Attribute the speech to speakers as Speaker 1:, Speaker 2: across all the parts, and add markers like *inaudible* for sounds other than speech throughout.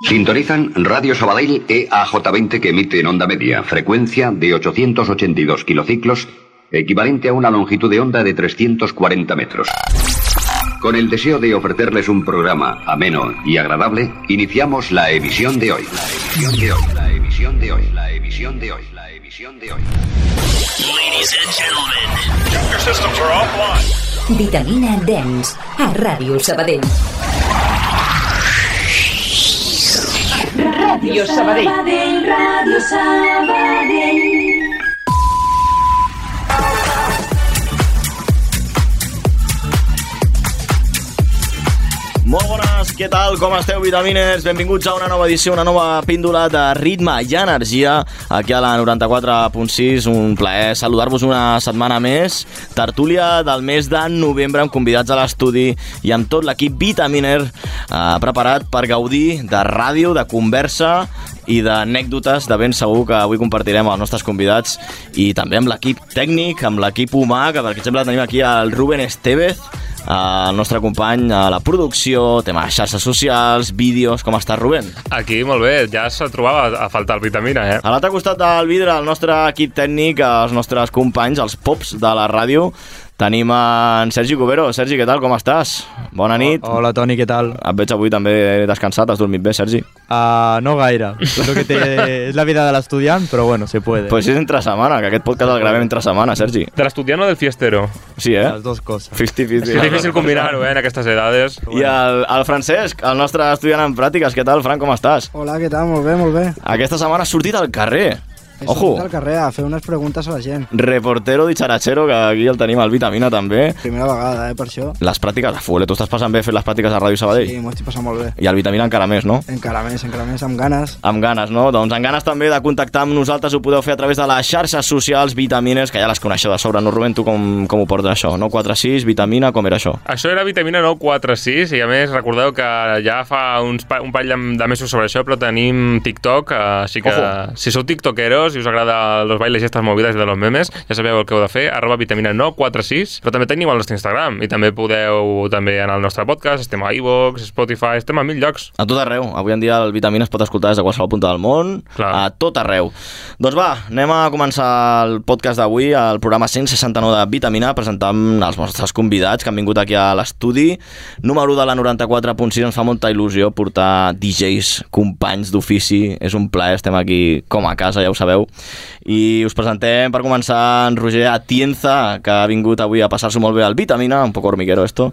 Speaker 1: Sintonizan Radio Sabadell E EAJ20 que emite en onda media, frecuencia de 882 kilociclos, equivalente a una longitud de onda de 340 metros. Con el deseo de ofrecerles un programa ameno y agradable, iniciamos la emisión de hoy. La emisión de hoy, la emisión de hoy, la emisión de hoy, la emisión de hoy.
Speaker 2: Ladies and gentlemen, your systems are offline.
Speaker 3: Vitamina Dance a Radio Sabadell.
Speaker 4: Radio Sabadell.
Speaker 5: Radio Sabadell.
Speaker 6: Molt bones, què tal? Com esteu, vitamines? Benvinguts a una nova edició, una nova píndola de ritme i energia aquí a la 94.6. Un plaer saludar-vos una setmana més. Tertúlia del mes de novembre amb convidats a l'estudi i amb tot l'equip vitaminer eh, preparat per gaudir de ràdio, de conversa i d'anècdotes de ben segur que avui compartirem amb els nostres convidats i també amb l'equip tècnic, amb l'equip humà, que per exemple tenim aquí el Rubén Estevez, eh, el nostre company a la producció, tema xarxes socials, vídeos... Com estàs, Rubén?
Speaker 7: Aquí, molt bé, ja se trobava a faltar el vitamina, eh?
Speaker 6: A l'altre costat del vidre, el nostre equip tècnic, els nostres companys, els pops de la ràdio, tenim en Sergi Cubero. Sergi, què tal? Com estàs? Bona nit.
Speaker 8: Oh,
Speaker 9: Hola, Toni, què tal?
Speaker 6: Et veig avui també descansat, has dormit bé, Sergi?
Speaker 9: Ah, no gaire. Lo
Speaker 10: *laughs*
Speaker 9: que te... es la vida del estudiant, però bueno, se puede.
Speaker 6: Pues és entre setmana, que aquest podcast el gravem entre setmana, Sergi.
Speaker 7: De l'estudiant o del fiestero?
Speaker 6: Sí, eh?
Speaker 9: Las dos cosas.
Speaker 6: 50-50.
Speaker 7: És difícil combinar-ho, eh, en aquestes edades.
Speaker 6: I el, el Francesc, el nostre estudiant en pràctiques, què tal, Fran, com estàs?
Speaker 8: Hola, què tal? Molt bé, molt bé.
Speaker 6: Aquesta setmana has sortit al carrer.
Speaker 8: He
Speaker 6: Ojo,
Speaker 8: sortit al carrer a fer unes preguntes a la gent.
Speaker 6: reportero i xarachero, que aquí el tenim al Vitamina també.
Speaker 8: Primera vegada, eh, per això.
Speaker 6: Les pràctiques a full, eh? tu estàs passant bé fent les pràctiques a Ràdio Sabadell?
Speaker 8: I m'ho estic passant molt bé.
Speaker 6: I el Vitamina encara més, no?
Speaker 8: Encara més, encara més, amb ganes.
Speaker 6: Amb ganes, no? Doncs amb ganes també de contactar amb nosaltres ho podeu fer a través de les xarxes socials Vitamines, que ja les coneixeu de sobre, no, Rubén? Tu com, com ho portes això? No 46, Vitamina, com era això?
Speaker 7: Això era vitamina 946 i a més recordeu que ja fa uns pa un parell de- de mesos sobre això però tenim TikTok, eh, així que
Speaker 6: Ojo.
Speaker 7: si sou tiktokeros i us agrada los bailes i estas movides de los memes, ja sabeu el que heu de fer, arroba vitamina 946, però també teniu el nostre Instagram i també podeu també anar al nostre podcast, estem a iVoox, Spotify, estem a mil llocs.
Speaker 6: A tot arreu. Avui en dia el Vitamina es pot escoltar des de qualsevol punta del món,
Speaker 7: Clar.
Speaker 6: a tot arreu. Doncs va, anem a començar el podcast d'avui, el programa 169 de Vitamina, presentant els nostres convidats que han vingut aquí a l'estudi. Número de la 94.6, ens fa molta il·lusió portar DJs, companys d'ofici, és un plaer, estem aquí com a casa, ja ho sabeu. I us presentem, per començar, en Roger Atienza, que ha vingut avui a passar-s'ho molt bé al Vitamina, un poco hormiguero esto.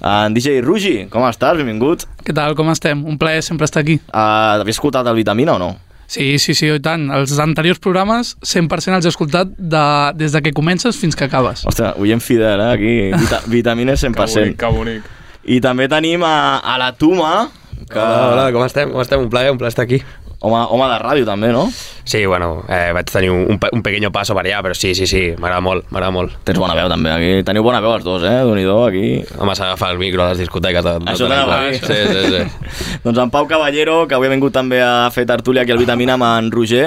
Speaker 6: En DJ Rugi, com estàs? Benvingut.
Speaker 11: Què tal, com estem? Un plaer sempre estar aquí.
Speaker 6: Uh, Havies escoltat el Vitamina o no?
Speaker 11: Sí, sí, sí, i tant. Els anteriors programes 100% els he escoltat de, des de que comences fins que acabes.
Speaker 6: Ostres, oient fidel, eh, aquí. Vita vitamina 100%.
Speaker 7: Que bonic.
Speaker 6: I també tenim a, a la Tuma, que...
Speaker 10: Hola, hola, com estem? Com estem? Un plaer, un plaer estar aquí.
Speaker 6: Home, home de ràdio també, no?
Speaker 10: Sí, bueno, eh, vaig tenir un, un, pe- un pequeño paso per allà, però sí, sí, sí, m'agrada molt, m'agrada molt.
Speaker 6: Tens bona veu també aquí. Teniu bona veu els dos, eh? déu nhi aquí.
Speaker 10: Home, s'ha d'agafar el micro a les discoteques. De, de
Speaker 6: Això
Speaker 10: tant en
Speaker 6: t'anava
Speaker 10: tant.
Speaker 6: a dir.
Speaker 10: Sí, sí, sí.
Speaker 6: *laughs* Doncs en Pau Caballero, que avui ha vingut també a fer tertúlia aquí al Vitamina amb en Roger.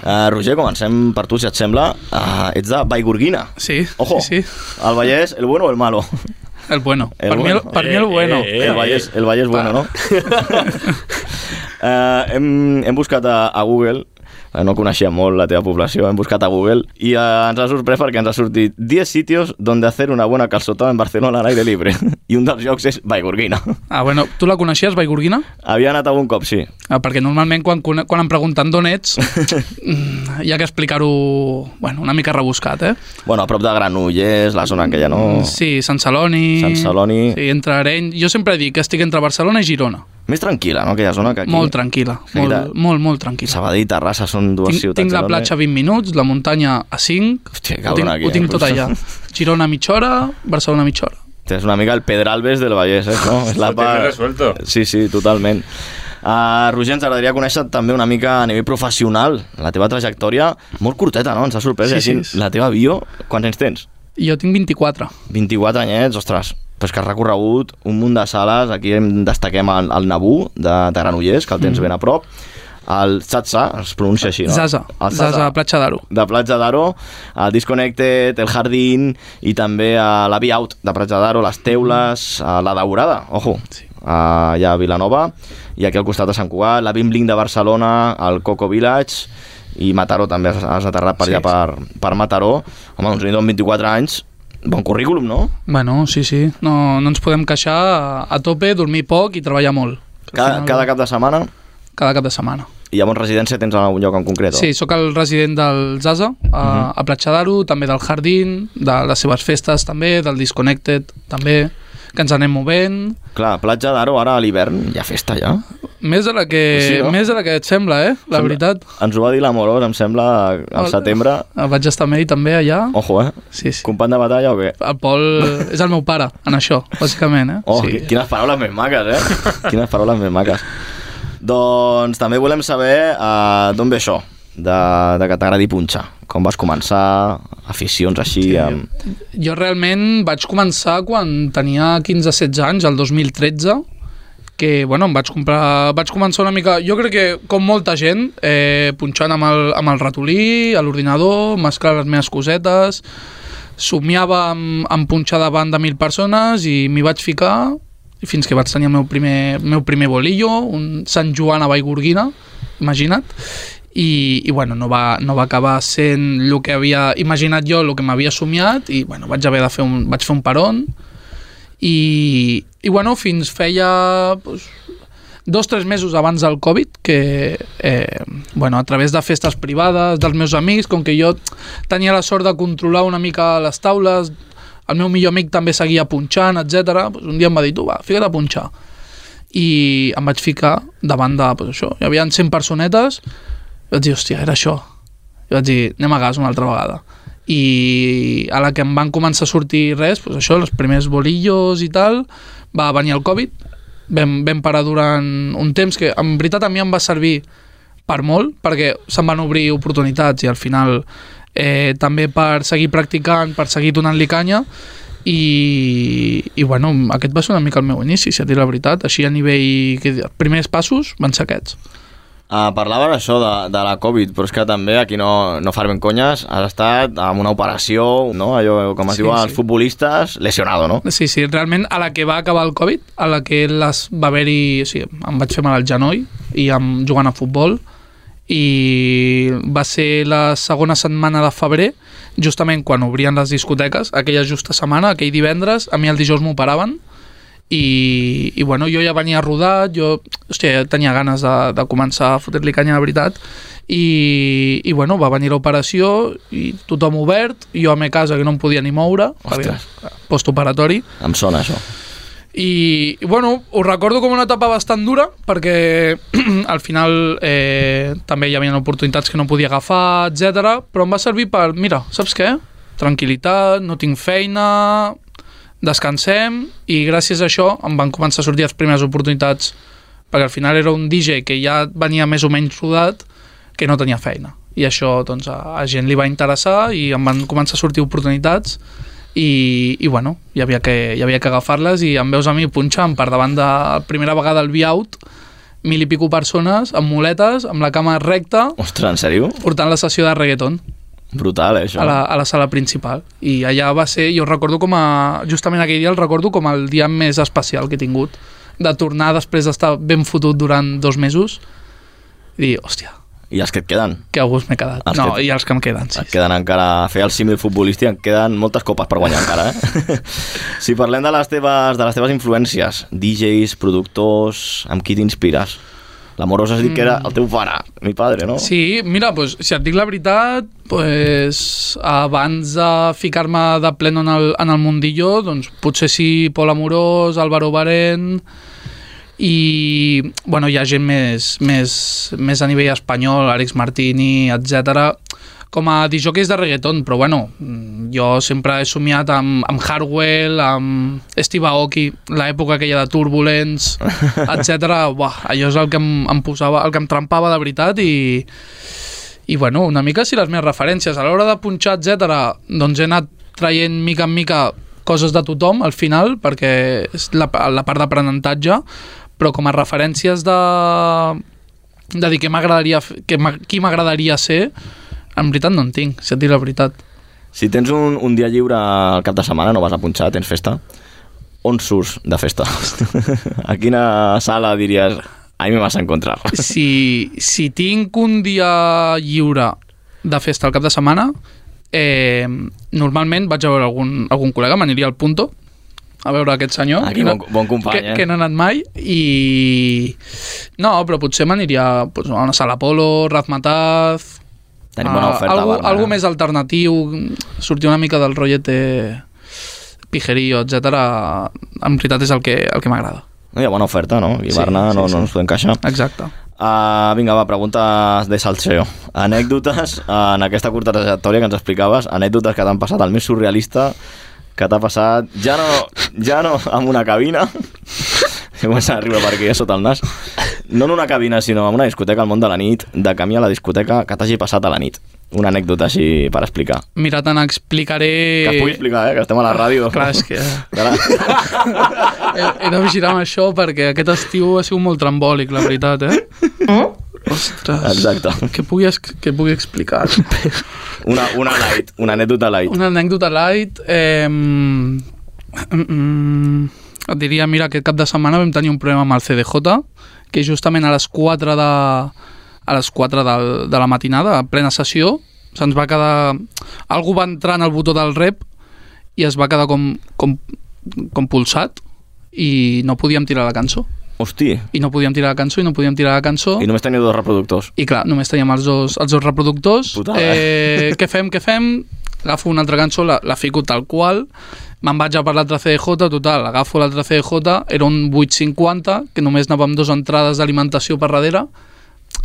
Speaker 6: Uh, Roger, comencem per tu, si et sembla. Uh, ets de Vallgorguina.
Speaker 11: Sí,
Speaker 6: Ojo,
Speaker 11: sí, sí.
Speaker 6: El Vallès, el bueno o el malo?
Speaker 11: El bueno.
Speaker 6: El
Speaker 11: El per,
Speaker 6: bueno.
Speaker 11: bueno. Mi, el, per mi el bueno.
Speaker 6: Eh, el Vallès, el Vallès bueno, *laughs* no? uh, hem, hem buscat a, a Google eh, no coneixia molt la teva població, hem buscat a Google i eh, ens ha sorprès perquè ens ha sortit 10 sitios donde hacer una buena calçotada en Barcelona al aire libre. *laughs* I un dels llocs és Vallgorguina. *laughs*
Speaker 11: Ah, bueno, tu la coneixies, Vallgorguina?
Speaker 6: Havia anat algun cop, sí.
Speaker 11: Ah, perquè normalment quan, cone- quan em pregunten d'on ets,
Speaker 6: *laughs*
Speaker 11: mm, hi ha que explicar-ho bueno, una mica rebuscat, eh?
Speaker 6: Bueno, a prop de Granollers, la zona aquella, no?
Speaker 11: Mm, Sí, Sant Celoni...
Speaker 6: Sant Celoni.
Speaker 11: Sí, entre Areny... Jo sempre dic que estic entre Barcelona i Girona.
Speaker 6: Més tranquil·la, no? Aquella zona que aquí...
Speaker 11: Molt tranquil·la,
Speaker 6: Sí,
Speaker 11: molt,
Speaker 6: de-
Speaker 11: molt, molt, molt tranquil·la.
Speaker 6: Sabadell i Terrassa són dues
Speaker 11: Tinc,
Speaker 6: ciutats.
Speaker 11: tinc la
Speaker 6: enormes.
Speaker 11: platja a 20 minuts, la muntanya a 5,
Speaker 6: Hòstia,
Speaker 11: ho
Speaker 6: cabrón,
Speaker 11: tinc,
Speaker 6: aquí,
Speaker 11: ho tinc
Speaker 6: eh?
Speaker 11: tot allà. *laughs* Girona a mitja hora, Barcelona a mitja hora.
Speaker 6: És una mica el Pedralbes del Vallès, eh? No?
Speaker 11: *laughs*
Speaker 6: És la
Speaker 7: Ho tens
Speaker 6: part...
Speaker 7: resuelto.
Speaker 6: Sí, sí, totalment. Uh, Roger, ens agradaria conèixer també una mica a nivell professional la teva trajectòria, molt curteta, no? Ens ha sorprès
Speaker 11: Sí,
Speaker 6: sí,
Speaker 11: sí,
Speaker 6: sí.
Speaker 11: sí.
Speaker 6: la teva bio. Quants anys tens?
Speaker 11: Jo tinc 24.
Speaker 6: 24 anyets, ostres, però és que has recorregut un munt de sales, aquí en destaquem el, el Nabú de, de Granollers, que el tens ben a prop, el Zatza, es pronuncia així, no?
Speaker 11: Mm. Zaza,
Speaker 6: el
Speaker 11: Zaza, a Platja d'Aro.
Speaker 6: de Platja d'Aro, a Disconnected, el Jardín i també a la Via Out de Platja d'Aro, les Teules, a la Daurada, ojo, sí. a, allà a Vilanova, i aquí al costat de Sant Cugat, la Bim Bling de Barcelona, el Coco Village, i Mataró també has, has aterrat per
Speaker 10: Sí,
Speaker 6: allà, per, per Mataró. Home, doncs nhi-do, amb 24 anys, bon currículum, no?
Speaker 11: Bueno, sí, sí. No, no ens podem queixar a, a tope, dormir poc i treballar molt. Que al
Speaker 6: Cada,
Speaker 11: final-
Speaker 6: cada cap de setmana,
Speaker 11: cada cap de setmana.
Speaker 6: i llavors residència tens en algun lloc en concret? o?
Speaker 11: Sí, sóc el resident del Zaza, a,
Speaker 6: Mhm.
Speaker 11: a Platja d'Aro, també del Jardín, de les seves festes també, del Disconnected també, que ens anem movent.
Speaker 6: Clar, platja d'Aro, ara a l'hivern, hi ha festa ja.
Speaker 11: Més de la que,
Speaker 6: Sí, no?
Speaker 11: més de la que et sembla, eh? La
Speaker 6: Sembla-
Speaker 11: veritat.
Speaker 6: Ens ho va dir l'Amorós, em sembla, al
Speaker 11: Hola.
Speaker 6: setembre.
Speaker 11: Eh, Vaig estar amb ell també allà.
Speaker 6: Ojo, eh?
Speaker 11: Sí, sí.
Speaker 6: Company de batalla o què?
Speaker 11: El Pol és el meu pare en això, bàsicament, eh?
Speaker 6: Oh,
Speaker 11: sí.
Speaker 6: qui- quines paraules més maques,
Speaker 11: *laughs*
Speaker 6: eh? Quines paraules més maques. Doncs també volem saber uh, d'on ve això, de, de que t'agradi punxar. Com vas començar, aficions així... Sí. Amb...
Speaker 11: Jo realment vaig començar quan tenia 15-16 anys, el 2013, que, bueno, em vaig comprar... Vaig començar una mica... Jo crec que, com molta gent, eh, punxant amb el, amb el ratolí, a l'ordinador, mesclar les meves cosetes... Somiava amb, amb punxar davant de mil persones i m'hi vaig ficar i fins que vaig tenir el meu primer, meu primer bolillo, un Sant Joan a Vallgorguina, imagina't, i, i bueno, no va, no va acabar sent el que havia imaginat jo, el que m'havia somiat i bueno, vaig haver de fer un, vaig fer un peron i, i bueno, fins feia pues, dos o tres mesos abans del Covid que eh, bueno, a través de festes privades dels meus amics, com que jo tenia la sort de controlar una mica les taules el meu millor amic també seguia punxant, etc. Pues un dia em va dir, tu va, fica't a punxar i em vaig ficar davant de pues, això. Hi havia 100 personetes i vaig dir, hòstia, era això. I vaig dir, anem a gas una altra vegada. I a la que em van començar a sortir res, pues això, els primers bolillos i tal, va venir el Covid, vam, vam parar durant un temps que en veritat a mi em va servir per molt, perquè se'm van obrir oportunitats i al final eh, també per seguir practicant, per seguir donant-li canya i, i bueno, aquest va ser una mica el meu inici, si a dir la veritat, així a nivell... Que, primers passos van ser aquests.
Speaker 6: Uh, parlaves això de, de la Covid, però és que també aquí no, no farem conyes, has estat amb una operació, no? allò com es
Speaker 11: Sí,
Speaker 6: sí, diu als
Speaker 11: sí.
Speaker 6: futbolistes, lesionado, no?
Speaker 11: Sí, sí, realment a la que va acabar el Covid, a la que les va haver-hi... Sí, em vaig fer mal al genoll i em, jugant a futbol i va ser la segona setmana de febrer, justament quan obrien les discoteques, aquella justa setmana, aquell divendres, a mi el dijous m'operaven i, i bueno, jo ja venia rodat, jo hòstia, ja tenia ganes de, de començar a fotre-li canya de veritat i, i bueno, va venir l'operació i tothom obert, i jo a me casa que no em podia ni moure,
Speaker 6: Ostres.
Speaker 11: perquè- postoperatori
Speaker 6: Em sona això.
Speaker 11: i, i bueno, ho recordo com una etapa bastant dura perquè *clears throat* al final eh, també hi havia oportunitats que no podia agafar, etc. però em va servir per, mira, saps què? Tranquilitat, no tinc feina, descansem i gràcies a això em van començar a sortir les primeres oportunitats perquè al final era un DJ que ja venia més o menys rodat que no tenia feina i això doncs, a, a gent li va interessar i em van començar a sortir oportunitats i, i bueno, hi havia que, hi havia que agafar-les i em veus a mi punxant per davant de la primera vegada el Biaut mil i pico persones amb muletes, amb la cama recta
Speaker 6: Ostres, en sèrio?
Speaker 11: portant la sessió de reggaeton
Speaker 6: Brutal, eh, això.
Speaker 11: a la, a la sala principal i allà va ser, jo recordo com a justament aquell dia el recordo com el dia més especial que he tingut de tornar després d'estar ben fotut durant dos mesos i dir, hòstia,
Speaker 6: I els que et queden?
Speaker 11: que a gust m'he quedat
Speaker 6: Els
Speaker 11: no,
Speaker 6: que-
Speaker 11: i els que em queden sí,
Speaker 6: Et queden encara, fer el símil futbolístic, en queden moltes copes per guanyar encara, eh?
Speaker 11: *laughs*
Speaker 6: si parlem de les, teves, de les teves influències, DJs, productors, amb qui t'inspires? L'amorós has dit que era el teu pare, mi padre, no?
Speaker 11: Mm. Sí, mira, pues, si et dic la veritat, pues, abans de ficar-me de pleno en el, en el mundillo, doncs potser sí Pol Amorós, Álvaro Barén, i bueno, hi ha gent més, més, més a nivell espanyol, Àlex Martini, etc com a disjockeys de reggaeton, però bueno, mm, jo sempre he somiat amb, amb Hardwell, amb Steve Aoki, l'època aquella de Turbulence, etc. Allò és el que em, em posava, el que em trampava de veritat i, i bueno, una mica si les meves referències a l'hora de punxar, etc. doncs he anat traient mica en mica coses de tothom al final perquè és la, la part d'aprenentatge però com a referències de, de dir que m'agradaria f- que m'a- qui m'agradaria ser en veritat no en tinc, si et dic la veritat
Speaker 6: Si tens un, un dia lliure al cap de setmana, no vas a punxar, tens festa, on surts de festa? *laughs* a quina sala diries a mi me vas a encontrar?
Speaker 11: si, si tinc un dia lliure de festa al cap de setmana, eh, normalment vaig a veure algun, algun col·lega, m'aniria al Punto, a veure aquest senyor.
Speaker 6: Aquí,
Speaker 11: que
Speaker 6: Ah, bon-
Speaker 11: no-
Speaker 6: bon company,
Speaker 11: que,
Speaker 6: eh?
Speaker 11: Que no he anat mai i... No, però potser m'aniria doncs, a una sala Polo, Razmataz...
Speaker 6: Tenim bona
Speaker 11: a-
Speaker 6: oferta,
Speaker 11: Ah, algú,
Speaker 6: Barna,
Speaker 11: algú
Speaker 6: eh?
Speaker 11: més alternatiu, sortir una mica del eh, rollete pijerío, etc. En veritat és el que, el que m'agrada.
Speaker 6: No hi ha bona oferta, no? I
Speaker 11: Sí,
Speaker 6: Barna no,
Speaker 11: sí,
Speaker 6: no
Speaker 11: sí.
Speaker 6: ens podem queixar.
Speaker 11: Exacte.
Speaker 6: Uh, vinga, va, preguntes de salseo. Anècdotes eh, en aquesta curta trajectòria que ens explicaves, anècdotes que t'han passat, el més surrealista que t'ha passat, ja no, ja no en una cabina, *laughs* comença a riure per aquí, eh, sota el nas, no en una cabina, sinó en una discoteca al món de la nit, de camí a la discoteca que t'hagi passat a la nit. Una anècdota així per explicar.
Speaker 11: Mira, te n'explicaré...
Speaker 6: Que et pugui explicar, eh, que estem a la ràdio.
Speaker 11: Clar,
Speaker 6: *laughs*
Speaker 11: és que... *laughs*
Speaker 6: Ara,
Speaker 11: He, he de vigilar amb això perquè aquest estiu ha sigut molt trambòlic, la veritat, eh? Ostres.
Speaker 6: Exacte.
Speaker 11: Què pugui, es- què pugui explicar?
Speaker 6: Una, una light, una anècdota light.
Speaker 11: Una anècdota light... Eh, mm, et diria, mira, aquest cap de setmana vam tenir un problema amb el CDJ, que justament a les 4 de, a les 4 de, de la matinada, a plena sessió, se'ns va quedar... Algú va entrar en el botó del rep i es va quedar com, com, com pulsat i no podíem tirar la cançó.
Speaker 6: Hosti,
Speaker 11: I no podíem tirar la cançó, i no podíem tirar la cançó.
Speaker 6: i només teniu dos reproductors.
Speaker 11: I clar, només teníem els dos, els dos reproductors.
Speaker 6: Putada,
Speaker 11: eh, què fem, què fem? Agafo una altra cançó, la, la fico tal qual, me'n vaig a per l'altre CDJ, total, agafo l'altre CDJ, era un 850, que només anava amb dues entrades d'alimentació per darrere,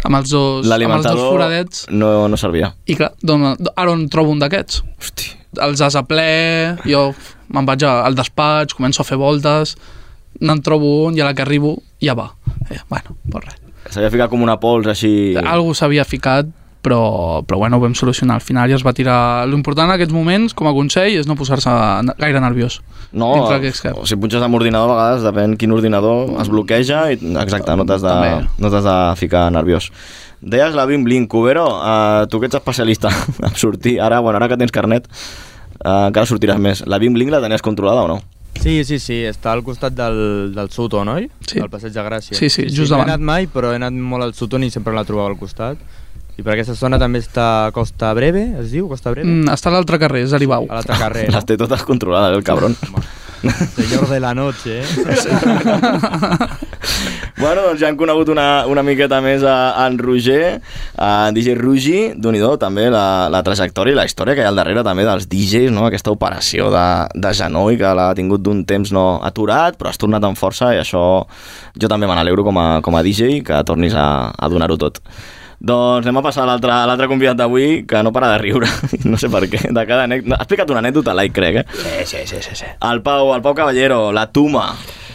Speaker 11: amb els dos, amb els dos
Speaker 6: L'alimentador
Speaker 11: foradets.
Speaker 6: no, no servia.
Speaker 11: I clar, dona, ara on trobo un d'aquests?
Speaker 6: Hosti,
Speaker 11: Els has a ple, jo f- me'n vaig a- al despatx, començo a fer voltes, n'en trobo un i a la que arribo ja va. Eh, bueno, pues res.
Speaker 6: S'havia ficat com una pols així...
Speaker 11: Algú s'havia ficat, però, però bueno, ho vam solucionar al final i es va tirar... L'important en aquests moments, com a consell, és no posar-se na- gaire nerviós.
Speaker 6: No,
Speaker 11: dintre d'aquest cap.
Speaker 6: o si punxes amb ordinador, a vegades, depèn quin ordinador, es bloqueja i, exacte, no t'has de,
Speaker 11: També.
Speaker 6: no t'has de ficar nerviós. Deies la Bim Blin, Cubero, uh, tu que ets especialista *laughs* en sortir, ara, bueno, ara que tens carnet, uh, encara sortiràs més. La Bim Blin la tenies controlada o no?
Speaker 9: Sí, sí, sí, està al costat del, del Suto, no?
Speaker 11: Sí.
Speaker 9: Del Passeig de Gràcia.
Speaker 11: Sí, sí, just
Speaker 9: no
Speaker 11: davant.
Speaker 9: he anat mai, però he anat molt al Suto i sempre la trobava al costat. I per aquesta zona també està Costa Breve, es diu? Costa Breve?
Speaker 11: Mm, està a l'altre carrer, és Aribau.
Speaker 9: A l'altre carrer.
Speaker 10: *laughs*
Speaker 6: Les té totes controlades, el
Speaker 11: *laughs*
Speaker 6: cabron.
Speaker 9: Senyor de la noche,
Speaker 10: *laughs*
Speaker 9: eh?
Speaker 6: Bueno, doncs ja hem conegut una, una miqueta més a, a en Roger, a en DJ Rugi, d'un i do, també la, la trajectòria i la història que hi ha al darrere també dels DJs, no? aquesta operació de, de genoll que l'ha tingut d'un temps no aturat, però has tornat amb força i això jo també me n'alegro com, a, com a DJ que tornis a, a donar-ho tot. Doncs anem a passar a l'altre a l'altre convidat d'avui, que no para de riure, *laughs* no sé per què, de cada anècdota. Has explicat una anècdota, like, crec, eh?
Speaker 10: Sí, sí, sí, sí. sí.
Speaker 6: El Pau, el Pau Caballero, la Tuma,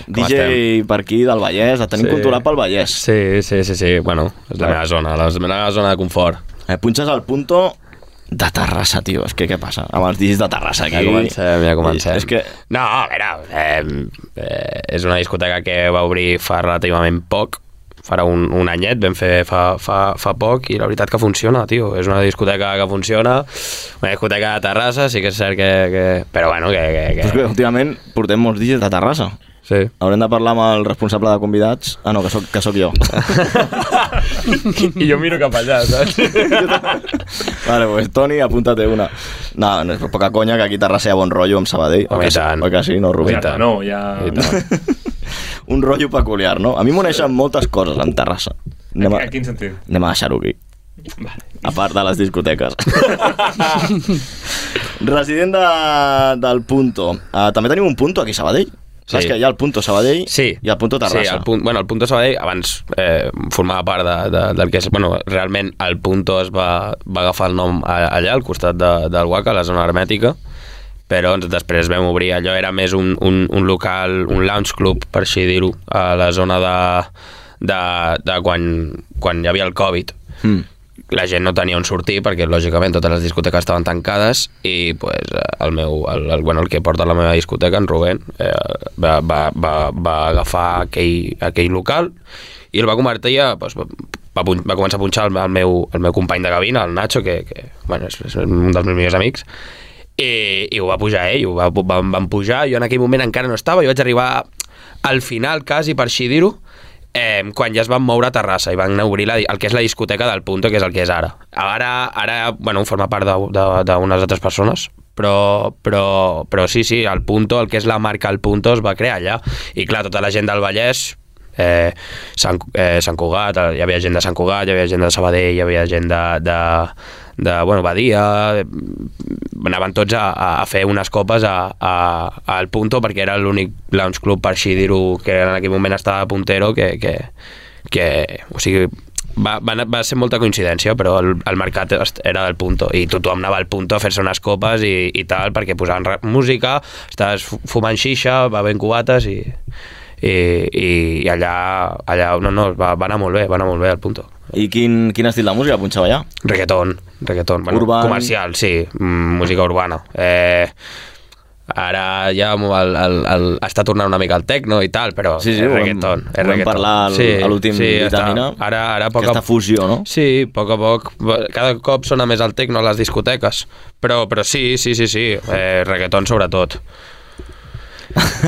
Speaker 10: Com
Speaker 6: DJ
Speaker 10: estem?
Speaker 6: per aquí del Vallès, la tenim sí. controlat pel Vallès. Sí.
Speaker 10: Sí, sí, sí, sí. Bueno, és la
Speaker 6: Clar.
Speaker 10: meva zona, la, la meva zona de confort.
Speaker 6: Eh, punxes al punto de Terrassa, tio. És que què passa? Amb els digis de Terrassa aquí.
Speaker 10: Ja comencem, ja comencem.
Speaker 6: És que...
Speaker 10: No, a veure, eh, eh, és una discoteca que va obrir fa relativament poc, farà un, un anyet, vam fer fa, fa, fa poc, i la veritat que funciona, tio. És una discoteca que funciona, una discoteca de Terrassa, sí que és cert que... que... Però bueno, que... que,
Speaker 6: Però és que
Speaker 10: que...
Speaker 6: últimament portem molts digis de Terrassa.
Speaker 10: Sí.
Speaker 6: Haurem de parlar amb el responsable de convidats. Ah, no, que sóc, que sóc
Speaker 10: *laughs*
Speaker 6: jo.
Speaker 10: I jo miro cap allà, saps?
Speaker 6: vale, pues, Toni, apunta't una. No, no, és poca conya que aquí a Terrassa hi ha bon rotllo amb Sabadell.
Speaker 10: Home,
Speaker 6: Oi
Speaker 10: i
Speaker 6: que sí?
Speaker 10: tant.
Speaker 6: Oi que sí, no, Rubí?
Speaker 10: I tant.
Speaker 7: No, ja...
Speaker 10: I tant.
Speaker 6: *laughs* Un rotllo peculiar, no? A mi m'uneixen moltes coses en Terrassa. Anem
Speaker 7: A,
Speaker 6: a,
Speaker 7: a quin sentit?
Speaker 6: anem a deixar-ho aquí. A part de les discoteques. Resident de, del Punto. Uh, també tenim un Punto aquí a Sabadell? Sí. Saps
Speaker 10: Sí.
Speaker 6: que hi ha el Punto Sabadell
Speaker 10: Sí.
Speaker 6: i el Punto Terrassa.
Speaker 10: Sí, el punt, bueno, el Punto Sabadell abans eh, formava part de, de, del que és... Bueno, realment el Punto es va, va agafar el nom a, allà, al costat de, del Waka, a la zona hermètica, però ens, després vam obrir, allò era més un, un, un local, un lounge club, per així dir-ho, a la zona de, de, de quan, quan hi havia el Covid
Speaker 6: Mm.
Speaker 10: la gent no tenia on sortir perquè lògicament totes les discoteques estaven tancades i pues, eh, el, meu, el, el, bueno, el que porta la meva discoteca, en Rubén, eh, va, va, va, va agafar aquell, aquell local i el va convertir a... Pues, va, pun- va començar a punxar el, el, meu, el meu company de cabina, el Nacho, que, que bueno, és, és un dels meus millors amics, eh, i, i ho va pujar ell, ho va, van, van pujar, jo en aquell moment encara no estava, jo vaig arribar al final quasi, per així dir-ho, eh, quan ja es van moure a Terrassa i van anar a obrir la, el que és la discoteca del Punto, que és el que és ara. Ara, ara bueno, forma part de- de- d'unes altres persones, però, però, però sí, sí, el Punto, el que és la marca El Punto, es va crear allà. I clar, tota la gent del Vallès, eh, Sant, eh, Sant Cugat, eh, hi havia gent de Sant Cugat, hi havia gent de Sabadell, hi havia gent de, de, de bueno, Badia, eh, anaven tots a, a, a fer unes copes a, a, al Punto perquè era l'únic lounge club, per així dir-ho, que en aquell moment estava a Puntero, que, que, que o sigui, va, va, anar- va ser molta coincidència, però el, el mercat est- era del punto, i tothom anava al punto a fer-se unes copes i, i tal, perquè posaven ra- música, estaves fu- fumant xixa, bevent cubates i, i, i, i allà, allà no, no, va, va anar molt bé, va anar molt bé al punto.
Speaker 6: I quin, quin estil de música punxava allà?
Speaker 10: Reggaeton, reggaeton, bueno,
Speaker 6: Urban.
Speaker 10: comercial, sí, mm, música urbana. Eh, ara ja el, el, el, està tornant una mica al tecno i tal, però
Speaker 6: Sí, sí,
Speaker 10: és
Speaker 6: ho vam-
Speaker 10: reggaeton.
Speaker 6: ho vam parlar al- a l'últim
Speaker 10: està.
Speaker 6: vitamina,
Speaker 10: Ara, ara a poc
Speaker 6: aquesta
Speaker 10: a...
Speaker 6: fusió,
Speaker 10: *laughs*
Speaker 6: no?
Speaker 10: Sí, a poc a poc. Cada cop sona més el tecno a les discoteques. Però, però sí, sí, sí, sí. Eh, reggaeton sobretot.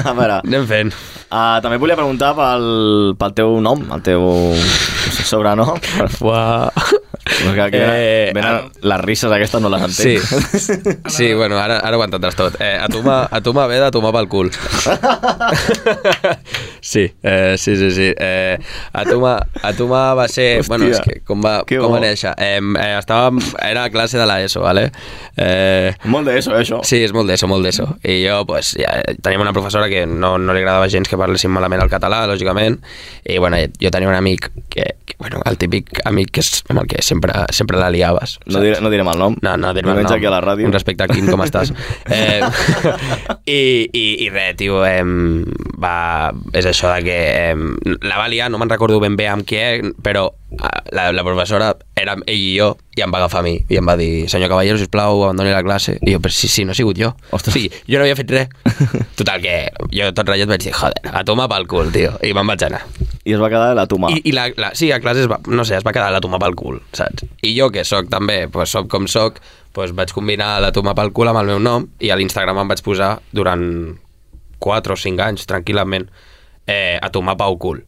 Speaker 6: A veure,
Speaker 10: Anem fent.
Speaker 6: uh, també et volia preguntar pel, pel teu nom, el teu sobrenom.
Speaker 10: Uah.
Speaker 6: Perquè aquí
Speaker 10: Eh,
Speaker 6: eh, venen, les risses aquestes no les
Speaker 10: Sí.
Speaker 6: entenc.
Speaker 10: *laughs* sí, bueno, ara, ara ho entendràs tot. Eh, a, tu m'ha- a tu m'ha ve de tomar pel cul. *laughs* sí, eh, sí, sí, sí. Eh, a tu m'ha- a tu m'ha va ser...
Speaker 6: Hòstia,
Speaker 10: bueno, és que com va,
Speaker 6: que
Speaker 10: com va
Speaker 6: bo.
Speaker 10: néixer? Eh, eh, estava, era a classe de l'ESO, ¿vale? Eh,
Speaker 6: *laughs* Molt d'ESO, eh, això.
Speaker 10: Sí, és molt d'ESO, molt d'ESO. I jo, pues, ja, teníem una professora que no, no li agradava gens que parlessin malament el català, lògicament, i, bueno, jo tenia un amic que, que bueno, el típic amic que és amb el que sempre, sempre la liaves.
Speaker 6: No
Speaker 10: saps?
Speaker 6: diré, no direm el nom.
Speaker 10: No, no, dir-me el
Speaker 6: Diumenge
Speaker 10: nom.
Speaker 6: aquí a la ràdio.
Speaker 10: Un respecte a Quim, com
Speaker 6: *laughs*
Speaker 10: estàs? eh, i, i, I res, tio, em, va, és això de que em, la va liar, no me'n recordo ben bé amb què, però ah, la, la professora era ell i jo i em va agafar a mi i em va dir, senyor Caballero, sisplau, abandoni la classe. I jo, però sí, sí, no he sigut jo.
Speaker 6: Ostres.
Speaker 10: Sí, jo no havia fet res. Total, que jo tot ratllat vaig dir, joder, a tomar pel cul, tio. I me'n vaig anar.
Speaker 6: I es va quedar la Tomà.
Speaker 10: I, i la, la, sí, a classe es va, no sé, es va quedar la toma pel cul, saps? I jo, que sóc també, pues, sóc com sóc, pues, vaig combinar la toma pel cul amb el meu nom i a l'Instagram em vaig posar durant 4 o 5 anys, tranquil·lament, eh, a tomar pau cul.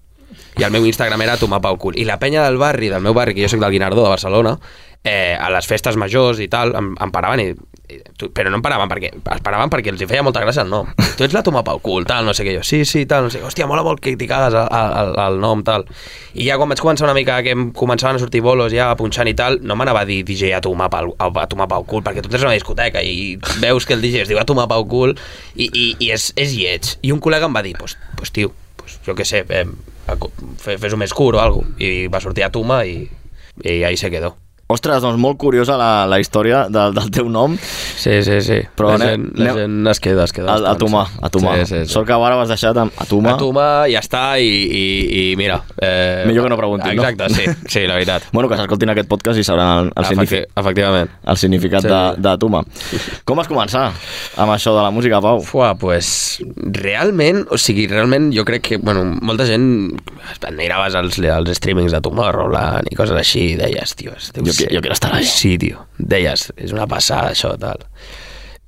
Speaker 10: I el meu Instagram era tomar pau cul. I la penya del barri, del meu barri, que jo sóc del Guinardó, de Barcelona, eh, a les festes majors i tal, em, em paraven i, i tu, però no em paraven perquè, es paraven perquè els hi feia molta gràcia el nom. Tu ets la Toma Pau Cul, tal, no sé què jo. Sí, sí, tal, no sé què. Hòstia, mola molt que t'hi cagues al- al al nom, tal. I ja quan vaig començar una mica, que em començaven a sortir bolos ja punxant i tal, no m'anava a dir DJ a Toma Pau, a, a Toma Pau Cul, perquè tu entres a una discoteca i veus que el DJ es diu a Toma Pau Cul i, i, i és, és lleig. I un col·lega em va dir, pues, pues tio, pues, jo què sé, eh, fes-ho més curt o alguna I va sortir a Toma i, i ahí se quedó.
Speaker 6: Ostres, doncs molt curiosa la, la història del, del teu nom.
Speaker 10: Sí, sí, sí.
Speaker 6: Però
Speaker 10: la,
Speaker 6: anem-
Speaker 10: gent, la
Speaker 6: anem-
Speaker 10: gent es queda, es queda.
Speaker 6: A, a
Speaker 10: bastant,
Speaker 6: Tomà,
Speaker 10: sí.
Speaker 6: a Tomà.
Speaker 10: Sí, sí, sí.
Speaker 6: Sort que ara ho has deixat amb, a Tomà.
Speaker 10: A Tomà ja està i, i, i mira... Eh,
Speaker 6: Millor que no preguntin, no?
Speaker 10: Exacte, sí, sí, la veritat.
Speaker 6: Bueno, que s'escoltin aquest podcast i sabran el, el,
Speaker 10: Ah,
Speaker 6: signifi
Speaker 10: Efecti efectivament.
Speaker 6: el significat
Speaker 10: Sí.
Speaker 6: de, de Tuma. Com vas començar amb això de la música, Pau?
Speaker 10: Fua, pues, realment, o sigui, realment jo crec que, bueno, molta gent miraves els, els streamings de Tomorrowland i coses així i deies, tio, deu
Speaker 6: Jo qui- jo quiero estar allà.
Speaker 10: Sí, tio, deies, és una passada això, tal.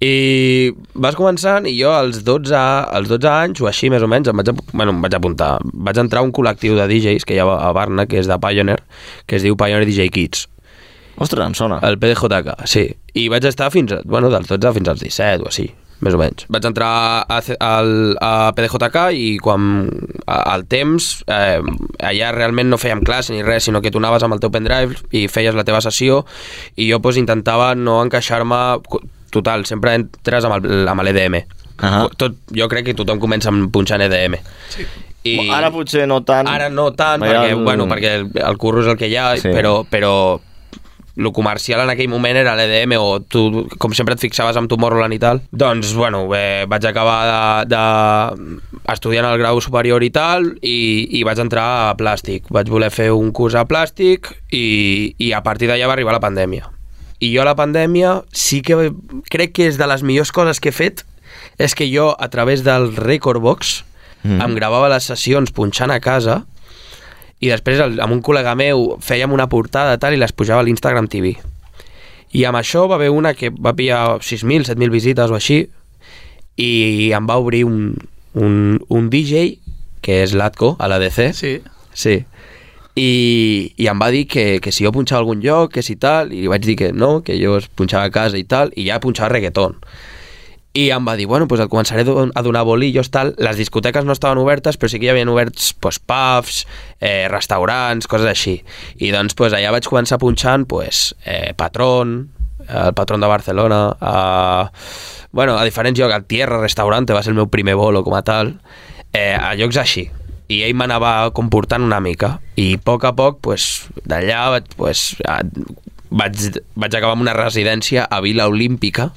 Speaker 10: I vas començant i jo als 12, als 12 anys o així més o menys em vaig, ap- bueno, em vaig apuntar. Vaig entrar a un col·lectiu de DJs que hi ha a Barna, que és de Pioneer, que es diu Pioneer DJ Kids.
Speaker 6: Ostres, em sona.
Speaker 10: El PDJK, sí. I vaig estar fins, a, bueno, dels 12 fins als 17 o així, més o menys. Vaig entrar a, C- al, a PDJK i quan a, al temps, eh, allà realment no fèiem classe ni res, sinó que tu anaves amb el teu pendrive i feies la teva sessió i jo pues, intentava no encaixar-me... co- Total, sempre entres amb el- amb l'EDM.
Speaker 6: Ahà.
Speaker 10: Tot, jo crec que tothom comença amb punxant E EDM. Sí.
Speaker 6: I... Ara potser no tant.
Speaker 10: Ara no tant,
Speaker 6: Perquè
Speaker 10: perquè,
Speaker 6: el-
Speaker 10: bueno, perquè el, el curro és el que hi ha,
Speaker 6: Sí.
Speaker 10: sí. però, però lo comercial en aquell moment era l'EDM o tu, com sempre, et fixaves amb Tomorrowland i tal. Doncs, bueno, eh, vaig acabar de, de estudiant el grau superior i tal i, i vaig entrar a plàstic. Vaig voler fer un curs a plàstic i, i a partir d'allà va arribar la pandèmia. I jo a la pandèmia sí que crec que és de les millors coses que he fet és que jo, a través del Recordbox, mm. em gravava les sessions punxant a casa i després el, amb un col·lega meu fèiem una portada tal i les pujava a l'Instagram TV I amb això va haver una que va pillar 6.000, 7.000 visites o així, i em va obrir un, un, un DJ, que és l'Atco, a l'ADC.
Speaker 11: Sí.
Speaker 10: Sí. I, I em va dir que, que si jo punxava a algun lloc, que si tal, i li vaig dir que no, que jo es punxava a casa i tal, i ja punxava reggaeton. I em va dir, bueno, pues et començaré a don- a donar bolillos, tal. Les discoteques no estaven obertes, però sí que hi havia oberts pues, pubs, eh, restaurants, coses així. I doncs pues, allà vaig començar punxant pues, eh, Patron, el Patron de Barcelona, a, bueno, a diferents llocs, al Tierra Restaurante, va ser el meu primer bolo com a tal, eh, a llocs així. I ell m'anava comportant una mica. I a poc a poc, pues, d'allà vaig, pues, a, vaig, vaig acabar amb una residència a Vila Olímpica,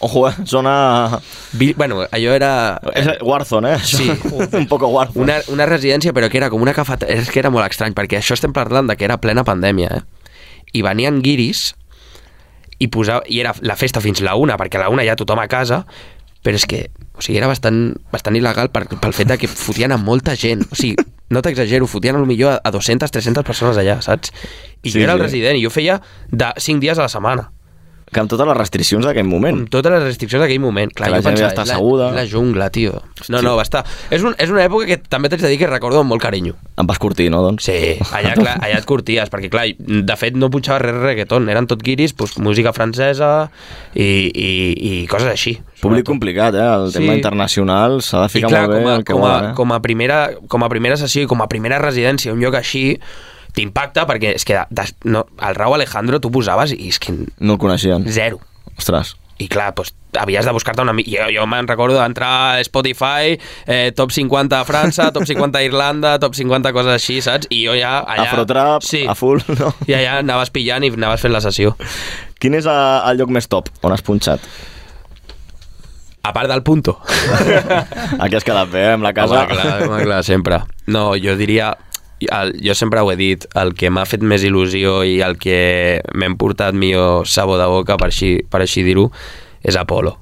Speaker 6: Ojo, eh? Zona...
Speaker 10: Vi- Bueno, allò era...
Speaker 6: És Warzone, eh?
Speaker 10: Sí.
Speaker 6: *laughs* un poco Warzone.
Speaker 10: Una, una residència, però que era com una cafeteria... És que era molt estrany, perquè això estem parlant de que era plena pandèmia, eh? I venien guiris i, posava, i era la festa fins la una, perquè a la una ja tothom a casa, però és que o sigui, era bastant, bastant il·legal per, pel fet de que fotien a molta gent. O sigui, no t'exagero, fotien al millor a, a 200, 300 persones allà, saps? I sí,
Speaker 6: Sí,
Speaker 10: jo era el
Speaker 6: sí.
Speaker 10: resident i jo feia de 5 dies a la setmana
Speaker 6: Que amb totes les restriccions d'aquell moment.
Speaker 10: amb totes les restriccions d'aquell moment.
Speaker 6: Que
Speaker 10: Clar,
Speaker 6: la
Speaker 10: jo
Speaker 6: gent
Speaker 10: pensava,
Speaker 6: havia d'estar
Speaker 10: "És la-
Speaker 6: asseguda."
Speaker 10: és La, jungla, tio. No,
Speaker 6: Hosti.
Speaker 10: no, va estar... És, un, és una època que també t'haig de dir que recordo amb molt carinyo.
Speaker 6: Em vas curtir, no, doncs?
Speaker 10: Sí, allà, clar, allà et curties, perquè clar, de fet no punxava res reggaeton, eren tot guiris, doncs, música francesa i, i, i coses així.
Speaker 6: Públic complicat, eh? El
Speaker 10: Sí.
Speaker 6: tema internacional s'ha de
Speaker 10: I
Speaker 6: ficar
Speaker 10: clar,
Speaker 6: molt bé
Speaker 10: com a,
Speaker 6: el que
Speaker 10: com,
Speaker 6: vol,
Speaker 10: a,
Speaker 6: eh?
Speaker 10: com, a primera, com a primera sessió i com a primera residència, un lloc així, t'impacta perquè és que des, no, el Rau Alejandro tu posaves i és que
Speaker 6: No el coneixien.
Speaker 10: zero.
Speaker 6: Ostres.
Speaker 10: I clar, doncs, havies de buscar-te una... mi- Jo, jo me'n recordo d'entrar a Spotify, eh, top 50 a França, top 50 a Irlanda, top 50 coses així, saps? I jo ja allà...
Speaker 6: Afrotrap, a full, no?
Speaker 10: I allà anaves pillant i anaves fent la sessió.
Speaker 6: Quin és eh, el lloc més top on has
Speaker 10: *laughs*
Speaker 6: punxat?
Speaker 10: A part del punto.
Speaker 6: Aquí has quedat bé, eh, amb la casa.
Speaker 10: Home, clar, home, clar, sempre. No, jo diria... El, jo sempre ho he dit, el que m'ha fet més il·lusió i el que m'hem portat millor sabó de boca, per així, per així dir-ho, és Apolo.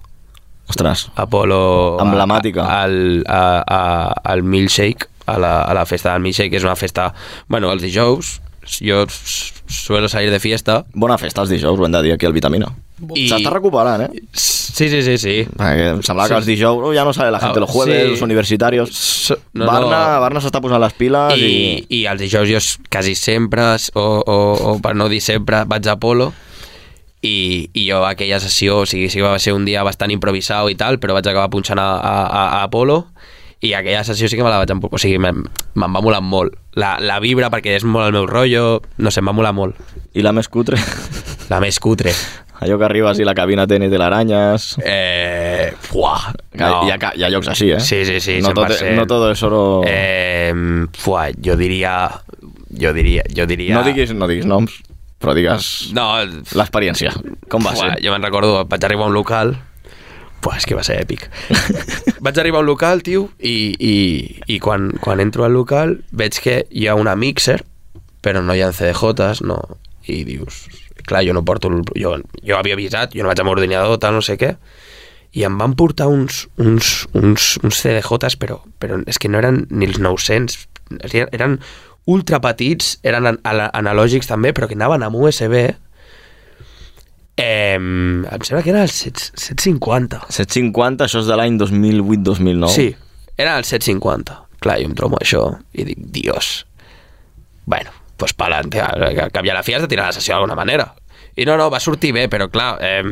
Speaker 6: Ostres.
Speaker 10: Apolo...
Speaker 6: Emblemàtica.
Speaker 10: a- Al, a, a, al Milkshake, a la, a la festa del Milkshake, que és una festa... Bueno, els dijous, jo s- suelo salir de fiesta...
Speaker 6: Bona festa els dijous, ho hem de dir aquí al Vitamina.
Speaker 10: I-
Speaker 6: S'està recuperant, eh?
Speaker 10: Sí, sí, sí, sí.
Speaker 6: Perquè em semblava
Speaker 10: Sí.
Speaker 6: que els dijous oh, ja no sale la gente
Speaker 10: Ah,
Speaker 6: los jueves,
Speaker 10: sí.
Speaker 6: los universitarios.
Speaker 10: S- no,
Speaker 6: Barna,
Speaker 10: no.
Speaker 6: Barna s'està posant les piles i...
Speaker 10: I, I els dijous jo s- quasi sempre, s- o, o, o per no dir sempre, vaig a Polo i, i jo aquella sessió, o sigui, sí que va ser un dia bastant improvisat i tal, però vaig acabar punxant a, a, a, a Polo i aquella sessió sí que me la vaig empo- o sigui, me'n me'n va molar molt la, la vibra perquè és molt el meu rotllo no sé, em va molar molt
Speaker 6: I la més cutre, *laughs*
Speaker 10: la més cutre
Speaker 6: allò que arribes i la cabina té ni telarañas...
Speaker 10: eh, fuà, no.
Speaker 6: Hi, ha, ca- hi ha llocs així, eh?
Speaker 10: Sí, sí, sí,
Speaker 6: No, tot,
Speaker 10: 100%.
Speaker 6: no todo es oro... Eh,
Speaker 10: eh, fuà, jo diria jo diria, jo diria
Speaker 6: no, diguis, no diguis noms, però digues no.
Speaker 10: no,
Speaker 6: l'experiència. Com va
Speaker 10: Fuà,
Speaker 6: ser?
Speaker 10: Jo me'n recordo, vaig arribar a un local... Fuà, és que va ser
Speaker 6: *laughs*
Speaker 10: èpic. vaig arribar a un local, tio, i, i, i quan, quan entro al local veig que hi ha una mixer, però no hi ha CDJs, no... I dius... Clar, jo no porto... el- Jo, jo havia avisat, jo no vaig amb ordinador, tal, no sé què i em van portar uns, uns, uns, uns CDJs, però, però és que no eren ni els 900, eren- eren ultra petits, eren an ala- analògics també, però que anaven amb USB. Eh, em sembla que era el 7, 750.
Speaker 9: 750, això és de l'any 2008-2009.
Speaker 10: Sí, era el 750. Clar, jo em trobo això i dic, dios. Bueno, pues pa'lante, al al cap i a la fi has de tirar la sessió d'alguna manera. I no, no, va sortir bé, però clar, eh,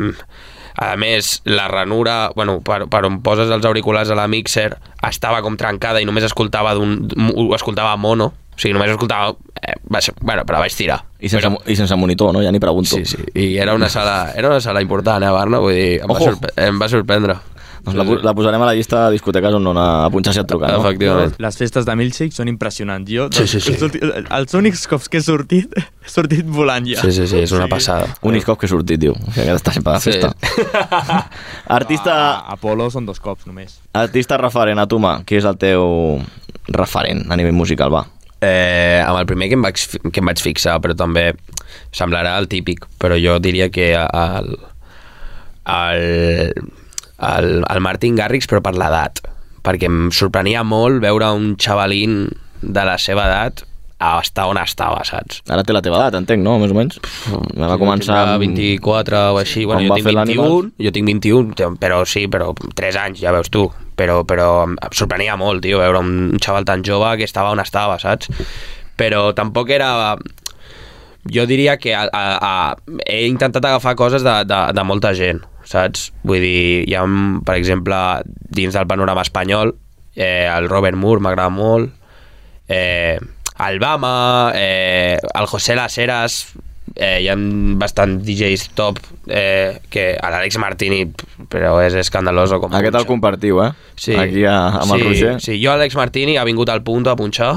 Speaker 10: a més, la ranura, bueno, per, per on poses els auriculars a la mixer, estava com trencada i només escoltava d'un... ho escoltava mono, o sigui, només escoltava... Eh, va ser, bueno, però vaig tirar.
Speaker 9: I sense, I sense monitor, no? Ja ni pregunto.
Speaker 10: Sí, sí, i era una sala, era una sala important, eh, Barna? Vull dir, em va,
Speaker 9: Ojo.
Speaker 10: sorpre em va sorprendre.
Speaker 6: Doncs la, pu- la posarem a la llista de discoteques on anar a punxar si et truca, no?
Speaker 10: Efectivament.
Speaker 9: Les festes de Milkshake són impressionants. Jo,
Speaker 10: Sí, sí, sí.
Speaker 9: Els, últims- els únics cops que he sortit, *laughs* he sortit volant ja.
Speaker 10: Sí, sí, sí, és una passada.
Speaker 6: Únic cop que he sortit, tio. Que aquest està sempre de
Speaker 10: Sí. Ah.
Speaker 6: festa.
Speaker 10: *laughs*
Speaker 6: Artista,
Speaker 9: A Apolo són dos cops només.
Speaker 6: artista referent a tu, mà. Qui és el teu referent a nivell musical, va?
Speaker 10: Eh, amb el primer que em, vaig, fi- que em vaig fixar, però també semblarà el típic, però jo diria que el, el, el, el Martin Garrix, però per l'edat, perquè em sorprenia molt veure un xavalín de la seva edat a estar on estava, saps?
Speaker 6: Ara té la teva edat, entenc, no? Més o menys. Me va començar...
Speaker 10: A
Speaker 6: amb-
Speaker 10: 24 o així, bueno,
Speaker 6: Quan
Speaker 10: jo
Speaker 6: va
Speaker 10: tinc
Speaker 6: fer l'Animal.
Speaker 10: 21, jo tinc 21, te- però sí, però 3 anys, ja veus tu. Però, però em em sorprenia molt, tio, veure un xaval tan jove que estava on estava, saps? Però tampoc era... Jo diria que a, a, a, he intentat agafar coses de, de, de molta gent, saps? Vull dir, hi ha, un- per exemple, dins del panorama espanyol, eh, el Robert Moore m'agrada molt, eh, Albama, eh, el José Las Heras, eh, hi ha bastant DJs top, eh, que a l'Àlex Martini, però és escandaloso com
Speaker 6: Aquest el
Speaker 10: punxa.
Speaker 6: compartiu, eh? Aquí a, amb
Speaker 10: sí,
Speaker 6: el Roger.
Speaker 10: Sí, jo Àlex Martini ha vingut al punt a punxar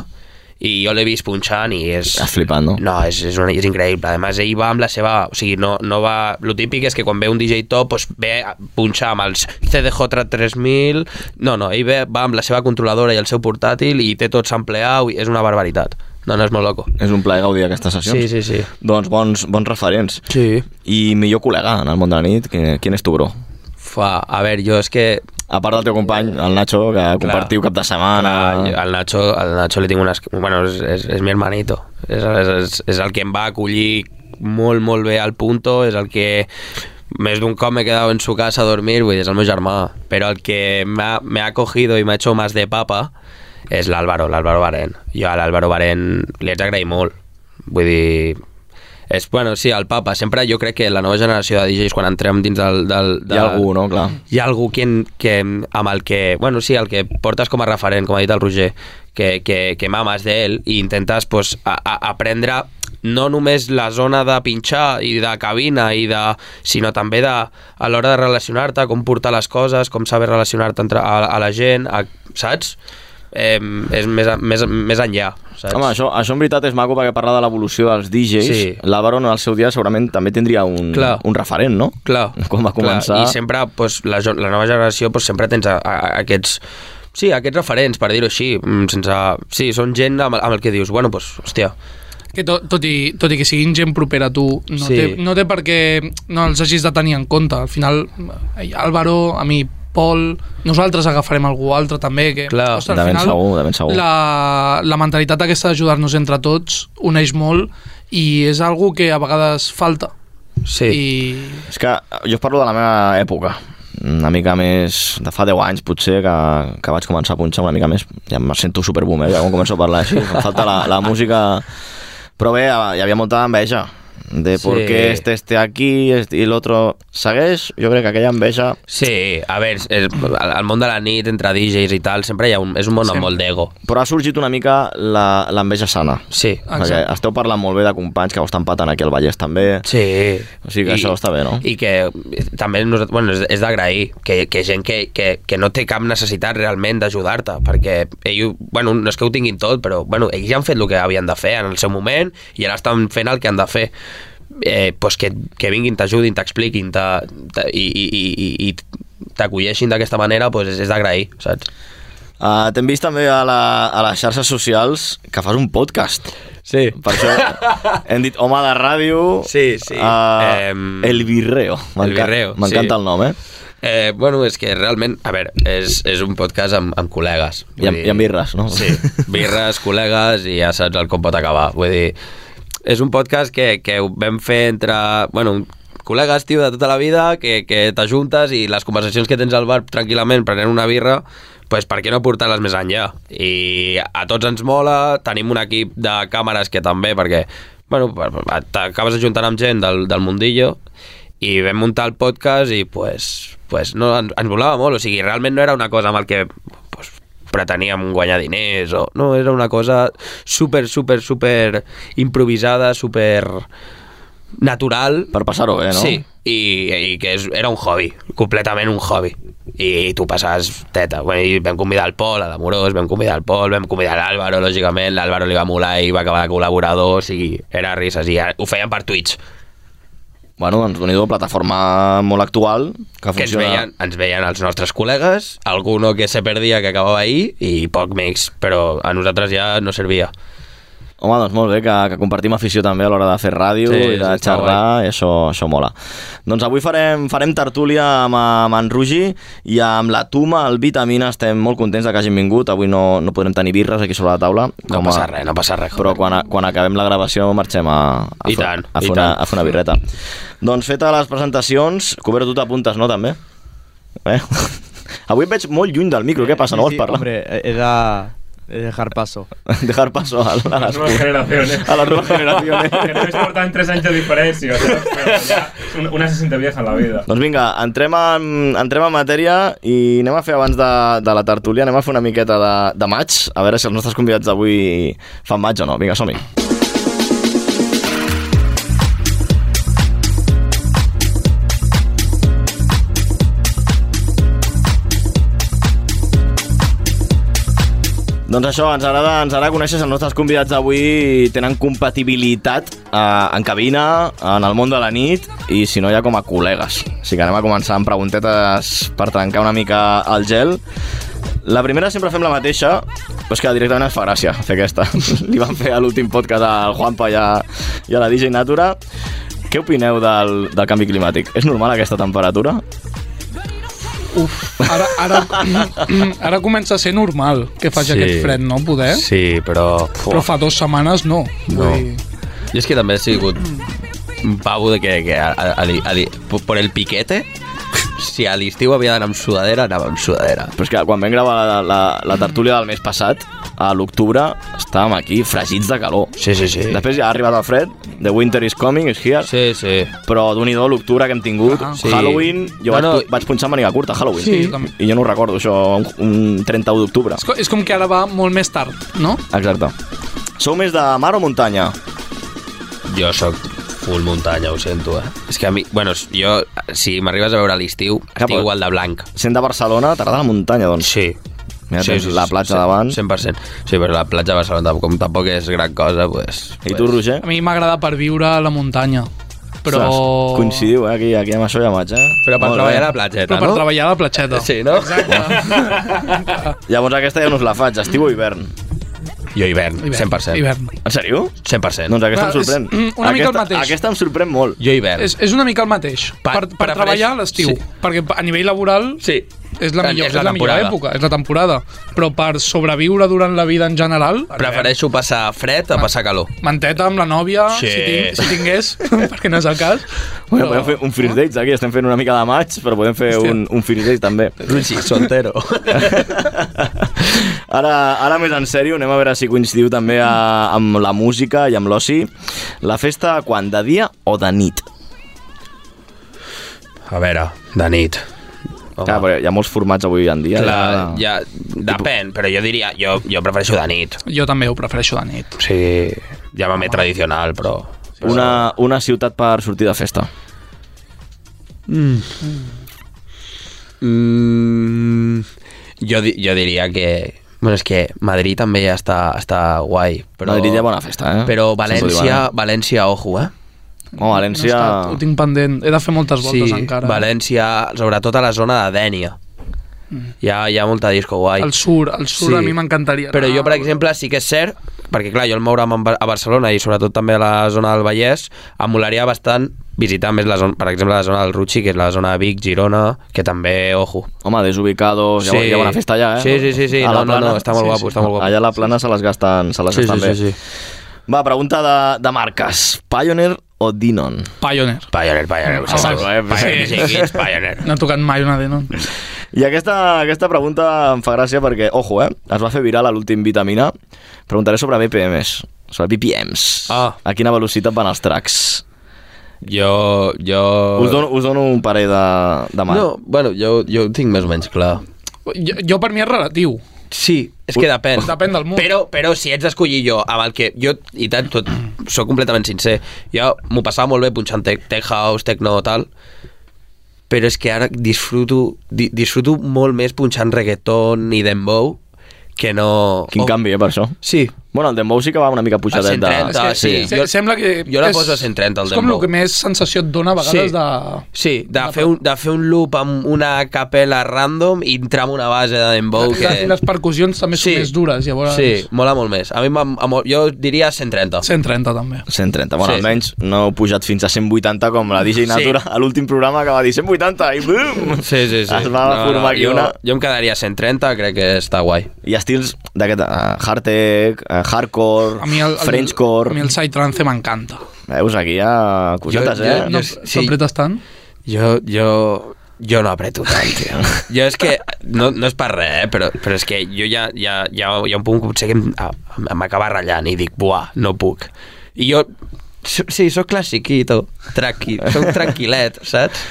Speaker 10: i jo l'he vist punxant i és...
Speaker 6: Estàs flipant, no?
Speaker 10: No, és, és, una, és increïble. A més, ell va amb la seva... O sigui, no, no va... Lo típic és que quan ve un DJ top, pues, ve a punxar amb els CDJ 3000... No, no, ell ve, va amb la seva controladora i el seu portàtil i té tot sampleat. i És una barbaritat. No, no, és molt loco.
Speaker 6: És un plaer gaudir d'aquestes sessions.
Speaker 10: Sí, sí, sí.
Speaker 6: Doncs bons, bons referents.
Speaker 10: Sí.
Speaker 6: I millor col·lega en el món de la nit, que, quin és tu, bro?
Speaker 10: Fa, a veure, jo és que
Speaker 6: A part del teu company, el Nacho, que compartiu cap de setmana...
Speaker 10: Clar, jo- Ah, al Nacho, al Nacho li tinc unes... Bueno, és, és, és mi hermanito. És, és, és el que em va acollir molt, molt bé al punto, és el que més d'un cop m'he quedat en su casa a dormir, vull dir, és el meu germà, però el que m'ha- me ha cogido i m'ha hecho más de papa és l'Àlvaro, l'Àlvaro Barén. Jo a l'Àlvaro Barén li haig d'agrair molt, vull dir... És, bueno, sí, el papa. Sempre jo crec que la nova generació de DJs, quan entrem dins del... del, del
Speaker 6: Hi ha algú, no? Clar.
Speaker 10: hi ha algú que, que, amb el que, bueno, sí, el que portes com a referent, com ha dit el Roger, que, que, que mames d'ell i intentes pues, a, a, aprendre no només la zona de pinxar i de cabina, i de, sinó també de, a l'hora de relacionar-te, com portar les coses, com saber relacionar-te entre- a, a la gent, a, saps? Eh, és més, a- més, més enllà, saps?
Speaker 6: Home, això, això en veritat és maco perquè parlar de l'evolució dels DJs. Sí.
Speaker 10: Sí.
Speaker 6: L'Àvaron al seu dia segurament també tindria un,
Speaker 10: Clar.
Speaker 6: un referent, no?
Speaker 10: Clar.
Speaker 6: Quan va començar...
Speaker 10: Clar. I sempre, pues, la, jo- la nova generació, pues, sempre tens a, a, a aquests... Sí, aquests referents, per dir-ho així, mm, sense... Sí, són gent amb, amb el que dius, bueno, pues, hòstia,
Speaker 11: Que tot, tot, i, tot i que siguin gent propera a tu, no,
Speaker 10: Sí.
Speaker 11: sí. té, no té per què no els hagis de tenir en compte. Al final, eh, Álvaro, a mi, Pol, nosaltres agafarem algú altre també. Que,
Speaker 10: Clar,
Speaker 6: de ben segur, de ben segur.
Speaker 11: La, la mentalitat aquesta d'ajudar-nos entre tots uneix molt i és algo que a vegades falta.
Speaker 10: sí. I...
Speaker 11: I
Speaker 6: És que jo us parlo de la meva època una mica més, de fa 10 anys potser que, que vaig començar a punxar una mica més ja em sento superboomer, ja quan començo a parlar així em falta la, la música però bé, eh, hi havia molta enveja de
Speaker 10: Sí.
Speaker 6: por qué este esté aquí este- y el otro segueix, jo crec que aquella enveja
Speaker 10: Sí, a veure, és, el, el món de la nit, entre DJs i tal, sempre hi ha un, és un món amb molt d'ego.
Speaker 6: però ha sorgit una mica la- l'enveja sana
Speaker 10: Sí,
Speaker 6: perquè esteu parlant molt bé de companys que ho estan patant aquí al Vallès també
Speaker 10: Sí.
Speaker 6: O sigui que això està bé, no?
Speaker 10: I que eh, també nosaltres, bueno, és, és d'agrair que, que gent que, que, que no té cap necessitat realment d'ajudar-te, perquè ells, bueno, no és que ho tinguin tot, però bueno, ells ja han fet el que havien de fer en el seu moment i ara estan fent el que han de fer. Eh, pues que, que vinguin, t'ajudin, t'expliquin te- te- i, i, i, i- i t'acolleixin d'aquesta manera pues és, és d'agrair, saps?
Speaker 6: uh, t'hem vist també a, la, a les xarxes socials que fas un podcast
Speaker 10: Sí.
Speaker 6: Per això
Speaker 10: *laughs*
Speaker 6: hem dit home de ràdio...
Speaker 10: Sí, sí.
Speaker 6: eh,
Speaker 10: Em,
Speaker 6: el Virreo.
Speaker 10: El Virreo, sí.
Speaker 6: M'encanta el nom, eh?
Speaker 10: Eh, bueno, és que realment, a veure, és, és un podcast amb, amb col·legues.
Speaker 6: I amb-
Speaker 10: Vull
Speaker 6: i amb birres, no?
Speaker 10: Sí,
Speaker 6: *laughs*
Speaker 10: birres, col·legues i ja saps el com pot acabar. Vull dir, és un podcast que, que ho vam fer entre... Bueno, col·legues, tio, de tota la vida, que, que t'ajuntes i les conversacions que tens al bar tranquil·lament prenent una birra, pues per què no portar-les més enllà? I a tots ens mola, tenim un equip de càmeres que també, perquè bueno, per- per- t'acabes ajuntant amb gent del, del mundillo i vam muntar el podcast i pues, pues no, ens, ens volava molt, o sigui, realment no era una cosa amb el que pues, preteníem guanyar diners o... No, era una cosa super, super, super improvisada, super natural.
Speaker 6: Per passar-ho bé, Eh, no?
Speaker 10: Sí, i, i que és, era un hobby, completament un hobby. I tu passaves teta. Bueno, i vam convidar el Pol, a l'Amorós, vam convidar el Pol, vam convidar l'Àlvaro, lògicament, l'Àlvaro li va molar i va acabar de col·laborador, o sigui, era risses, i ara ho feien per Twitch.
Speaker 6: Bueno, doncs doni plataforma molt actual que
Speaker 10: que ens
Speaker 6: funciona...
Speaker 10: veien, ens veien els nostres col·legues, alguno que se perdia que acabava ahir i poc més, però a nosaltres ja no servia.
Speaker 6: Home, doncs molt bé, que, que compartim afició també a l'hora de fer ràdio
Speaker 10: Sí,
Speaker 6: sí, i de
Speaker 10: sí, està
Speaker 6: xerrar, i això, això mola. Doncs avui farem, farem tertúlia amb, amb en Rugi i amb la Tuma, el Vitamina, estem molt contents de que hagin vingut, avui no, no podrem tenir birres aquí sobre la taula.
Speaker 10: No passa res, no passa res.
Speaker 6: Però quan, a- quan acabem la gravació marxem a, a,
Speaker 10: I
Speaker 6: fer,
Speaker 10: tant,
Speaker 6: a, fer
Speaker 10: i
Speaker 6: una,
Speaker 10: tant.
Speaker 6: a fer una birreta. Doncs feta les presentacions, Cobert, tu t'apuntes, no, també? Eh? *laughs* Avui et veig molt lluny del micro, què passa? No vols parlar?
Speaker 9: Hombre, he de, he de dejar paso.
Speaker 6: *laughs* Dejar paso a, *laughs* a
Speaker 7: Las
Speaker 6: las
Speaker 7: nuevas generaciones.
Speaker 6: eh. A las nuevas generaciones.
Speaker 7: ¿eh? *laughs* que no importan tres años de diferencia. ¿sabes? Pero ya, un- una se siente vieja en la vida.
Speaker 6: Doncs vinga, entrem en, entrem en matèria i anem a fer abans de, de la tertúlia, anem a fer una miqueta de, de maig, a veure si els nostres convidats d'avui fan maig o no. Vinga, som-hi. Doncs això, ens agrada, ens agrada conèixer si els nostres convidats d'avui tenen compatibilitat eh, en cabina, en el món de la nit i si no ja com a col·legues. Així que anem a començar amb preguntetes per trencar una mica el gel. La primera sempre fem la mateixa, però és que directament ens fa gràcia fer aquesta. *laughs* Li van fer a l'últim podcast al Juanpa i a, i a la DJ Natura. Què opineu del, del canvi climàtic? És normal aquesta temperatura?
Speaker 11: Uf, ara, ara, *coughs* ara comença a ser normal que faci sí. aquest fred, no? Poder. Sí.
Speaker 10: Sí, però... Fuà.
Speaker 11: Però fa dues setmanes no. Vull
Speaker 10: No.
Speaker 11: dir,
Speaker 10: Jo és que també he sigut un pavo de que, que a, a, a, a, a, por el piquete, si a l'estiu havia d'anar amb sudadera, anava amb sudadera.
Speaker 6: Però és que quan vam gravar la, la, la tertúlia del mes passat, a l'octubre, estàvem aquí fregits de calor.
Speaker 10: Sí, sí, sí.
Speaker 6: Després ja ha arribat el fred, The Winter is Coming, is here,
Speaker 10: Sí, sí.
Speaker 6: però d'un i do l'octubre que hem tingut,
Speaker 11: Ah.
Speaker 10: Sí.
Speaker 6: Halloween, jo
Speaker 10: No,
Speaker 6: vaig,
Speaker 10: no.
Speaker 6: pu- vaig punxar màniga curta, Halloween,
Speaker 11: Sí,
Speaker 6: I-
Speaker 11: jo també.
Speaker 6: i jo no ho recordo, això, un, un 31 d'octubre.
Speaker 11: és, co- és com que ara va molt més tard, no?
Speaker 6: Exacte. Sou més de mar o muntanya?
Speaker 10: Jo sóc full muntanya, ho sento, eh? És que a mi... Bueno, jo, si m'arribes a veure a l'estiu,
Speaker 6: Cap
Speaker 10: estic
Speaker 6: a-
Speaker 10: igual de blanc.
Speaker 6: Sent de Barcelona, t'agrada la muntanya, doncs.
Speaker 10: Sí.
Speaker 6: Mira, tens la platja
Speaker 10: sí,
Speaker 6: davant.
Speaker 10: 100%. Sí, però la platja de Barcelona, com tampoc és gran cosa, pues,
Speaker 6: I tu,
Speaker 10: pues,
Speaker 6: Roger?
Speaker 11: A mi m'agrada per viure a la muntanya, però...
Speaker 6: Ostres, coincidiu, eh, aquí, aquí amb això ja maig, eh?
Speaker 10: Però per
Speaker 6: Molt
Speaker 10: treballar
Speaker 6: bé.
Speaker 10: a la platgeta,
Speaker 11: Però per
Speaker 10: no?
Speaker 11: treballar a la platxeta.
Speaker 10: Sí, no?
Speaker 6: Llavors aquesta ja no us la faig, estiu o hivern.
Speaker 10: *laughs* Jo hivern,
Speaker 11: Hivern,
Speaker 10: 100%.
Speaker 11: Hivern.
Speaker 6: En sèrio?
Speaker 10: 100%.
Speaker 6: Doncs aquesta
Speaker 11: Clar,
Speaker 6: em sorprèn.
Speaker 11: és, mm, una mica el
Speaker 6: Aquesta-
Speaker 11: mateix.
Speaker 6: Aquesta em sorprèn molt.
Speaker 10: Jo hivern.
Speaker 11: És, és una mica el mateix. Per,
Speaker 10: Pa-
Speaker 11: per, per
Speaker 10: prefereix-
Speaker 11: treballar a l'estiu.
Speaker 10: sí.
Speaker 11: Sí. Perquè a nivell laboral
Speaker 10: Sí.
Speaker 11: és la millor, és la, millor
Speaker 10: temporada.
Speaker 11: època, és la temporada. Però per sobreviure durant la vida en general...
Speaker 10: Prefereixo passar fred a passar calor.
Speaker 11: Manteta amb la nòvia,
Speaker 10: Sí.
Speaker 11: si, tinc, si tingués, *laughs* perquè no és el cas.
Speaker 6: Bueno, podem fer un first dates aquí, estem fent una mica de maig, però podem fer
Speaker 11: Hòstia.
Speaker 6: un, un first date també.
Speaker 10: Rugi, soltero.
Speaker 6: ara, *laughs* ara més en sèrio, anem a veure si coincidiu també a, amb la música i amb l'oci. La festa, quan? De dia o de nit?
Speaker 10: A veure, de nit. Home.
Speaker 6: Clar, perquè hi ha molts formats avui en dia.
Speaker 10: Clar,
Speaker 6: ja...
Speaker 10: ja, depèn, però jo diria, jo, jo prefereixo de nit.
Speaker 11: Jo també ho prefereixo de nit.
Speaker 10: O sigui, llámame tradicional, però... però
Speaker 6: Una, una ciutat per sortir de festa.
Speaker 10: Mm, jo, di- jo diria que... Bueno, és que Madrid també ja està, està guai, però...
Speaker 6: Però... Madrid hi ha bona festa, eh?
Speaker 10: Però
Speaker 6: Sempre ho diuen,
Speaker 10: València, València, ojo, eh?
Speaker 6: eh? No, València...
Speaker 11: No he estat, ho tinc pendent. He de fer moltes
Speaker 10: Sí,
Speaker 11: voltes encara. eh?
Speaker 10: València, sobretot a la zona de Dènia.
Speaker 11: Mm.
Speaker 10: Hi ha, hi ha molta disco guai.
Speaker 11: El sur, el sur a mi m'encantaria.
Speaker 10: Però
Speaker 11: anar.
Speaker 10: jo, per exemple, sí que és cert, perquè clar, jo el moure'm en Ba- a Barcelona i sobretot també a la zona del Vallès, em molaria bastant visitar més la zona, per exemple, la zona del Rutxi, que és la zona de Vic, Girona, que també, ojo.
Speaker 6: Home, desubicados, sí. hi ha bona festa allà, eh?
Speaker 10: Sí, sí, sí, sí.
Speaker 6: A la
Speaker 10: No, no, no,
Speaker 6: Plana.
Speaker 10: està molt guapo, està molt guapo.
Speaker 6: Allà a la plana se les gasten, se les
Speaker 10: Sí,
Speaker 6: gasten
Speaker 10: sí,
Speaker 6: bé.
Speaker 10: sí, sí.
Speaker 6: Va, pregunta de, de marques. Pioneer o Dinon?
Speaker 11: Pioneer.
Speaker 10: Pioneer, Pioneer, ho
Speaker 11: Ah,
Speaker 10: sento.
Speaker 11: vale.
Speaker 10: Eh, Pioneer,
Speaker 11: Sí.
Speaker 10: Music Hits, Pioneer.
Speaker 11: No he tocat mai una de no.
Speaker 6: I aquesta, aquesta pregunta em fa gràcia perquè, ojo, eh, es va fer viral a l'últim Vitamina. Preguntaré sobre BPMs, sobre BPMs.
Speaker 10: Ah.
Speaker 6: A quina velocitat van els tracks?
Speaker 10: Jo, jo...
Speaker 6: Us dono, us dono un parell de, de mà.
Speaker 10: Oh. No, bueno, jo, jo ho tinc més o menys clar.
Speaker 11: Jo, jo per mi és relatiu.
Speaker 10: Sí, és que depèn.
Speaker 11: Depèn del mood.
Speaker 10: Però, però si ets d'escollir jo amb el que... Jo, i tant, tot, sóc completament sincer. Jo m'ho passava molt bé punxant tech, tech house, techno, tal, però és que ara disfruto, di, disfruto molt més punxant reggaeton i dembow que no...
Speaker 6: Quin
Speaker 10: Oh,
Speaker 6: canvi, eh, per això.
Speaker 10: Sí,
Speaker 6: Bueno, el Dembow sí que va una mica pujadet. de-
Speaker 10: 130,
Speaker 6: sí.
Speaker 10: Ah, sí.
Speaker 11: Se-
Speaker 10: Jo-
Speaker 11: sembla que
Speaker 10: jo la
Speaker 11: és-
Speaker 10: poso a 130 al
Speaker 11: És com
Speaker 10: Dembow.
Speaker 11: el que més sensació et dona a vegades
Speaker 10: Sí.
Speaker 11: de...
Speaker 10: Sí, de fer, un, de fer un loop amb una capella random i entrar en una base de dembow
Speaker 11: Okay.
Speaker 10: Oh, que...
Speaker 11: Les percussions també són
Speaker 10: Sí.
Speaker 11: més dures, llavors...
Speaker 10: Sí, mola molt més. A mi m'ha- m'ha molt- jo diria 130.
Speaker 11: 130 també.
Speaker 6: 130, bueno,
Speaker 10: Sí,
Speaker 6: sí, almenys no heu pujat fins a 180 com la DJ
Speaker 10: Sí.
Speaker 6: Natura a l'últim programa que va dir 180 i bum!
Speaker 10: Sí, sí, sí.
Speaker 6: Es va formar aquí
Speaker 10: jo,
Speaker 6: una-
Speaker 10: Jo em quedaria 130, crec que està guai.
Speaker 6: I estils d'aquest uh, hardtech, uh, hardcore,
Speaker 11: A mi el, el,
Speaker 6: frenchcore...
Speaker 11: A mi el side trance m'encanta.
Speaker 6: Veus, aquí hi ha cosetes,
Speaker 10: Jo-
Speaker 6: eh?
Speaker 10: jo-
Speaker 11: No,
Speaker 10: sí.
Speaker 11: sí. T'apretes tant?
Speaker 10: Jo, jo, jo no apreto tant, *laughs* tio. Jo és que, no, no és per res, eh, però, però és que jo ja, ja, ja hi ha un punt que potser que em- ah, m'acaba ratllant i dic, buah, no puc. I jo, so- sí, sóc classiquito, tranqui, sóc tranquil·let, saps?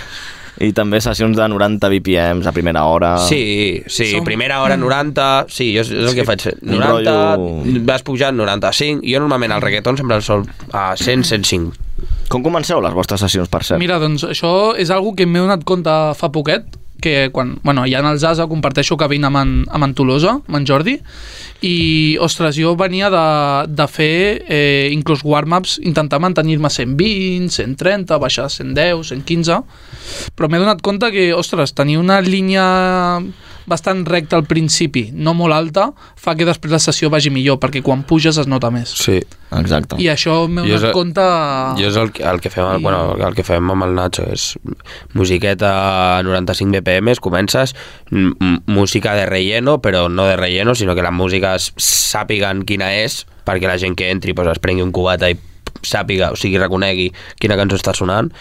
Speaker 6: I també sessions de 90 BPMs a primera hora.
Speaker 10: Sí, sí,
Speaker 11: Som-
Speaker 10: primera hora 90, sí, jo és, és el que faig,
Speaker 6: Un
Speaker 10: 90,
Speaker 6: rotllo-
Speaker 10: vas pujant 95, jo normalment el reggaeton sempre el sol a 100, 105.
Speaker 6: Com comenceu les vostres sessions, per cert?
Speaker 11: Mira, doncs això és algo que m'he donat compte fa poquet, que quan, bueno, ja en el Zaza comparteixo cabina amb en, amb en Tolosa, amb en Jordi, i, ostres, jo venia de, de fer, eh, inclús warm-ups, intentar mantenir-me 120, 130, baixar a 110, 115, però m'he donat compte que, ostres, tenir una línia bastant recta al principi, no molt alta, fa que després la sessió vagi millor, perquè quan puges es nota més.
Speaker 10: Sí,
Speaker 6: Exacte.
Speaker 11: I això m'he
Speaker 10: Jo és
Speaker 11: donat
Speaker 10: el-
Speaker 11: compte...
Speaker 10: Jo és el, que- el que fem, I... bueno, el que fem amb el Nacho, és musiqueta a 95 BPM, comences, m- m- música de relleno, però no de relleno, sinó que les músiques sàpiguen quina és, perquè la gent que entri pues, es prengui un cubata i sàpiga, o sigui, reconegui quina cançó està sonant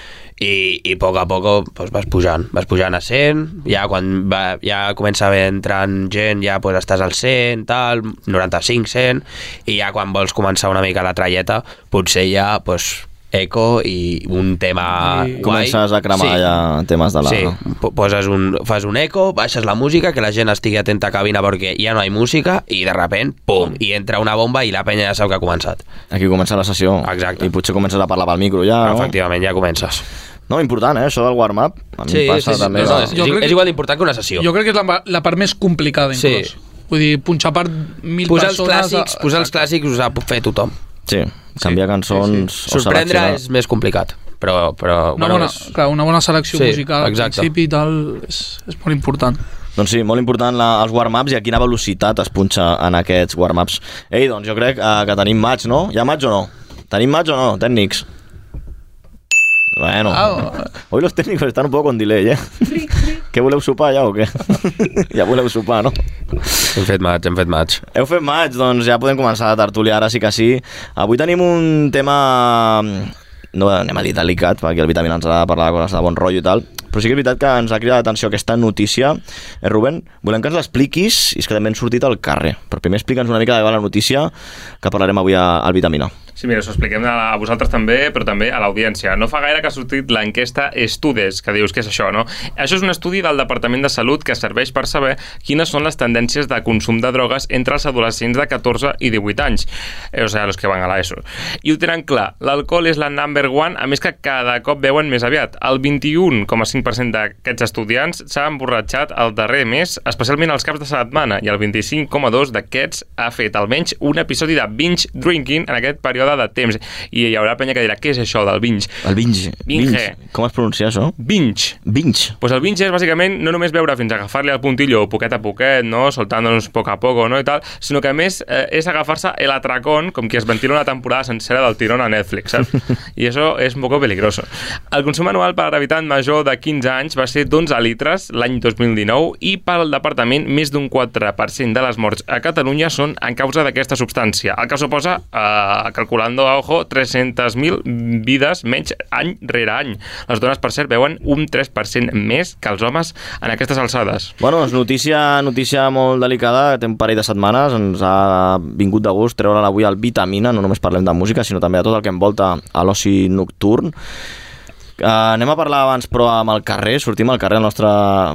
Speaker 10: i, i a poc a poc pues, vas pujant, vas pujant a 100 ja quan va, ja comença a haver entrant gent, ja pues, estàs al 100 tal, 95, 100 i ja quan vols començar una mica la tralleta potser ja pues, eco i un tema guai.
Speaker 6: Comences a cremar sí. ja temes de la...
Speaker 10: Sí, po- poses un, fas un eco, baixes la música, que la gent estigui atenta a cabina perquè ja no hi ha música i de repent, pum, i entra una bomba i la penya ja sap que ha començat.
Speaker 6: Aquí comença la sessió.
Speaker 10: Exacte.
Speaker 6: I potser comences a parlar pel micro ja,
Speaker 10: Ah, no?
Speaker 6: Ah, no?
Speaker 10: Efectivament, ja comences.
Speaker 6: No, important, eh? Això del warm-up. A mi em passa també.
Speaker 10: No,
Speaker 6: va.
Speaker 10: no, és,
Speaker 11: Jo crec
Speaker 10: és,
Speaker 11: que-
Speaker 10: és igual d'important que una sessió.
Speaker 11: Jo crec que és la, la part més complicada,
Speaker 10: Sí.
Speaker 11: inclús. Vull dir, punxar per mil
Speaker 10: Posar els
Speaker 11: persones...
Speaker 10: clàssics,
Speaker 11: a-
Speaker 10: posar els clàssics us ha fer tothom.
Speaker 6: Sí, canviar cançons... o
Speaker 10: Sorprendre
Speaker 6: seleccionar.
Speaker 10: és més complicat, però... però
Speaker 11: Una bona,
Speaker 10: és-
Speaker 11: clar, una bona selecció
Speaker 10: Sí,
Speaker 11: musical al
Speaker 10: exacte.
Speaker 11: principi i tal és, és molt important.
Speaker 6: Doncs sí, molt important la, els warm-ups i a quina velocitat es punxa en aquests warm-ups. Ei, doncs jo crec eh, que tenim maig, no? Hi ha maig o no? Tenim maig o no, tècnics? Bueno,
Speaker 11: Ah.
Speaker 6: hoy los técnicos están un poco con delay, eh? *laughs* Què voleu sopar ja o què? ja voleu sopar, no?
Speaker 10: Hem fet maig, hem fet maig.
Speaker 6: Heu fet maig, doncs ja podem començar la tertúlia, ara sí que sí. Avui tenim un tema... No, anem a dir delicat, perquè el Vitamina ens ha de parlar de coses de bon rotllo i tal, però sí que és veritat que ens ha cridat l'atenció aquesta notícia. Eh, Rubén, volem que ens l'expliquis, i és que també hem sortit al carrer. Però primer explica'ns una mica de què va la notícia que parlarem avui a- al Vitamina.
Speaker 7: Sí, mira, us ho expliquem a, a vosaltres també, però també a l'audiència. No fa gaire que ha sortit l'enquesta Estudes, que dius que és això, no? Això és un estudi del Departament de Salut que serveix per saber quines són les tendències de consum de drogues entre els adolescents de 14 i 18 anys, eh, o sigui, els que van a l'ESO. I ho tenen clar, l'alcohol és la number one, a més que cada cop veuen més aviat. El 21,5% d'aquests estudiants s'ha emborratxat el darrer mes, especialment els caps de setmana, i el 25,2% d'aquests ha fet almenys un episodi de binge drinking en aquest període de temps. I hi haurà penya que dirà, què és això del binge?
Speaker 6: El binge.
Speaker 7: Binge.
Speaker 6: Com es pronuncia això?
Speaker 7: Binge.
Speaker 6: Binge.
Speaker 7: Doncs, Pues el binge és bàsicament no només veure fins a agafar-li el puntillo poquet a poquet, no? soltant-nos poc a poc no? i tal, sinó que a més eh, és agafar-se el atracón com que es ventila una temporada sencera del tirón a Netflix, saps? I això és un poco peligroso. El consum anual per habitant major de 15 anys va ser d'11 litres l'any 2019 i per al departament més d'un 4% de les morts a Catalunya són a causa d'aquesta substància, el que suposa, eh, calculando a ojo, 300.000 vides menys any rere any. Les dones, per cert, veuen un 3% més que els homes en aquestes alçades.
Speaker 6: Bueno, és notícia, notícia molt delicada, que té un parell de setmanes, ens ha vingut de gust treure avui el Vitamina, no només parlem de música, sinó també de tot el que envolta a l'oci nocturn. Uh, anem a parlar abans, però, amb el carrer. Sortim al carrer, el nostre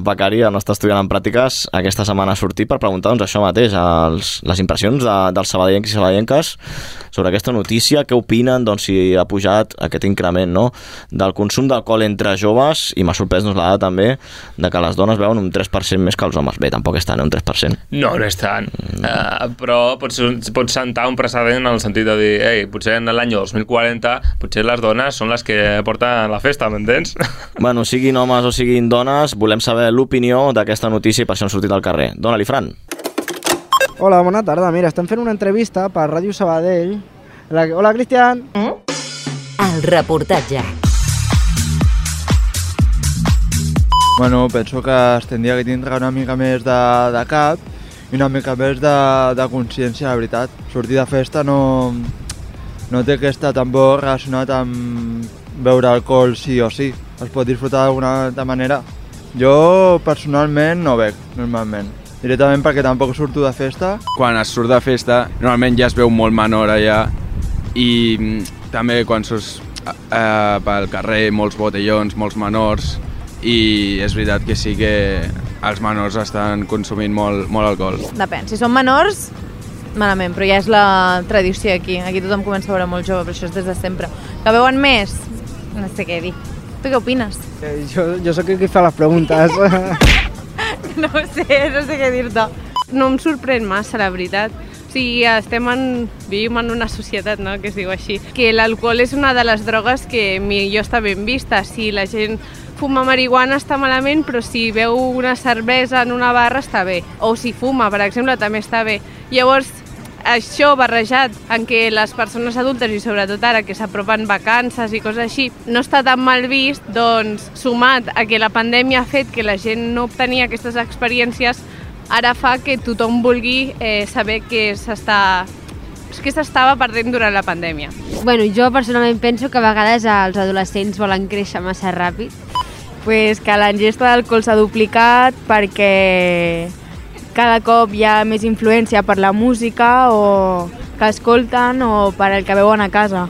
Speaker 6: becari, el nostre estudiant en pràctiques, aquesta setmana ha sortit per preguntar doncs, això mateix, els, les impressions de, dels sabadellencs i sabadellenques sobre aquesta notícia, què opinen doncs, si ha pujat aquest increment no? del consum d'alcohol entre joves i m'ha sorprès doncs, la dada també de que les dones veuen un 3% més que els homes. Bé, tampoc és tant, eh, un 3%.
Speaker 7: No, no és tant. Uh, però pots, pots sentar un precedent en el sentit de dir, ei, potser en l'any 2040 potser les dones són les que porten la festa, m'entens?
Speaker 6: Bueno, siguin homes o siguin dones, volem saber l'opinió d'aquesta notícia i per això hem sortit al carrer. Dona-li, Fran.
Speaker 8: Hola, bona tarda. Mira, estem fent una entrevista per Ràdio Sabadell. La... Hola, Cristian.
Speaker 3: El reportatge.
Speaker 9: Bueno, penso que es tindria que tindre una mica més de, de cap i una mica més de, de consciència, la veritat. Sortir de festa no, no té que estar tampoc relacionat amb beure alcohol sí o sí. Es pot disfrutar d'alguna altra manera. Jo personalment no bec, normalment. Directament perquè tampoc surto de festa.
Speaker 4: Quan es surt de festa, normalment ja es veu molt menor allà i mm, també quan surts eh, pel carrer, molts botellons, molts menors i és veritat que sí que els menors estan consumint molt, molt alcohol.
Speaker 12: Depèn. Si són menors, malament, però ja és la tradició aquí. Aquí tothom comença a veure molt jove, però això és des de sempre. Que veuen més? No sé què dir. Tu què opines?
Speaker 8: Eh, Jo, jo sóc qui fa les
Speaker 6: *laughs*
Speaker 8: preguntes.
Speaker 13: No ho sé, no sé què dir-te. No em sorprèn massa, la veritat. O sigui, estem en... vivim en una societat, no?, que es diu així. Que l'alcohol és una de les drogues que millor està ben vista. Si la gent fuma marihuana està malament, però si veu una cervesa en una barra està bé. O si fuma, per exemple, també està bé. Llavors, això barrejat en què les persones adultes i sobretot ara que s'apropen vacances i coses així no està tan mal vist, doncs sumat a que la pandèmia ha fet que la gent no obtenia aquestes experiències, ara fa que tothom vulgui eh, saber què s'està què s'estava perdent durant la pandèmia.
Speaker 14: Bueno, jo personalment penso que a vegades els adolescents volen créixer massa ràpid.
Speaker 15: pues que l'engesta d'alcohol s'ha duplicat perquè cada cop hi ha més influència per la música o que escolten o per el que veuen a casa.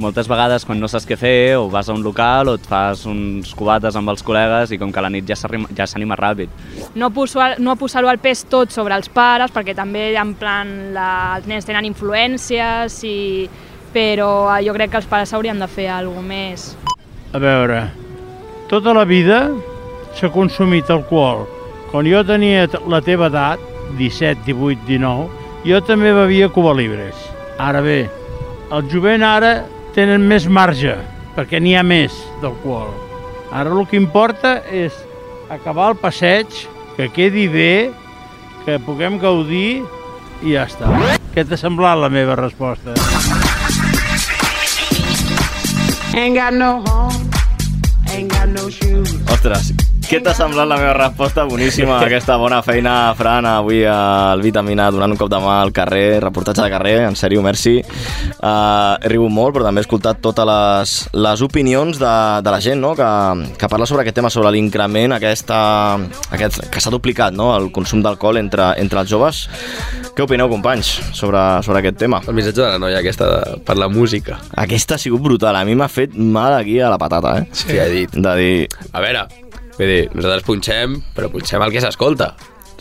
Speaker 16: Moltes vegades quan no saps què fer o vas a un local o et fas uns cubates amb els col·legues i com que la nit ja s'arrim- ja s'anima ràpid.
Speaker 17: no, posar, no posar-ho al pes tot sobre els pares, perquè també en plan la, els nens tenen influències, i, però eh, jo crec que els pares haurien de fer alguna més.
Speaker 18: A veure, tota la vida s'ha consumit alcohol. Quan jo tenia t- la teva edat, 17, 18, 19, jo també bevia Cuba Libres. Ara bé, el jovent ara tenen més marge, perquè n'hi ha més d'alcohol. Ara el que importa és acabar el passeig, que quedi bé, que puguem gaudir i ja està. Què t'ha semblat la meva resposta?
Speaker 19: Ain't got no home, ain't got no shoes.
Speaker 6: Ostres, què t'ha semblat la meva resposta? Boníssima, aquesta bona feina, Fran, avui al Vitamina, donant un cop de mà al carrer, reportatge de carrer, en sèrio, merci. Uh, he rigut molt, però també he escoltat totes les, les opinions de, de la gent no? que, que parla sobre aquest tema, sobre l'increment aquesta, aquest, que s'ha duplicat, no? el consum d'alcohol entre, entre els joves. Què opineu, companys, sobre, sobre aquest tema? El missatge de la noia aquesta de, per la música. Aquesta ha sigut brutal, a mi m'ha fet mal aquí a la patata, eh? Sí, ha dit. De dir...
Speaker 10: A veure, vull dir, nosaltres punxem, però punxem el que s'escolta.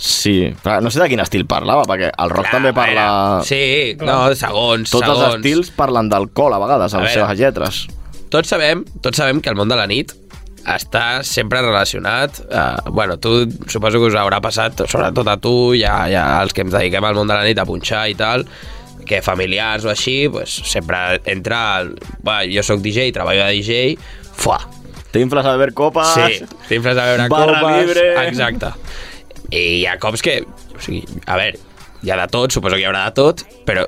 Speaker 6: Sí, però no sé de quin estil parlava, perquè el rock també parla...
Speaker 10: Sí, no, segons,
Speaker 6: Tots
Speaker 10: segons.
Speaker 6: els estils parlen d'alcohol, a vegades, a
Speaker 10: A
Speaker 6: les
Speaker 10: veure.
Speaker 6: seves lletres.
Speaker 10: Tots sabem, tots sabem que el món de la nit està sempre relacionat... Eh, bueno, tu suposo que us haurà passat, sobretot a tu, ja, ja els que ens dediquem al món de la nit a punxar i tal, que familiars o així, pues, sempre entra... El, va, jo sóc DJ, treballo de DJ, fuà.
Speaker 6: T'infles a beure copes...
Speaker 10: Sí, t'infles a beure
Speaker 6: barra
Speaker 10: copes...
Speaker 6: libre.
Speaker 10: Exacte. I hi ha cops que... O sigui, a veure, hi ha de tot, suposo que hi haurà de tot, però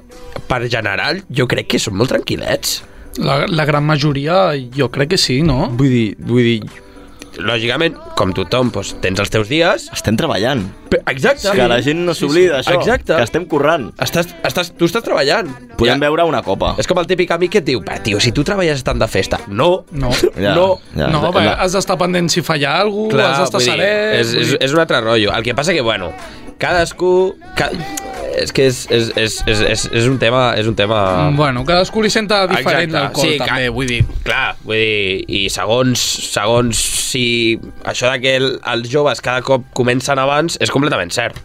Speaker 10: per general jo crec que són molt tranquil·lets.
Speaker 11: La, la gran majoria jo crec que sí, no?
Speaker 10: Vull dir, vull dir... Lògicament, com tothom, doncs, tens els teus dies...
Speaker 6: Estem treballant.
Speaker 10: Exacte.
Speaker 6: Que la gent no s'oblida, això,
Speaker 10: Exacte.
Speaker 6: que estem currant.
Speaker 10: Estàs, estàs, tu estàs treballant.
Speaker 6: Podem ja. beure una copa.
Speaker 10: És com el típic amic que et diu, "Va, tio, si tu treballes tant de festa. No.
Speaker 11: No.
Speaker 10: *laughs* Ja, no.
Speaker 11: Ja, no, perquè has d'estar pendent si falla alguna cosa, has d'estar
Speaker 10: vull dir,
Speaker 11: saber...
Speaker 10: És, és, és un altre rotllo. El que passa que, bueno, cadascú... Ca... és que és, és, és, és, és, és un tema... És un tema...
Speaker 11: mm, Bueno, cadascú li senta diferent l'alcohol,
Speaker 10: sí,
Speaker 11: també.
Speaker 10: vull dir... Clar, vull dir, i segons, segons si això de que el, els joves cada cop comencen abans és completament cert.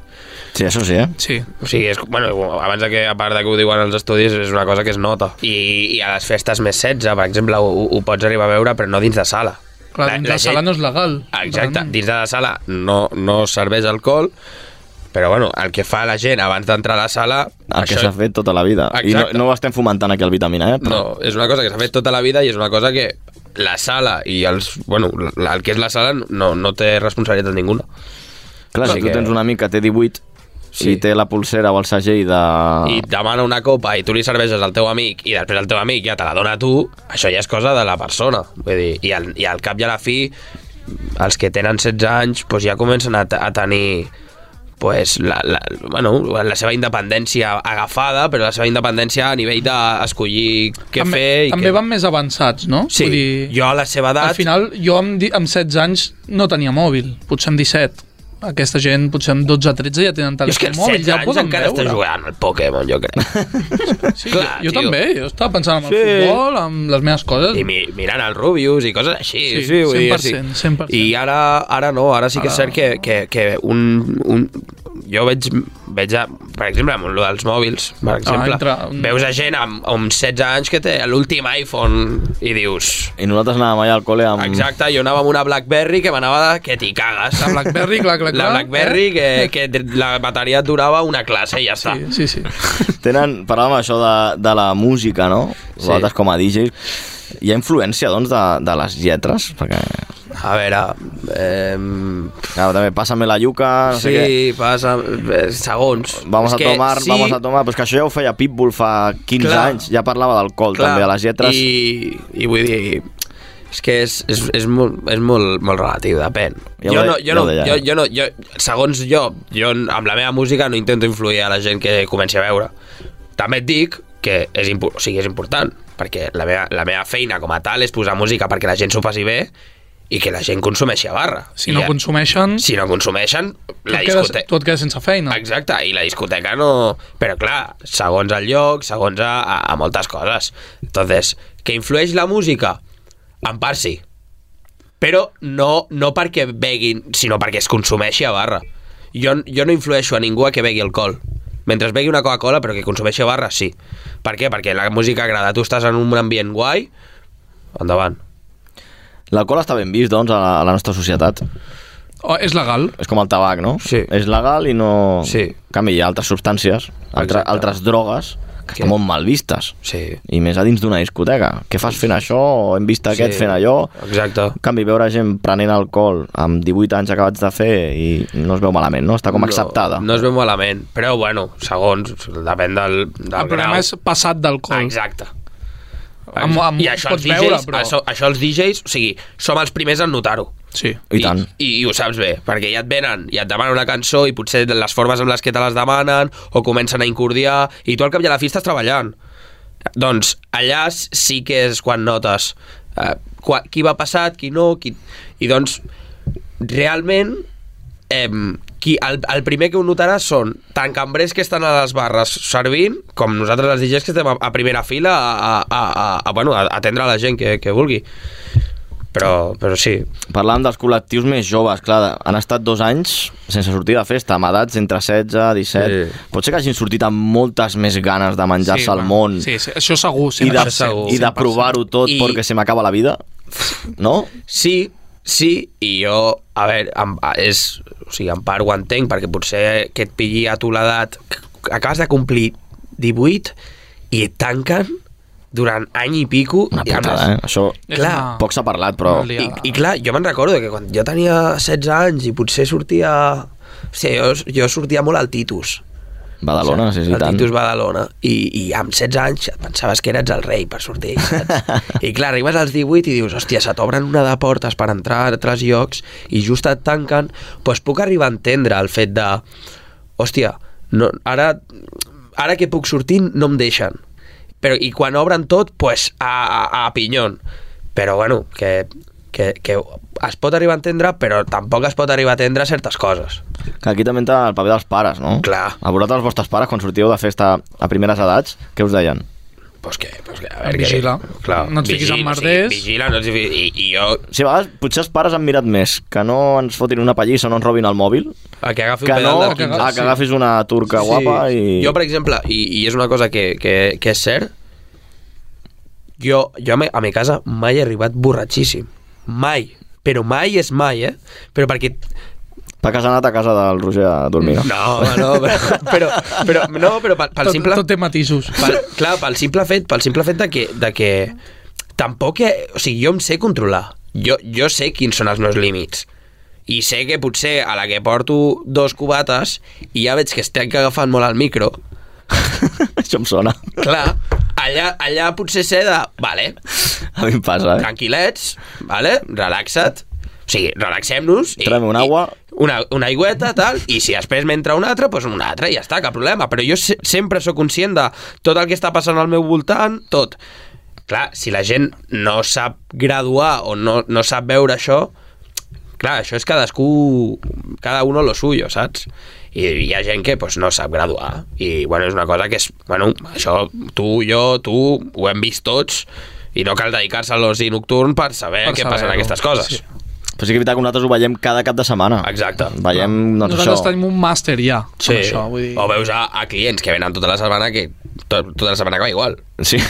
Speaker 6: Sí, això sí, eh?
Speaker 11: Sí.
Speaker 10: O sigui, és, bueno, abans de que, a part de que ho diuen els estudis, és una cosa que es nota. I, i a les festes més 16, per exemple, ho, ho pots arribar a veure, però no dins de sala.
Speaker 11: Clar, dins la sala no és legal.
Speaker 10: Exacte, dins de la sala no, no serveix alcohol, però bueno, el que fa la gent abans d'entrar a la sala...
Speaker 6: El que s'ha fet tota la vida. I no,
Speaker 10: Exacte.
Speaker 6: no ho estem fomentant aquí al Vitamina, eh?
Speaker 10: No, és una cosa que s'ha fet tota la vida i és una cosa que la sala i els... Bueno, la- el que és la sala no, no té responsabilitat ninguna.
Speaker 6: Clar, si
Speaker 10: Així
Speaker 6: tu
Speaker 10: que-
Speaker 6: tens un amic que té 18 sí.
Speaker 10: Sí.
Speaker 6: i té la pulsera o el segell de...
Speaker 11: Ah.
Speaker 10: I et demana una copa i tu li serveixes al teu amic i després el teu amic ja te la dona a tu, això ja és cosa de la persona. Vull dir, i, al, I al cap i a la fi, els que tenen 16 anys doncs ja comencen a, te- a tenir pues, la, la, bueno, la seva independència agafada, però la seva independència a nivell d'escollir què
Speaker 11: també,
Speaker 10: fer... I
Speaker 11: també
Speaker 10: què...
Speaker 11: van més avançats, no?
Speaker 10: Sí,
Speaker 11: Vull dir,
Speaker 10: jo a la seva edat...
Speaker 11: Al final, jo amb, di- amb 16 anys no tenia mòbil, potser amb 17. Aquesta gent, potser amb 12-13 ja tenen
Speaker 10: Jo és que
Speaker 11: telèfon
Speaker 10: als
Speaker 11: mòbil,
Speaker 10: 16
Speaker 11: ja
Speaker 10: anys
Speaker 11: poden
Speaker 10: encara
Speaker 11: veure.
Speaker 10: estàs jugant al Pokémon, jo crec.
Speaker 11: *laughs* Sí, Clar, jo, jo
Speaker 10: tio.
Speaker 11: també, jo estava pensant en el
Speaker 10: Sí.
Speaker 11: futbol, amb les meves coses.
Speaker 10: I mi, mirant el Rubius i coses així.
Speaker 11: Sí,
Speaker 10: vull dir,
Speaker 11: 100%, 100%.
Speaker 10: I ara, ara no, ara sí que és cert que, que, que un, un, jo veig, veig a, per exemple, amb lo dels mòbils, per exemple,
Speaker 11: Ah, entra un-
Speaker 10: veus a gent amb, amb 16 anys que té l'últim iPhone i dius...
Speaker 6: I nosaltres anàvem allà al col·le
Speaker 11: Mm.
Speaker 6: amb...
Speaker 10: Exacte, jo anava amb una Blackberry que m'anava de que t'hi cagues. La
Speaker 11: Blackberry, clar, clar,
Speaker 10: La
Speaker 11: clar,
Speaker 10: Blackberry eh? que, que la bateria et durava una classe i ja està.
Speaker 11: Sí,
Speaker 10: *laughs*
Speaker 11: sí.
Speaker 6: Tenen, parlàvem això de, de la música, no?
Speaker 10: Sí.
Speaker 6: Vosaltres com a DJs. Hi ha influència, doncs, de, de les lletres? Perquè...
Speaker 10: A veure... Eh...
Speaker 6: Claro, també, pásame la yuca, no sé
Speaker 10: sí,
Speaker 6: què.
Speaker 10: passa... eh, Segons.
Speaker 6: Vamos
Speaker 10: És
Speaker 6: a
Speaker 10: que
Speaker 6: tomar,
Speaker 10: sí,
Speaker 6: vamos a tomar. Però és que això ja ho feia Pitbull fa 15
Speaker 10: Clar.
Speaker 6: anys. Ja parlava d'alcohol, també, a les lletres.
Speaker 10: I, i vull dir... És que és, és, és, molt, és molt, molt relatiu, depèn.
Speaker 6: Ja ho
Speaker 10: jo,
Speaker 6: de-
Speaker 10: no,
Speaker 6: ja
Speaker 10: jo, no,
Speaker 6: ho deia,
Speaker 10: jo,
Speaker 6: eh?
Speaker 10: jo no, jo, segons jo, jo n- amb la meva música no intento influir a la gent que comenci a veure. També et dic que és, impo- o sigui, és important, perquè la meva, la meva feina com a tal és posar música perquè la gent s'ho passi bé i que la gent consumeixi a barra.
Speaker 11: Si no consumeixen...
Speaker 10: Si no consumeixen, la
Speaker 11: et quedes,
Speaker 10: discoteca...
Speaker 11: tu et quedes sense feina.
Speaker 10: Exacte, i la discoteca no... Però clar, segons el lloc, segons a, a, a moltes coses. Entonces, que influeix la música? En part sí. Però no, no perquè beguin, sinó perquè es consumeixi a barra. Jo, jo no influeixo a ningú a que begui alcohol. Mentre es begui una Coca-Cola, però que consumeixi a barra, sí. Per què? Perquè la música agrada. Tu estàs en un ambient guai, endavant.
Speaker 6: L'alcohol està ben vist, doncs, a la, a la nostra societat.
Speaker 11: Oh, és legal.
Speaker 6: És com el tabac, no? Sí. És legal i no... Sí. En canvi, hi ha altres substàncies, altre, altres drogues, que estan molt mal vistes.
Speaker 10: Sí.
Speaker 6: I més a dins d'una discoteca. Què fas fent això? O hem vist aquest
Speaker 10: Sí.
Speaker 6: fent allò?
Speaker 10: Exacte.
Speaker 6: En canvi, veure gent prenent alcohol amb 18 anys acabats de fer i no es veu malament, no? Està com acceptada.
Speaker 10: No, no es veu malament, però bueno, segons, depèn del, del
Speaker 11: El problema
Speaker 10: grau.
Speaker 11: és passat d'alcohol.
Speaker 10: Exacte.
Speaker 11: Amb, amb,
Speaker 10: I això els,
Speaker 11: pots
Speaker 10: DJs,
Speaker 11: veure, però...
Speaker 10: això, això els DJs, o sigui, som els primers en notar-ho.
Speaker 11: Sí.
Speaker 6: I tant.
Speaker 10: I, I ho saps bé, perquè ja et venen i et demanen una cançó i potser les formes amb les que te les demanen o comencen a incordiar i tu al cap i a la fi estàs treballant. Doncs allà s- sí que és quan notes eh, qua, qui va passat, qui no, qui... i doncs realment eh, qui, el, el primer que ho notarà són tant cambrers que estan a les barres servint com nosaltres els DJs que estem a, a primera fila a, a, a, a, a, bueno, a atendre la gent que, que vulgui. Però, però sí.
Speaker 6: Parlàvem dels col·lectius més joves, clar, de- han estat dos anys sense sortir de festa, amb edats entre 16 i 17. Sí. Pot ser que hagin sortit amb moltes més ganes de menjar-se sí, el
Speaker 11: va.
Speaker 6: món
Speaker 11: Sí, sí, això segur.
Speaker 6: i de,
Speaker 11: això segur.
Speaker 6: i de
Speaker 11: 100%.
Speaker 6: provar-ho tot I... perquè se m'acaba la vida, no?
Speaker 10: Sí, sí, i jo, a veure, en, és, o sigui, en part ho entenc, perquè potser que et pilli a tu l'edat, que acabes de complir 18 i et tanquen durant any i pico. Una
Speaker 6: Putada, eh? Això
Speaker 10: Clar.
Speaker 6: poc s'ha parlat, però...
Speaker 10: I, I clar, jo me'n recordo que quan jo tenia 16 anys i potser sortia... Hòstia, jo, jo sortia molt al Titus.
Speaker 6: Badalona, sí, sí,
Speaker 10: el
Speaker 6: i tant.
Speaker 10: Titus Badalona. I, I amb 16 anys et pensaves que eres el rei per sortir. Saps?
Speaker 6: *laughs*
Speaker 10: I clar, arribes als 18 i dius, hòstia, se t'obren una de portes per entrar a altres llocs i just et tanquen. Doncs pues puc arribar a entendre el fet de... Hòstia, no, ara, ara que puc sortir no em deixen. Però, I quan obren tot, pues, a, a, a pinyon. Però bueno, que, que, que es pot arribar a entendre, però tampoc es pot arribar a entendre certes coses.
Speaker 6: Que aquí també entra el paper dels pares, no? Clar. A vosaltres, els vostres pares, quan sortíeu de festa a primeres edats, què us deien?
Speaker 10: Pues que, pues que, a
Speaker 11: veure, Vigila.
Speaker 10: Que, clar,
Speaker 11: No et fiquis en
Speaker 10: vigila,
Speaker 11: merders.
Speaker 10: Sí, vigila, no et fiquis, i, i jo...
Speaker 6: Si a vegades potser els pares han mirat més que no ens fotin una pallissa o no ens robin el mòbil
Speaker 10: A que agafi un
Speaker 6: que
Speaker 10: pedal
Speaker 6: no
Speaker 10: del 15.
Speaker 6: a que agafis una turca guapa i...
Speaker 10: Jo, per exemple, i, i és una cosa que, que, que és cert, jo, jo a, me, a mi casa mai he arribat borratxíssim. Mai. Però mai és mai, eh? Però perquè...
Speaker 6: Perquè has anat a casa del Roger a dormir.
Speaker 10: No, home, no, però, però, però, no, però pel, pel
Speaker 11: Tot-
Speaker 10: simple...
Speaker 11: tot té matisos.
Speaker 10: Pel, clar, pel simple fet, pel simple fet de que, de que tampoc... He, o sigui, jo em sé controlar. Jo, jo sé quins són els meus límits. I sé que potser a la que porto dos cubates i ja veig que estic agafant molt el micro,
Speaker 6: *laughs* Això em sona.
Speaker 10: clar, allà, allà potser sé de... Vale,
Speaker 6: A mi em passa, eh?
Speaker 10: tranquil·lets, vale, relaxa't, o sigui, relaxem-nos... i-
Speaker 6: Trame una agua.
Speaker 10: Una, una aigüeta, tal, i si després m'entra un altre, doncs un altre, i ja està, cap problema. Però jo se sempre sóc conscient de tot el que està passant al meu voltant, tot. Clar, si la gent no sap graduar o no, no sap veure això, clar, això és cadascú, cada uno lo suyo, saps? I hi ha gent que pues, no sap graduar i bueno, és una cosa que és, bueno, això tu, jo, tu, ho hem vist tots i no cal dedicar-se a l'oci nocturn per saber
Speaker 6: Per
Speaker 10: per què passen
Speaker 6: saber-ho,
Speaker 10: aquestes coses.
Speaker 6: sí. Però sí que és veritat que nosaltres ho veiem cada cap de setmana.
Speaker 10: Exacte.
Speaker 6: Veiem, doncs,
Speaker 11: Nosaltres
Speaker 6: això.
Speaker 11: tenim un màster ja. amb
Speaker 10: Sí,
Speaker 11: Això, vull dir...
Speaker 10: o veus a, a clients que venen tota la setmana que tot, tota la setmana acaba igual.
Speaker 6: Sí.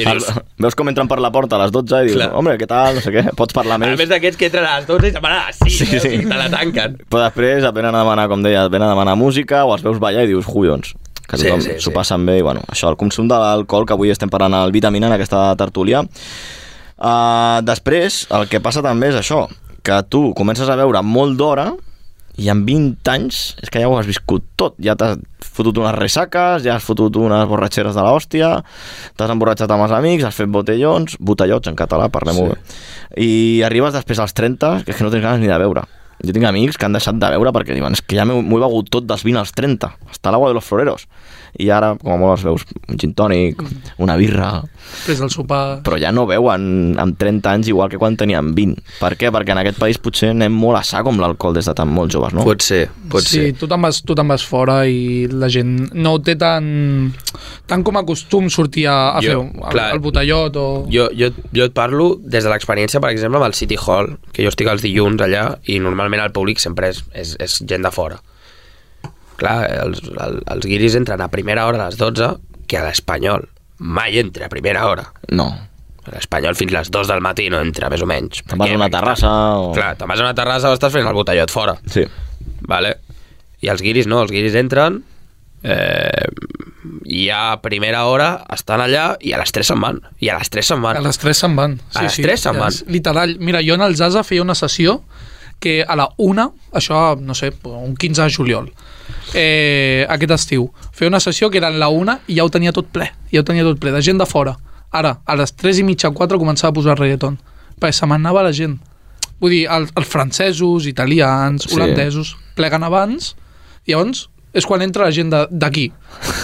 Speaker 10: I dius,
Speaker 6: El- *laughs* Veus com entren per la porta a les 12 i dius,
Speaker 10: Clar.
Speaker 6: home, què tal, no sé què, pots parlar
Speaker 10: a
Speaker 6: més.
Speaker 10: més d'aquests que entren a les 12 i se'n van a les 6, sí,
Speaker 6: Sí,
Speaker 10: sí.
Speaker 6: sí.
Speaker 10: te la tanquen.
Speaker 6: Però després et venen a demanar, com deia, et venen a demanar música o els veus ballar i dius, jullons, que
Speaker 10: Sí,
Speaker 6: tothom
Speaker 10: sí,
Speaker 6: s'ho
Speaker 10: sí.
Speaker 6: sí. passen bé. I, bueno, això, el consum de l'alcohol, que avui estem parlant al Vitamina en aquesta tertúlia. Uh, després, el que passa també és això, que tu comences a veure molt d'hora i amb 20 anys és que ja ho has viscut tot. Ja t'has fotut unes ressaques, ja has fotut unes borratxeres de l'hòstia, t'has emborratxat amb els amics, has fet botellons, botellots en català, parlem-ho sí. bé. I arribes després als 30, que és que no tens ganes ni de veure. Jo tinc amics que han deixat de veure perquè diuen és que ja m'ho m'ho he begut tot dels 20 als 30, hasta l'agua de los floreros. I ara, com a molt, els veus un gin tònic, una birra,
Speaker 11: Després del sopar...
Speaker 6: però ja no veuen amb 30 anys igual que quan tenien 20. Per què? Perquè en aquest país potser anem molt a sac amb l'alcohol des de tan molt joves, no?
Speaker 10: Pot ser,
Speaker 11: sí, tu te'n vas, tu te'n vas fora i la gent no ho té tan, tan com a costum sortir a, a
Speaker 10: Jo,
Speaker 11: fer el,
Speaker 10: clar.
Speaker 11: el botellot o...
Speaker 10: Jo, jo, jo et parlo des de l'experiència, per exemple, amb el City Hall, que jo estic els dilluns allà i normalment el públic sempre és, és, és gent de fora. Clar, els, el, els guiris entren a primera hora a les 12, que a l'Espanyol mai entra a primera hora.
Speaker 6: No.
Speaker 10: A L'Espanyol fins les 2 del matí no entra, més o menys.
Speaker 6: Te'n vas a una terrassa o...
Speaker 10: Clar, te'n vas a una terrassa o estàs fent el botellot fora.
Speaker 6: Sí.
Speaker 10: Vale. I els guiris no, els guiris entren, eh, i a primera hora estan allà i a les 3 se'n van. I a les 3 se'n van.
Speaker 11: A les 3 se'n van.
Speaker 10: A les 3 se'n van.
Speaker 11: és Literal. Mira, jo en el Zaza feia una sessió que a la 1, això, no sé, un 15 de juliol, eh, aquest estiu, feia una sessió que era en la 1 i ja ho tenia tot ple, ja ho tenia tot ple, de gent de fora. Ara, a les 3 i mitja, 4, començava a posar reggaeton, perquè se m'anava la gent. Vull dir, els, els francesos, italians,
Speaker 6: Sí.
Speaker 11: holandesos, pleguen abans, i llavors és quan entra la gent de- d'aquí.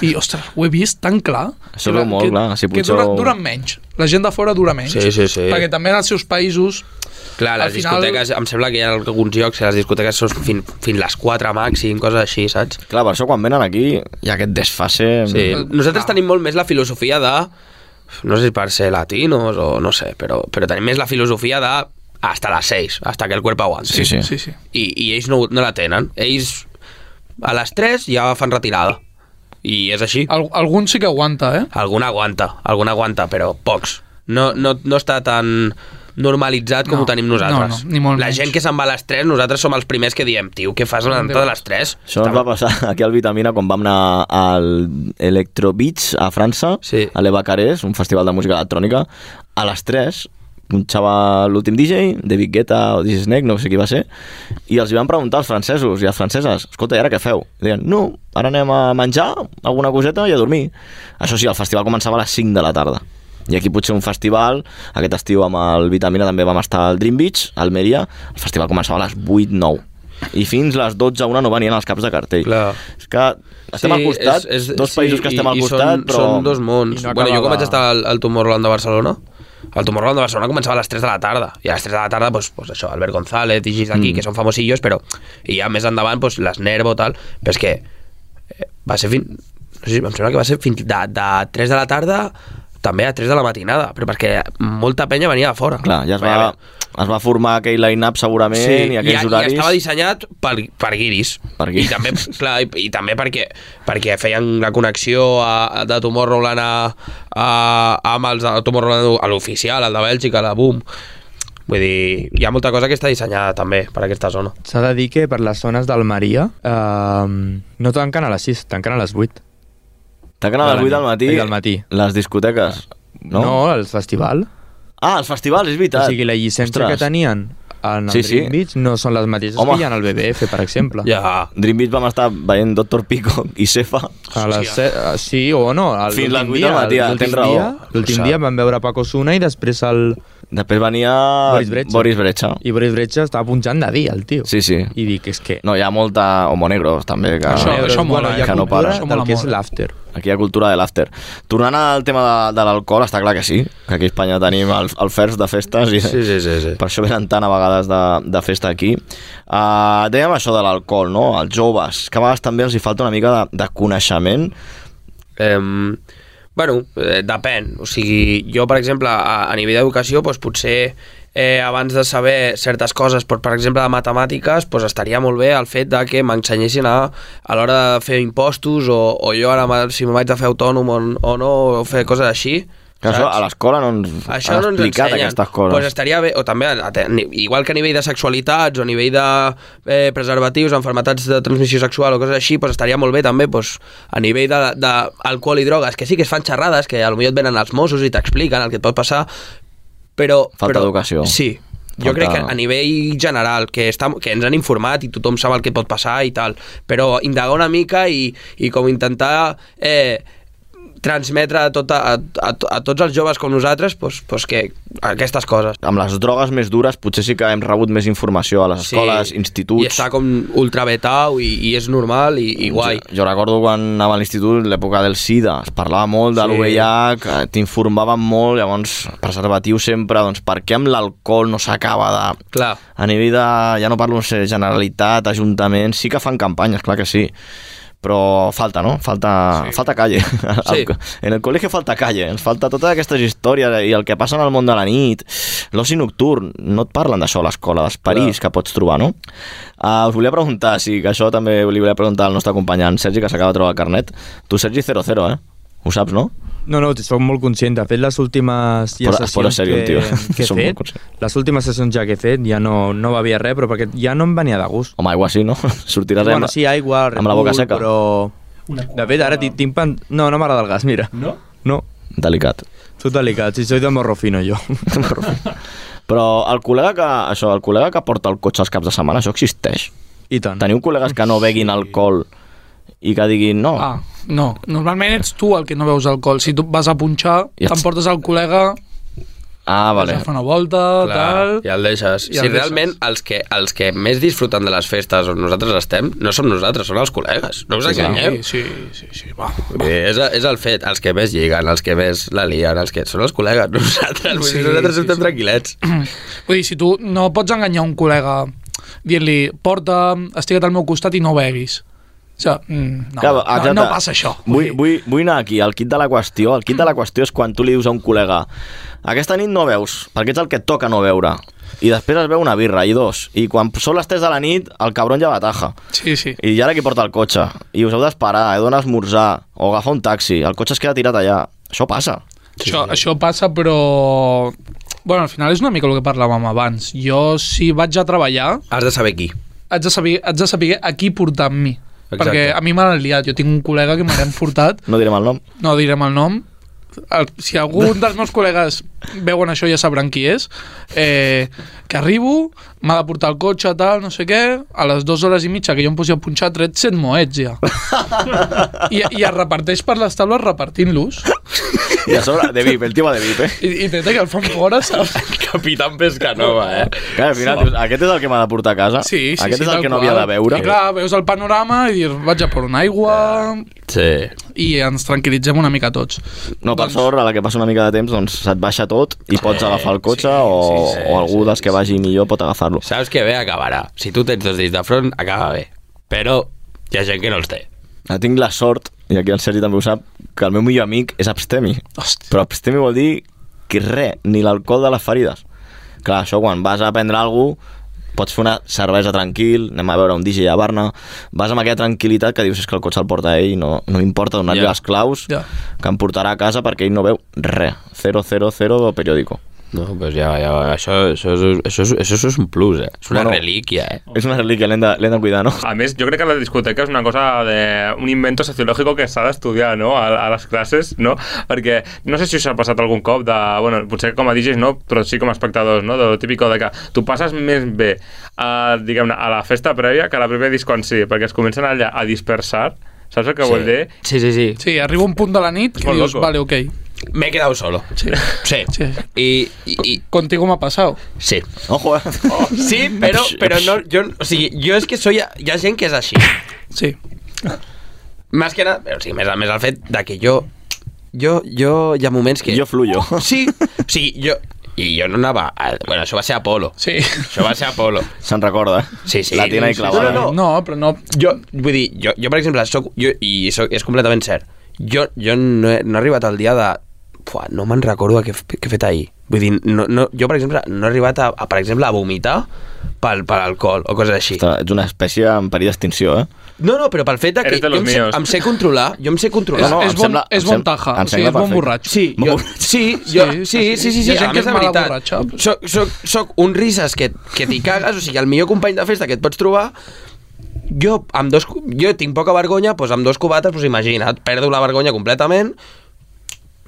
Speaker 11: I, ostres, ho he vist tan clar.
Speaker 6: Això
Speaker 11: Que-
Speaker 6: veu molt
Speaker 11: que,
Speaker 6: clar, si
Speaker 11: que
Speaker 6: potser-
Speaker 11: dura, dura menys. La gent de fora dura menys.
Speaker 10: Sí, sí, sí.
Speaker 11: Perquè també en els seus països...
Speaker 10: Clar, les
Speaker 11: al final-
Speaker 10: discoteques, em sembla que hi ha alguns llocs que les discoteques són fins, fins les 4 màxim, coses així, saps?
Speaker 6: Clar, per això quan venen aquí hi ha aquest desfase...
Speaker 10: Sí.
Speaker 11: Mm.
Speaker 10: Nosaltres tenim molt més la filosofia de... No sé si per ser latinos o no sé, però, però tenim més la filosofia de hasta les 6, hasta que el cuerpo aguanti.
Speaker 11: Sí, sí. Sí, sí.
Speaker 10: I, i ells no, no la tenen. Ells a les 3 ja fan retirada. I és així.
Speaker 11: Al, algun sí que aguanta, eh?
Speaker 10: Algun aguanta, algun aguanta, però pocs. No, no, no està tan normalitzat com
Speaker 11: No,
Speaker 10: ho tenim nosaltres.
Speaker 11: no, no, ni molt
Speaker 10: La
Speaker 11: menys.
Speaker 10: gent que se'n va a les 3, nosaltres som els primers que diem, tio, què fas a l'entrada de les 3?
Speaker 6: Això ens va passar *laughs* aquí al Vitamina quan vam anar al Electro Beach a França, sí. a l'Evacarés, un festival de música electrònica, a les 3 punxava l'últim DJ, David Guetta o DJ Snake, no sé qui va ser, i els hi van preguntar als francesos i a les franceses, escolta, i ara què feu? I deien, no, ara anem a menjar alguna coseta i a dormir. Això sí, el festival començava a les 5 de la tarda. I aquí potser un festival, aquest estiu amb el Vitamina també vam estar al Dream Beach, a Almeria, el festival començava a les 8-9. I fins les 12 a una no venien els caps de cartell. Clar. És que estem al costat, dos països que estem al
Speaker 10: i
Speaker 6: costat,
Speaker 10: són,
Speaker 6: però...
Speaker 10: Són dos mons.
Speaker 6: I
Speaker 10: No bueno, jo
Speaker 6: acaba
Speaker 10: com vaig
Speaker 6: de-
Speaker 10: estar al, al Tomorrowland de Barcelona, El Tomorrowland de Barcelona començava a les 3 de la tarda. I a les 3 de la tarda, doncs, doncs això, Albert González i Gis d'aquí, mm. que són famosillos, però... I ja més endavant, doncs, les Nervo, tal... Però és que eh, va ser fins... No sé, si- em sembla que va ser fins de, de 3 de la tarda també a 3 de la matinada, però perquè molta penya venia de fora.
Speaker 6: Clar, ja es va, es va formar aquell line-up segurament i aquells
Speaker 10: i,
Speaker 6: horaris...
Speaker 10: I estava dissenyat per, per guiris. Per
Speaker 6: guiris.
Speaker 10: I també, clar, i, i també perquè, perquè feien la connexió a, a, de Tomorrowland a, a, amb els de Tomorrowland a l'oficial, el de Bèlgica, la Boom. Vull dir, hi ha molta cosa que està dissenyada també per aquesta zona.
Speaker 20: S'ha de dir que per les zones d'Almeria eh, no tanquen a les 6, tanquen a les 8.
Speaker 6: Tanquen a les 8 del matí,
Speaker 20: Del matí.
Speaker 6: les discoteques, no?
Speaker 20: No, el festival.
Speaker 6: Ah, els festivals, és veritat.
Speaker 20: O sigui, la llicència
Speaker 6: Ostres.
Speaker 20: que tenien en el
Speaker 6: Sí,
Speaker 20: sí,
Speaker 6: sí.
Speaker 20: Dream Beach no són les mateixes
Speaker 6: Home.
Speaker 20: que hi ha en el BBF, per exemple.
Speaker 10: Ja.
Speaker 6: Dream Beach vam estar veient Doctor Pico i Cefa.
Speaker 20: A les set, eh, sí o no. el-
Speaker 6: Fins les
Speaker 20: l'últim
Speaker 6: 8 del matí,
Speaker 20: dia, l'últim
Speaker 6: tens raó.
Speaker 20: dia- L'últim
Speaker 6: Cert.
Speaker 20: dia vam veure Paco Suna i després el...
Speaker 6: Després venia
Speaker 20: Boris Brecha.
Speaker 6: Ah, Boris Brecha.
Speaker 20: I Boris Brecha estava punxant de dia, el tio.
Speaker 6: Sí, sí.
Speaker 20: I dic, és que...
Speaker 6: No, hi ha molta homo negros, també, que,
Speaker 20: Això- això mola, eh?
Speaker 6: que no
Speaker 20: Hi ha
Speaker 6: para.
Speaker 20: cultura del que és l'after.
Speaker 6: Aquí hi ha cultura de l'after. Tornant al tema de, de l'alcohol, està clar que sí, que aquí a Espanya tenim el, el first de festes i
Speaker 10: Sí, sí, sí, sí.
Speaker 6: per això venen tant a vegades de, de festa aquí. Uh, dèiem això de l'alcohol, no? Els joves, que a vegades també els hi falta una mica de, de coneixement.
Speaker 10: Eh, bueno, eh, depèn. O sigui, jo, per exemple, a, a nivell d'educació, doncs, potser eh, abans de saber certes coses, per, per exemple, de matemàtiques, doncs, estaria molt bé el fet de que m'ensenyessin a, a l'hora de fer impostos o, o jo ara ma- si me vaig de fer autònom o, n- o no, o fer coses així.
Speaker 6: Que això
Speaker 10: saps?
Speaker 6: a l'escola no ens
Speaker 10: Això
Speaker 6: han
Speaker 10: no ens
Speaker 6: explicat
Speaker 10: ensenyen.
Speaker 6: aquestes coses.
Speaker 10: Pues estaria bé, o també, a- a- ni- igual que a nivell de sexualitats o a nivell de eh, preservatius, enfermetats de transmissió sexual o coses així, pues estaria molt bé també pues, a nivell d'alcohol de, alcohol i drogues, que sí que es fan xerrades, que potser et venen els Mossos i t'expliquen el que et pot passar, però...
Speaker 6: Falta
Speaker 10: però,
Speaker 6: educació.
Speaker 10: Sí, jo
Speaker 6: Falta-
Speaker 10: crec que a nivell general, que, està, que ens han informat i tothom sap el que pot passar i tal, però indagar una mica i, i com intentar eh, transmetre a, tot, a, a, a tots els joves com nosaltres pues, pues que aquestes coses.
Speaker 6: Amb les drogues més dures potser sí que hem rebut més informació a les
Speaker 10: Sí.
Speaker 6: escoles, instituts...
Speaker 10: I està com ultravetau i, i és normal i, i guai.
Speaker 6: Jo, jo recordo quan anava a l'institut, l'època del SIDA, es parlava molt de
Speaker 10: Sí.
Speaker 6: l'UVH, eh, t'informaven molt, llavors preservatiu sempre, doncs per què amb l'alcohol no s'acaba de...
Speaker 10: Clar.
Speaker 6: A nivell de, ja no parlo, no sé, Generalitat, Ajuntaments, sí que fan campanyes, clar que sí, però falta, no? Falta, sí. falta calle. *laughs* Sí. En el col·legi falta calle, ens falta totes aquestes històries i el que passa en el món de la nit, l'oci nocturn, no et parlen d'això a l'escola, dels perills que pots trobar, no? Uh, us volia preguntar, sí, que això també li volia preguntar al nostre company, en Sergi, que s'acaba de trobar el carnet. Tu, Sergi, 0-0, eh? Ho saps, no?
Speaker 20: No, no, soc molt conscient. De fet, les últimes ja
Speaker 6: Posa- es posa
Speaker 20: sessions
Speaker 6: serio el
Speaker 20: que,
Speaker 6: tio.
Speaker 20: que he
Speaker 6: Som molt
Speaker 20: fet, les últimes sessions ja que he fet, ja no, no bevia res, però perquè ja no em venia de gust.
Speaker 6: Home, aigua sí, no? *laughs* Sortiràs
Speaker 20: bueno, sí, aigua, Red
Speaker 6: amb la boca
Speaker 20: Bull,
Speaker 6: seca.
Speaker 20: Però... De fet, ara ti- tinc pan... No, no m'agrada el gas, mira. No? No.
Speaker 6: Delicat.
Speaker 20: Tu delicat, si soy de morrofino,
Speaker 6: *laughs*
Speaker 20: jo.
Speaker 6: Però el col·lega que, això, el col·lega que porta el cotxe els caps de setmana, això existeix.
Speaker 20: I tant.
Speaker 6: Teniu col·legues que no beguin alcohol i que diguin no?
Speaker 11: Ah, no. Normalment ets tu el que no veus alcohol. Si tu vas a punxar,
Speaker 6: Ja.
Speaker 11: t'emportes el col·lega,
Speaker 6: ah
Speaker 11: vale. fa una volta, tal...
Speaker 10: ja el deixes.
Speaker 11: I
Speaker 10: I
Speaker 11: el
Speaker 10: si
Speaker 11: deixes.
Speaker 10: realment els que, els que més disfruten de les festes on nosaltres estem, no som nosaltres, són els col·legues. No us
Speaker 11: Sí,
Speaker 10: enganyeu.
Speaker 11: Sí, sí, sí, va.
Speaker 10: Bé, és, és el fet, els que més lliguen, els que més la lien, els que són els col·legues, *laughs* nosaltres,
Speaker 11: Sí,
Speaker 10: sí, nosaltres
Speaker 11: sí,
Speaker 10: sí, estem sí. tranquil·lets.
Speaker 11: Vull dir, si tu no pots enganyar un col·lega dient-li, porta, estigue't al meu costat i no beguis. O sigui, mm, no,
Speaker 6: Que-
Speaker 11: no,
Speaker 6: exacte.
Speaker 11: no passa això.
Speaker 6: Vull, vull, vull anar aquí, al kit de la qüestió. El kit de la qüestió és quan tu li dius a un col·lega aquesta nit no veus, perquè ets el que et toca no veure. I després es veu una birra i dos. I quan són les 3 de la nit, el cabron ja bataja.
Speaker 11: Sí, sí.
Speaker 6: I ja era qui porta el cotxe. I us heu d'esperar, heu d'anar a esmorzar o agafar un taxi. El cotxe es queda tirat allà. Això passa.
Speaker 11: Això, això passa, però... Bueno, al final és una mica el que parlàvem abans. Jo, si vaig a treballar,
Speaker 10: Has de saber qui. *laughs*
Speaker 11: haig de saber, haig de saber a qui portar amb mi.
Speaker 10: Exacte.
Speaker 11: Exacte. Perquè a mi m'han liat. Jo tinc un col·lega que me l'han furtat,
Speaker 6: No direm el nom.
Speaker 11: no direm el nom, el, si algun dels meus col·legues veuen això ja sabran qui és eh, que arribo, m'ha de portar el cotxe tal, no sé què, a les dues hores i mitja que jo em posi a punxar tret 100 moets ja i, i es reparteix per les taules repartint-los
Speaker 6: I a sobre, de VIP, el tio va de VIP, eh?
Speaker 11: I, i teta que el fan fora, saps?
Speaker 10: Capitán Pescanova, eh?
Speaker 6: Clar, al final, dius, aquest és el que m'ha de portar a casa?
Speaker 11: Sí, sí,
Speaker 6: Ah, Aquest
Speaker 11: sí,
Speaker 6: és el
Speaker 11: tal
Speaker 6: que no
Speaker 11: qual.
Speaker 6: havia de veure?
Speaker 11: I clar, veus el panorama i dius, vaig a per una aigua...
Speaker 10: Sí.
Speaker 11: I ens tranquil·litzem una mica tots.
Speaker 6: No,
Speaker 11: doncs
Speaker 6: per sort, a la que passa una mica de temps, doncs se't baixa tot i pots agafar el cotxe o, o algú dels que vagi millor pot agafar-lo.
Speaker 10: Saps que bé acabarà. Si tu tens dos dits de front, acaba bé. Però hi ha gent que no els té.
Speaker 6: Ah, Tinc la sort, i aquí el Sergi també ho sap, que el meu millor amic és abstemi.
Speaker 11: Hòstia.
Speaker 6: Però abstemi vol dir que res, ni l'alcohol de les ferides. Clar, això quan vas a prendre alguna cosa, pots fer una cervesa tranquil, anem a veure un DJ a Barna, vas amb aquella tranquil·litat que dius és que el cotxe el porta ell, no, no importa donar-li
Speaker 10: Ja.
Speaker 6: les claus,
Speaker 11: yeah.
Speaker 6: que em portarà a casa perquè ell no veu res. 000 del periòdico.
Speaker 10: No, pues ja, ja, això, això, és- això, és- això, és un plus, eh? És una
Speaker 6: Bueno,
Speaker 10: relíquia, eh?
Speaker 6: És una relíquia, l'hem de, l'hem de cuidar, no?
Speaker 7: A més, jo crec que la discoteca és una cosa de... un invento sociològic que s'ha d'estudiar, no?, a, a les classes, no? Perquè no sé si us ha passat algun cop de... Bueno, potser com a DJs no, però sí com a espectadors, no? De lo típico de que tu passes més bé a, diguem-ne, a la festa prèvia que a la prèvia disco en si, perquè es comencen allà a dispersar, saps el que
Speaker 10: Sí.
Speaker 7: vol dir?
Speaker 10: Sí, sí, sí.
Speaker 11: Sí, arriba un punt de la nit que
Speaker 7: molt
Speaker 11: dius,
Speaker 7: loco.
Speaker 11: vale, ok.
Speaker 10: Me he quedado solo.
Speaker 11: Sí.
Speaker 10: Sí. I, i, i...
Speaker 11: Contigo m'ha passat.
Speaker 10: Sí.
Speaker 6: Ojo, eh?
Speaker 10: Oh. Sí, però, però no, jo, o sigui, jo és que soy, hi ha gent que és així.
Speaker 11: Sí.
Speaker 10: Més que nada, o sigui, més, més el fet de que jo, jo, jo hi ha moments que...
Speaker 6: Jo fluyo.
Speaker 10: Sí, o sigui, jo, i jo no anava... A, bueno, això va ser Apolo.
Speaker 11: Sí.
Speaker 10: Això va ser Apolo.
Speaker 6: Se'n recorda, eh?
Speaker 10: Sí, sí.
Speaker 6: Latina i clavada.
Speaker 10: No, no, no.
Speaker 11: No, però no...
Speaker 10: Jo, vull dir, jo, jo per exemple, soc, jo, i soc, és completament cert, jo, jo no, he, no he arribat al dia de... Pua, no me'n recordo què, f- què he fet ahir. Vull dir, no, no, jo, per exemple, no he arribat a, a per exemple, a vomitar per, per alcohol o coses així.
Speaker 6: Ostres, ets una espècie en perill d'extinció, eh?
Speaker 10: No, no, però pel fet de que
Speaker 6: Eres de
Speaker 10: jo
Speaker 6: los
Speaker 10: em sé,
Speaker 6: míos.
Speaker 10: em sé controlar, jo em sé controlar.
Speaker 6: És- No, no, és em bon- sembla- és em bon sem- taja, em o sigui, sembla és bon perfecte. borratxo.
Speaker 10: Sí,
Speaker 6: Bon
Speaker 10: jo,
Speaker 6: borratxo.
Speaker 10: sí, jo, sí, sí, sí,
Speaker 11: Hi
Speaker 10: sí,
Speaker 11: ha gent
Speaker 10: a
Speaker 11: que
Speaker 10: més
Speaker 11: és
Speaker 10: de
Speaker 11: mala
Speaker 10: veritat,
Speaker 11: borratxa.
Speaker 10: Soc, soc, soc un rises que, que t'hi cagues, o sigui, el millor company de festa que et pots trobar, jo, amb dos, cu- jo tinc poca vergonya, doncs amb dos cubates, doncs imagina't, perdo la vergonya completament,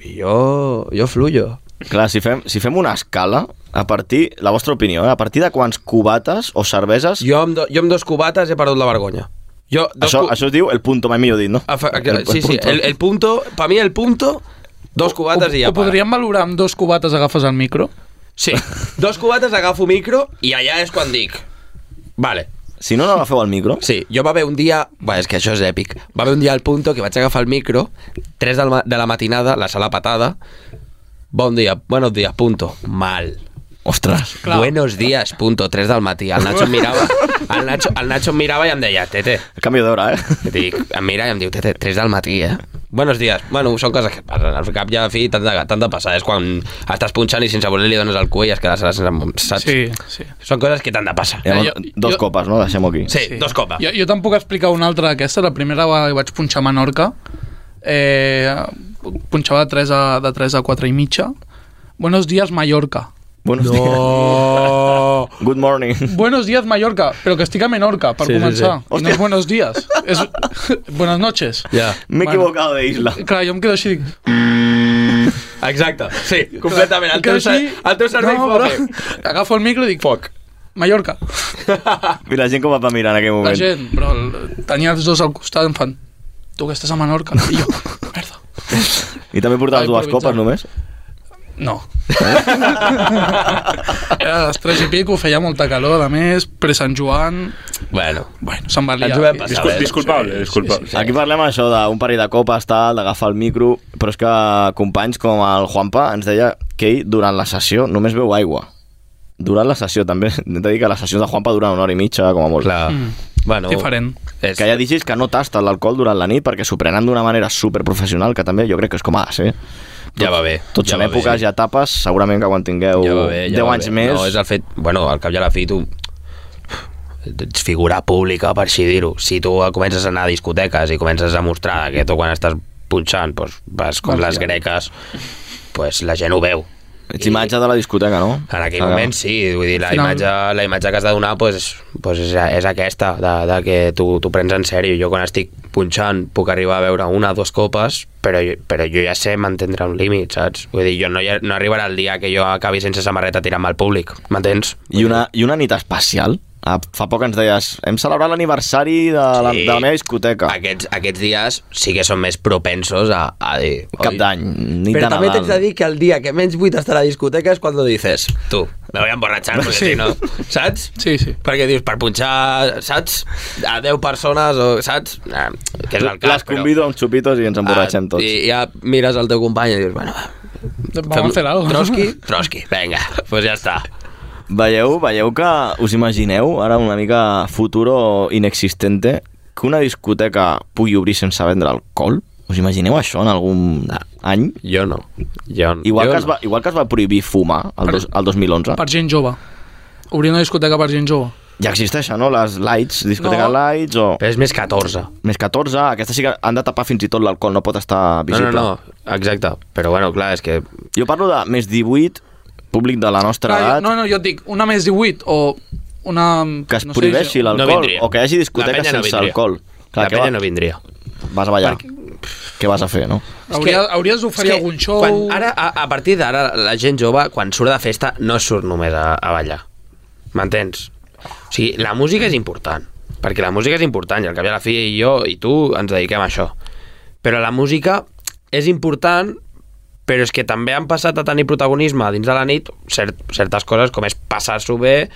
Speaker 10: i jo, jo fluyo.
Speaker 6: Clar, si fem, si fem una escala, a partir, la vostra opinió, eh? a partir de quants cubates o cerveses...
Speaker 10: Jo amb, do, jo amb dos cubates he perdut la vergonya. Jo, dos
Speaker 6: això,
Speaker 10: cu-
Speaker 6: això es diu el punto, mai millor dit, no?
Speaker 10: Afa- sí, sí, el, el punto, per mi el punto, dos cubates i ja
Speaker 11: Ho
Speaker 10: para.
Speaker 11: podríem valorar amb dos cubates agafes el micro?
Speaker 10: Sí. Dos cubates, agafo micro i allà és quan dic... Vale.
Speaker 6: Si no, no agafeu el micro.
Speaker 10: Sí, jo va haver un dia... Bé, és que això és èpic. Va haver un dia al punto que vaig agafar el micro, 3 del ma- de la matinada, la sala patada, bon dia, buenos días, punto, mal.
Speaker 6: Ostres.
Speaker 10: Clar. Buenos días, punto, 3 del matí. El Nacho em mirava, el Nacho, el Nacho em mirava i em deia, tete.
Speaker 6: Canvi
Speaker 10: *laughs*
Speaker 6: d'hora, eh?
Speaker 10: Dic, em mira i em diu, tete, 3 del matí, eh? Buenos días. Bueno, són coses que passen. Al cap i a la fi t'han de, t'han de passar. És quan estàs punxant i sense voler li dones el cuell i es quedarà sense... Saps?
Speaker 11: Sí, sí.
Speaker 10: Són coses que t'han de passar.
Speaker 6: Eh, jo, dos jo... copes, no? Deixem-ho aquí.
Speaker 10: Sí, dos copes.
Speaker 11: Jo, jo te'n puc explicar una altra d'aquesta. La primera vegada que vaig punxar a Menorca, eh, punxava de 3, a, de 3 a 4 i mitja. Buenos días, Mallorca.
Speaker 6: Buenos
Speaker 11: no.
Speaker 6: Good morning. *laughs*
Speaker 11: Buenos días, Mallorca, però que estic a Menorca, per
Speaker 6: Sí,
Speaker 11: sí,
Speaker 6: sí,
Speaker 11: començar.
Speaker 6: sí.
Speaker 11: Sí, sí. No és buenos días, és buenas noches.
Speaker 10: Ja.
Speaker 6: M'he equivocado de
Speaker 10: *laughs*
Speaker 6: isla.
Speaker 11: Clar, jo em quedo així, dic...
Speaker 10: Exacte, sí, completament. El
Speaker 11: em quedo
Speaker 10: teu,
Speaker 11: així,
Speaker 10: cer- el teu cervell
Speaker 11: no,
Speaker 10: no,
Speaker 11: però-
Speaker 10: foc.
Speaker 11: Agafo el micro i dic...
Speaker 10: Foc.
Speaker 11: Mallorca.
Speaker 6: I la gent com va mirar en aquell
Speaker 11: La
Speaker 6: moment.
Speaker 11: gent, però el- tenia els dos al costat, em fan... Tu que estàs a Menorca. I jo,
Speaker 6: I també portaves
Speaker 11: Ai,
Speaker 6: dues copes
Speaker 11: improvisar.
Speaker 6: només?
Speaker 11: No. Era a les 3 i pico, feia molta calor, a més, pre-Sant Joan...
Speaker 10: Bueno,
Speaker 11: bueno se'n va liar.
Speaker 7: Discul disculpable, disculpable.
Speaker 6: Aquí parlem això d'un parell de copes, tal, d'agafar el micro, però és que companys com el Juanpa ens deia que ell durant la sessió només veu aigua. Durant la sessió, també. *laughs* Hem de dir que les sessions de Juanpa duren una hora i mitja, com a molt.
Speaker 10: Clar.
Speaker 11: Mm.
Speaker 10: Bueno,
Speaker 11: Diferent.
Speaker 10: És...
Speaker 6: Que hi ha DJs que no tasten l'alcohol durant la nit perquè s'ho prenen d'una manera superprofessional, que també jo crec que és com ha de ser.
Speaker 10: Ja va bé,
Speaker 6: Tots
Speaker 10: ja
Speaker 6: en
Speaker 10: va bé.
Speaker 6: èpoques i etapes, segurament que quan tingueu
Speaker 10: ja va bé, ja
Speaker 6: 10
Speaker 10: va
Speaker 6: anys
Speaker 10: bé.
Speaker 6: més...
Speaker 10: No, és el fet... Bueno, al cap i a la fi, tu ets figura pública, per així dir-ho. Si tu comences a anar a discoteques i comences a mostrar que tu quan estàs punxant doncs vas com
Speaker 6: Vas
Speaker 10: les
Speaker 6: ja.
Speaker 10: greques, doncs la gent ho veu.
Speaker 6: Ets imatge de la discoteca, no?
Speaker 10: En aquell
Speaker 6: Ah,
Speaker 10: moment sí, vull dir, la,
Speaker 6: Final.
Speaker 10: imatge, la imatge que has de donar pues, pues és, és aquesta, de, de que tu, tu prens en sèrio. Jo quan estic punxant puc arribar a veure una o dues copes, però, jo- però jo ja sé mantindre un límit, saps? Vull dir, jo no, hi ha- no arribarà el dia que jo acabi sense samarreta tirant al públic, m'entens?
Speaker 6: I una, I una nit especial? Ah, fa poc ens deies, hem celebrat l'aniversari de, la, de la meva discoteca.
Speaker 10: Aquests, aquests dies sí que són més propensos a, a dir... Cap
Speaker 6: d'any, nit
Speaker 21: Pero también te de dir que el día que menys buitas hasta la discoteca es cuando dices
Speaker 10: tu, me voy a
Speaker 21: *laughs*
Speaker 10: emborratxar, perquè sí. si no... Saps?
Speaker 11: Sí, sí.
Speaker 10: Perquè dius, per punxar, saps? A 10 persones o... Saps? Nah, que és el cas, Ah,
Speaker 6: Les convido a uns xupitos i ens emborratxem tots.
Speaker 10: I ja mires el teu company i dius, bueno...
Speaker 11: Vamos a hacer algo. *laughs*
Speaker 10: Trotsky, Trotsky, venga, pues ja està.
Speaker 6: Veieu, veieu que us imagineu ara una mica futuro inexistente que una discoteca pugui obrir sense vendre alcohol? Us imagineu això en algun any?
Speaker 10: Jo no. Jo,
Speaker 6: Igual,
Speaker 11: jo
Speaker 6: que es
Speaker 11: no.
Speaker 6: va, igual que es va prohibir fumar el, dos, el 2011.
Speaker 11: Per gent jove. Obrir una discoteca per gent jove.
Speaker 6: Ja existeix, no? Les lights, discoteca
Speaker 11: No.
Speaker 6: lights o...
Speaker 10: Però és més 14.
Speaker 6: Més 14, aquesta sí que han de tapar fins i tot l'alcohol, no pot estar
Speaker 10: No, no,
Speaker 6: visible.
Speaker 10: no, exacte. Però bueno, clar, és que...
Speaker 6: Jo parlo de més 18, públic de la nostra
Speaker 11: Clar,
Speaker 6: edat,
Speaker 11: jo- no, no, jo et dic, una més 18 o una... mm,
Speaker 6: que es
Speaker 11: no
Speaker 6: no
Speaker 11: sé,
Speaker 6: prohibeixi
Speaker 11: jo-
Speaker 6: l'alcohol o que hi hagi discoteques
Speaker 10: penya no
Speaker 6: sense
Speaker 10: vindria.
Speaker 6: alcohol.
Speaker 10: La
Speaker 6: que
Speaker 10: penya
Speaker 6: va-
Speaker 10: no vindria.
Speaker 6: Vas a ballar. Què vas a fer, no?
Speaker 11: Hauria, hauries d'oferir
Speaker 10: és que
Speaker 11: algun show...
Speaker 10: Quan, ara, a, a partir d'ara, la gent jove, quan surt de festa, no surt només a, a ballar. M'entens? O sigui, la música és important, perquè la música és important, i al cap i a la fi jo i tu ens dediquem a això. Però la música és important, però és que també han passat a tenir protagonisme dins de la nit cert, certes coses com és passar-s'ho bé,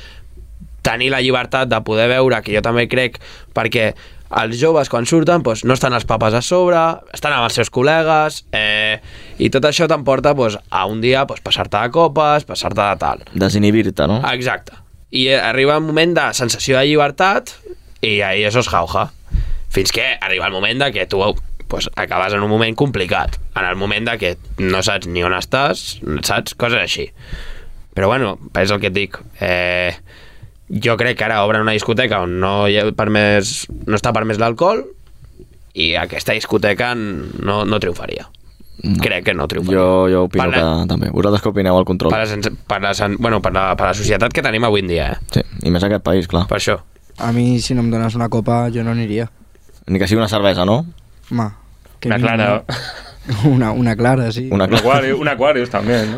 Speaker 10: tenir la llibertat de poder veure, que jo també crec, perquè els joves quan surten doncs, no estan els papes a sobre, estan amb els seus col·legues, eh, i tot això t'emporta doncs, a un dia doncs, passar-te de copes, passar-te de tal.
Speaker 6: Desinhibir-te, no?
Speaker 20: Ah,
Speaker 10: Exacte. I eh, arriba un moment de sensació de llibertat i ahí eso es jauja. Fins que arriba el moment de que tu pues, acabes en un moment complicat, en el moment de que no saps ni on estàs, saps? Coses així. Però bueno, és el que et dic. Eh, jo crec que ara obren una discoteca on no, hi ha permès, no està permès l'alcohol i aquesta discoteca no, no triomfaria. No. Crec que no triomfaria.
Speaker 6: Jo, jo opino
Speaker 10: Per
Speaker 6: que
Speaker 10: la-
Speaker 6: també. Vosaltres què opineu al control?
Speaker 10: Per la, sens- per, la, sen- bueno, per, la, per la societat que tenim avui en dia, eh?
Speaker 6: Sí, i més aquest país, clar.
Speaker 10: Per això.
Speaker 8: A mi, si no em dones una copa, jo no aniria.
Speaker 6: Ni que sigui una cervesa, no?
Speaker 8: Ma, que
Speaker 6: Una
Speaker 8: mínimo.
Speaker 6: clara.
Speaker 8: *laughs* Una, una clara, sí.
Speaker 6: Una
Speaker 7: Un Aquarius, un Aquarius també, no?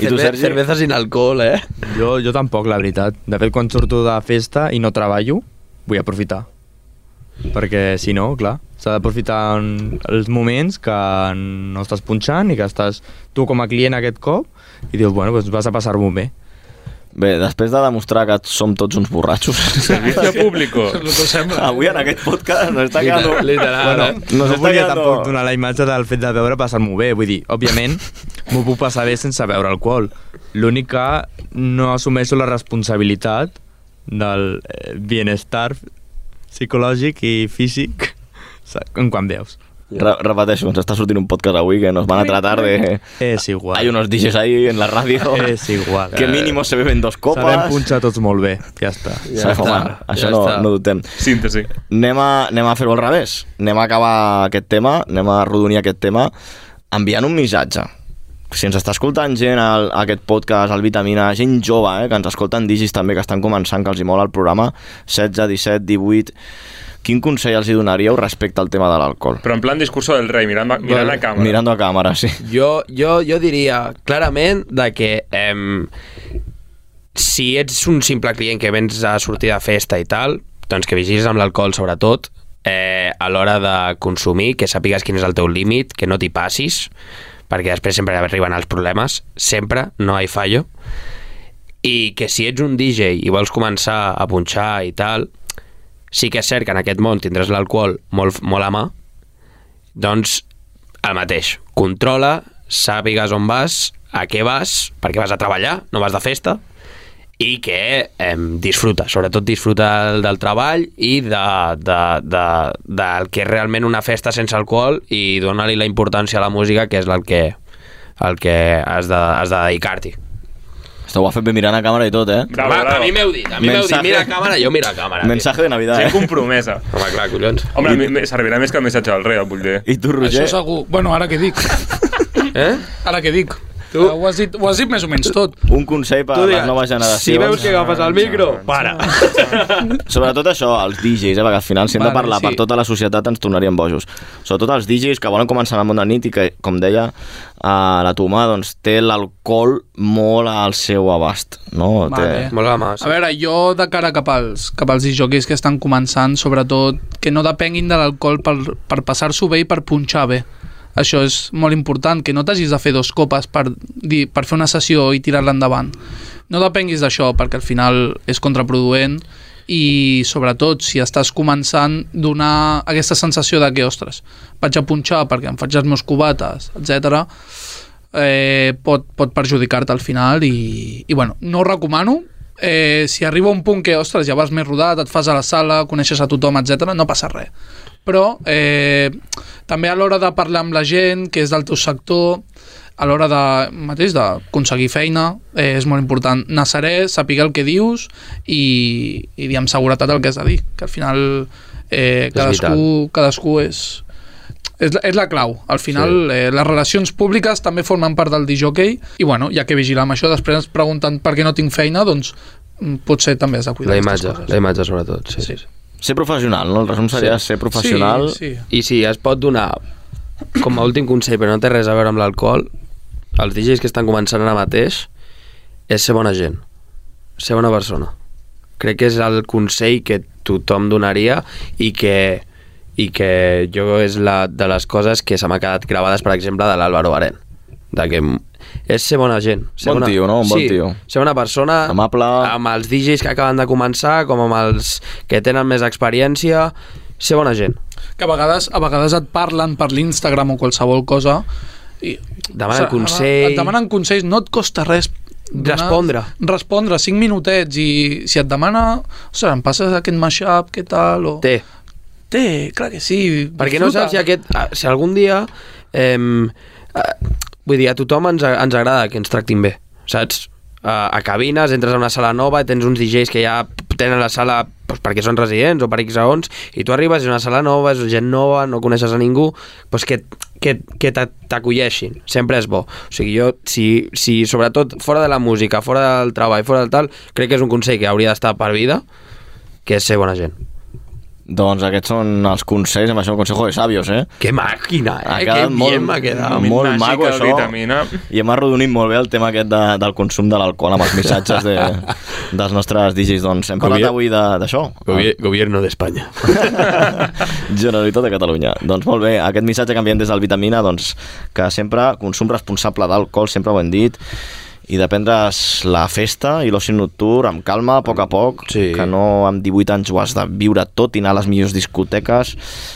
Speaker 6: I tu, Sergi?
Speaker 20: Cerveza
Speaker 10: sin alcohol, eh?
Speaker 20: Jo, jo tampoc, la veritat. De fet, quan surto de festa i no treballo, vull aprofitar. Perquè, si no, clar, s'ha d'aprofitar en- els moments que no estàs punxant i que estàs tu com a client aquest cop i dius, bueno, doncs vas a passar-m'ho bé.
Speaker 6: Bé, després de demostrar que som tots uns borratxos...
Speaker 7: Servicio público.
Speaker 6: Avui en aquest podcast no està
Speaker 20: Literal,
Speaker 6: quedant...
Speaker 20: Bueno, no, no
Speaker 6: està
Speaker 20: volia
Speaker 6: quedant-
Speaker 20: tampoc donar la imatge del fet de beure passar-m'ho bé. Vull dir, òbviament, m'ho puc passar bé sense beure alcohol. L'únic que no assumeixo la responsabilitat del eh, bienestar psicològic i físic sa- en quan veus.
Speaker 6: Re repeteixo, ens està sortint un podcast avui que nos van a tratar de...
Speaker 20: És igual.
Speaker 6: Hay unos DJs ahí en la
Speaker 10: *laughs*
Speaker 6: radio.
Speaker 20: És igual.
Speaker 6: Que mínimo se beben dos copas.
Speaker 20: Sabem punxar tots molt bé. Ja està.
Speaker 6: Ja està, Això no, no dubtem.
Speaker 7: Síntesi.
Speaker 6: Anem a, anem a fer-ho al revés. Anem a acabar aquest tema, anem a arrodonir aquest tema enviant un missatge. Si ens està escoltant gent al, a aquest podcast, al Vitamina, gent jove, eh, que ens escolten digis també, que estan començant, que els hi mola el programa, 16, 17, 18... Quin consell els hi donaríeu respecte al tema de l'alcohol?
Speaker 7: Però en plan discurso del rei, mirant, mirant a càmera.
Speaker 6: Mirando a càmera, sí.
Speaker 10: Jo, jo, jo diria clarament de que em, si ets un simple client que vens a sortir de festa i tal, doncs que vigilis amb l'alcohol sobretot, eh, a l'hora de consumir, que sàpigues quin és el teu límit, que no t'hi passis, perquè després sempre arriben els problemes, sempre, no hi fallo, i que si ets un DJ i vols començar a punxar i tal, sí que és cert que en aquest món tindràs l'alcohol molt, molt a mà, doncs el mateix. Controla, sàpigues on vas, a què vas, perquè vas a treballar, no vas de festa, i que eh, disfruta, sobretot disfruta del, del treball i de, de, de, del que és realment una festa sense alcohol i donar-li la importància a la música, que és el que, el que has de, has de dedicar-t'hi.
Speaker 6: Esteu ho ha fet bé mirant a càmera i tot, eh?
Speaker 10: Va, A mi m'heu dit, a mi m'heu dit,
Speaker 6: Mensaje-
Speaker 10: mira a càmera, jo mira a càmera.
Speaker 6: Mensaje de Navidad,
Speaker 7: Gent
Speaker 6: eh?
Speaker 7: compromesa.
Speaker 10: Home, clar, collons.
Speaker 7: Home, a mi me- servirà més que el missatge del rei, el vull dir.
Speaker 6: I tu,
Speaker 11: *laughs* Això segur. Bueno, ara què dic?
Speaker 10: Eh?
Speaker 11: Ara què dic? Tu... Ho, has dit, ho has dit més o menys tot.
Speaker 6: Un consell per a les
Speaker 11: Tu digues,
Speaker 6: noves generacions.
Speaker 11: si veus que agafes el micro,
Speaker 6: para. Sobretot això, els DJs, eh, perquè al final si hem de
Speaker 11: Vale,
Speaker 6: parlar
Speaker 11: sí.
Speaker 6: per tota la societat ens tornaríem bojos. Sobretot els DJs que volen començar en el món de nit i que, com deia, eh, la Tomà doncs, té l'alcohol molt al seu abast. No?
Speaker 11: Vale.
Speaker 6: Té... Molt a mà,
Speaker 11: A veure, jo de cara cap als, cap als disjoquis que estan començant, sobretot, que no depenguin de l'alcohol per, per passar-s'ho bé i per punxar bé. Això és molt important, que no t'hagis de fer dos copes per, dir, per fer una sessió i tirar-la endavant. No depenguis d'això, perquè al final és contraproduent i sobretot si estàs començant donar aquesta sensació de que, ostres, vaig a punxar perquè em faig els meus cubates, etc eh, pot, pot perjudicar-te al final i, i bueno, no ho recomano eh, si arriba un punt que, ostres, ja vas més rodat, et fas a la sala, coneixes a tothom, etc, no passa res. Però eh, també a l'hora de parlar amb la gent, que és del teu sector, a l'hora de, mateix d'aconseguir feina, eh, és molt important anar serè, saber el que dius i, i dir amb seguretat el que has de dir, que al final eh,
Speaker 1: És
Speaker 11: cadascú, cadascú és, és la, és la clau. Al final, sí. eh, les relacions públiques també formen part del disjockey i, bueno, hi ha que vigilar amb això. Després ens pregunten per què no tinc feina, doncs mm, potser també has de cuidar
Speaker 10: La
Speaker 11: aquestes
Speaker 10: imatge,
Speaker 11: coses.
Speaker 10: la imatge sobretot, sí. sí.
Speaker 6: Ser professional, no? El resum seria ser professional.
Speaker 11: Sí,
Speaker 10: I si es pot donar com a últim consell, però no té res a veure amb l'alcohol, els DJs que estan començant ara mateix és ser bona gent, ser bona persona. Crec que és el consell que tothom donaria i que, i que jo és la de les coses que se m'ha quedat gravades, per exemple, de l'Àlvaro Barén. De que és ser bona gent. Ser
Speaker 6: Bon
Speaker 10: bona...
Speaker 6: tio, no? Un bon
Speaker 10: sí,
Speaker 6: tio.
Speaker 10: Ser una persona... Amable. Amb els DJs que acaben de començar, com amb els que tenen més experiència, ser bona gent.
Speaker 11: Que a vegades, a vegades et parlen per l'Instagram o qualsevol cosa i...
Speaker 10: Demanen consell.
Speaker 11: Et demanen consells, no et costa res donar-
Speaker 10: Respondre.
Speaker 11: Respondre, 5 minutets i si et demana, ostres, em passes aquest mashup, què tal? O...
Speaker 10: Té.
Speaker 11: Té, clar que sí.
Speaker 10: Perquè no
Speaker 11: disfruta.
Speaker 10: saps si, aquest, ah, si algun dia... Eh, vull dir, a tothom ens, ens agrada que ens tractin bé, saps? A, a cabines, entres a una sala nova i tens uns DJs que ja tenen la sala doncs, perquè són residents o per X raons i tu arribes a una sala nova, és gent nova, no coneixes a ningú, doncs que, que, que t'a- t'acolleixin, sempre és bo. O sigui, jo, si, si sobretot fora de la música, fora del treball, fora del tal, crec que és un consell que hauria d'estar per vida, que és ser bona gent.
Speaker 6: Doncs aquests són els consells, amb això el Consejo de Sabios, eh?
Speaker 10: Que màquina, eh?
Speaker 6: Ha
Speaker 10: Que
Speaker 6: quedat molt,
Speaker 10: bien m'ha quedat.
Speaker 6: molt
Speaker 10: Màgica
Speaker 6: maco, això.
Speaker 10: vitamina.
Speaker 6: I hem arrodonit molt bé el tema aquest de, del consum de l'alcohol amb els missatges
Speaker 11: *laughs*
Speaker 6: de, dels nostres digis. Doncs hem parlat
Speaker 10: Govier-
Speaker 6: avui de- d'això.
Speaker 10: Govier- Gobierno d'Espanya.
Speaker 6: *laughs* Generalitat de Catalunya. Doncs molt bé, aquest missatge que enviem des del Vitamina, doncs, que sempre consum responsable d'alcohol, sempre ho hem dit, i de prendre's la festa i l'oci nocturn amb calma, a poc a poc, sí. que no amb 18 anys ho has de viure tot i anar a les millors discoteques,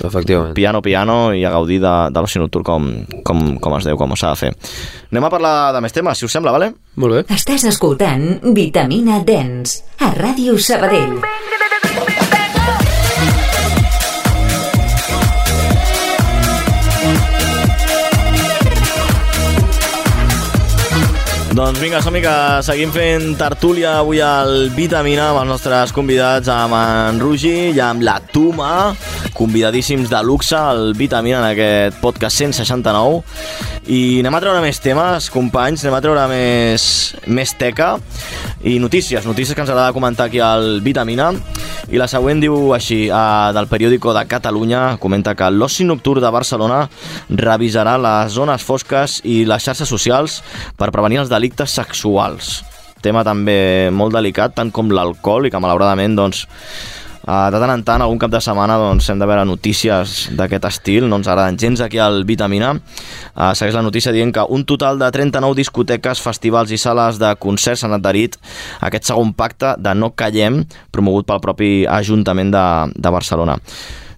Speaker 10: Efectivament.
Speaker 6: piano, piano, i a gaudir de, de l'oci nocturn com, com, com es deu, com s'ha de fer. Anem a parlar de més temes, si us sembla, vale?
Speaker 10: Molt bé.
Speaker 3: Estàs escoltant Vitamina Dens a Ràdio Sabadell.
Speaker 6: Doncs vinga, som que seguim fent tertúlia avui al Vitamina amb els nostres convidats, amb en Rugi i amb la Tuma, convidadíssims de luxe al Vitamina en aquest podcast 169. I anem a treure més temes, companys, anem a treure més, més teca i notícies, notícies que ens agrada comentar aquí al Vitamina. I la següent diu així, eh, del periòdico de Catalunya, comenta que l'oci nocturn de Barcelona revisarà les zones fosques i les xarxes socials per prevenir els delictes sexuals. Tema també molt delicat, tant com l'alcohol, i que malauradament, doncs, eh, de tant en tant, algun cap de setmana, doncs, hem de veure notícies d'aquest estil, no ens agraden gens aquí al Vitamina. Eh, segueix la notícia dient que un total de 39 discoteques, festivals i sales de concerts han adherit a aquest segon pacte de No Callem, promogut pel propi Ajuntament de, de Barcelona.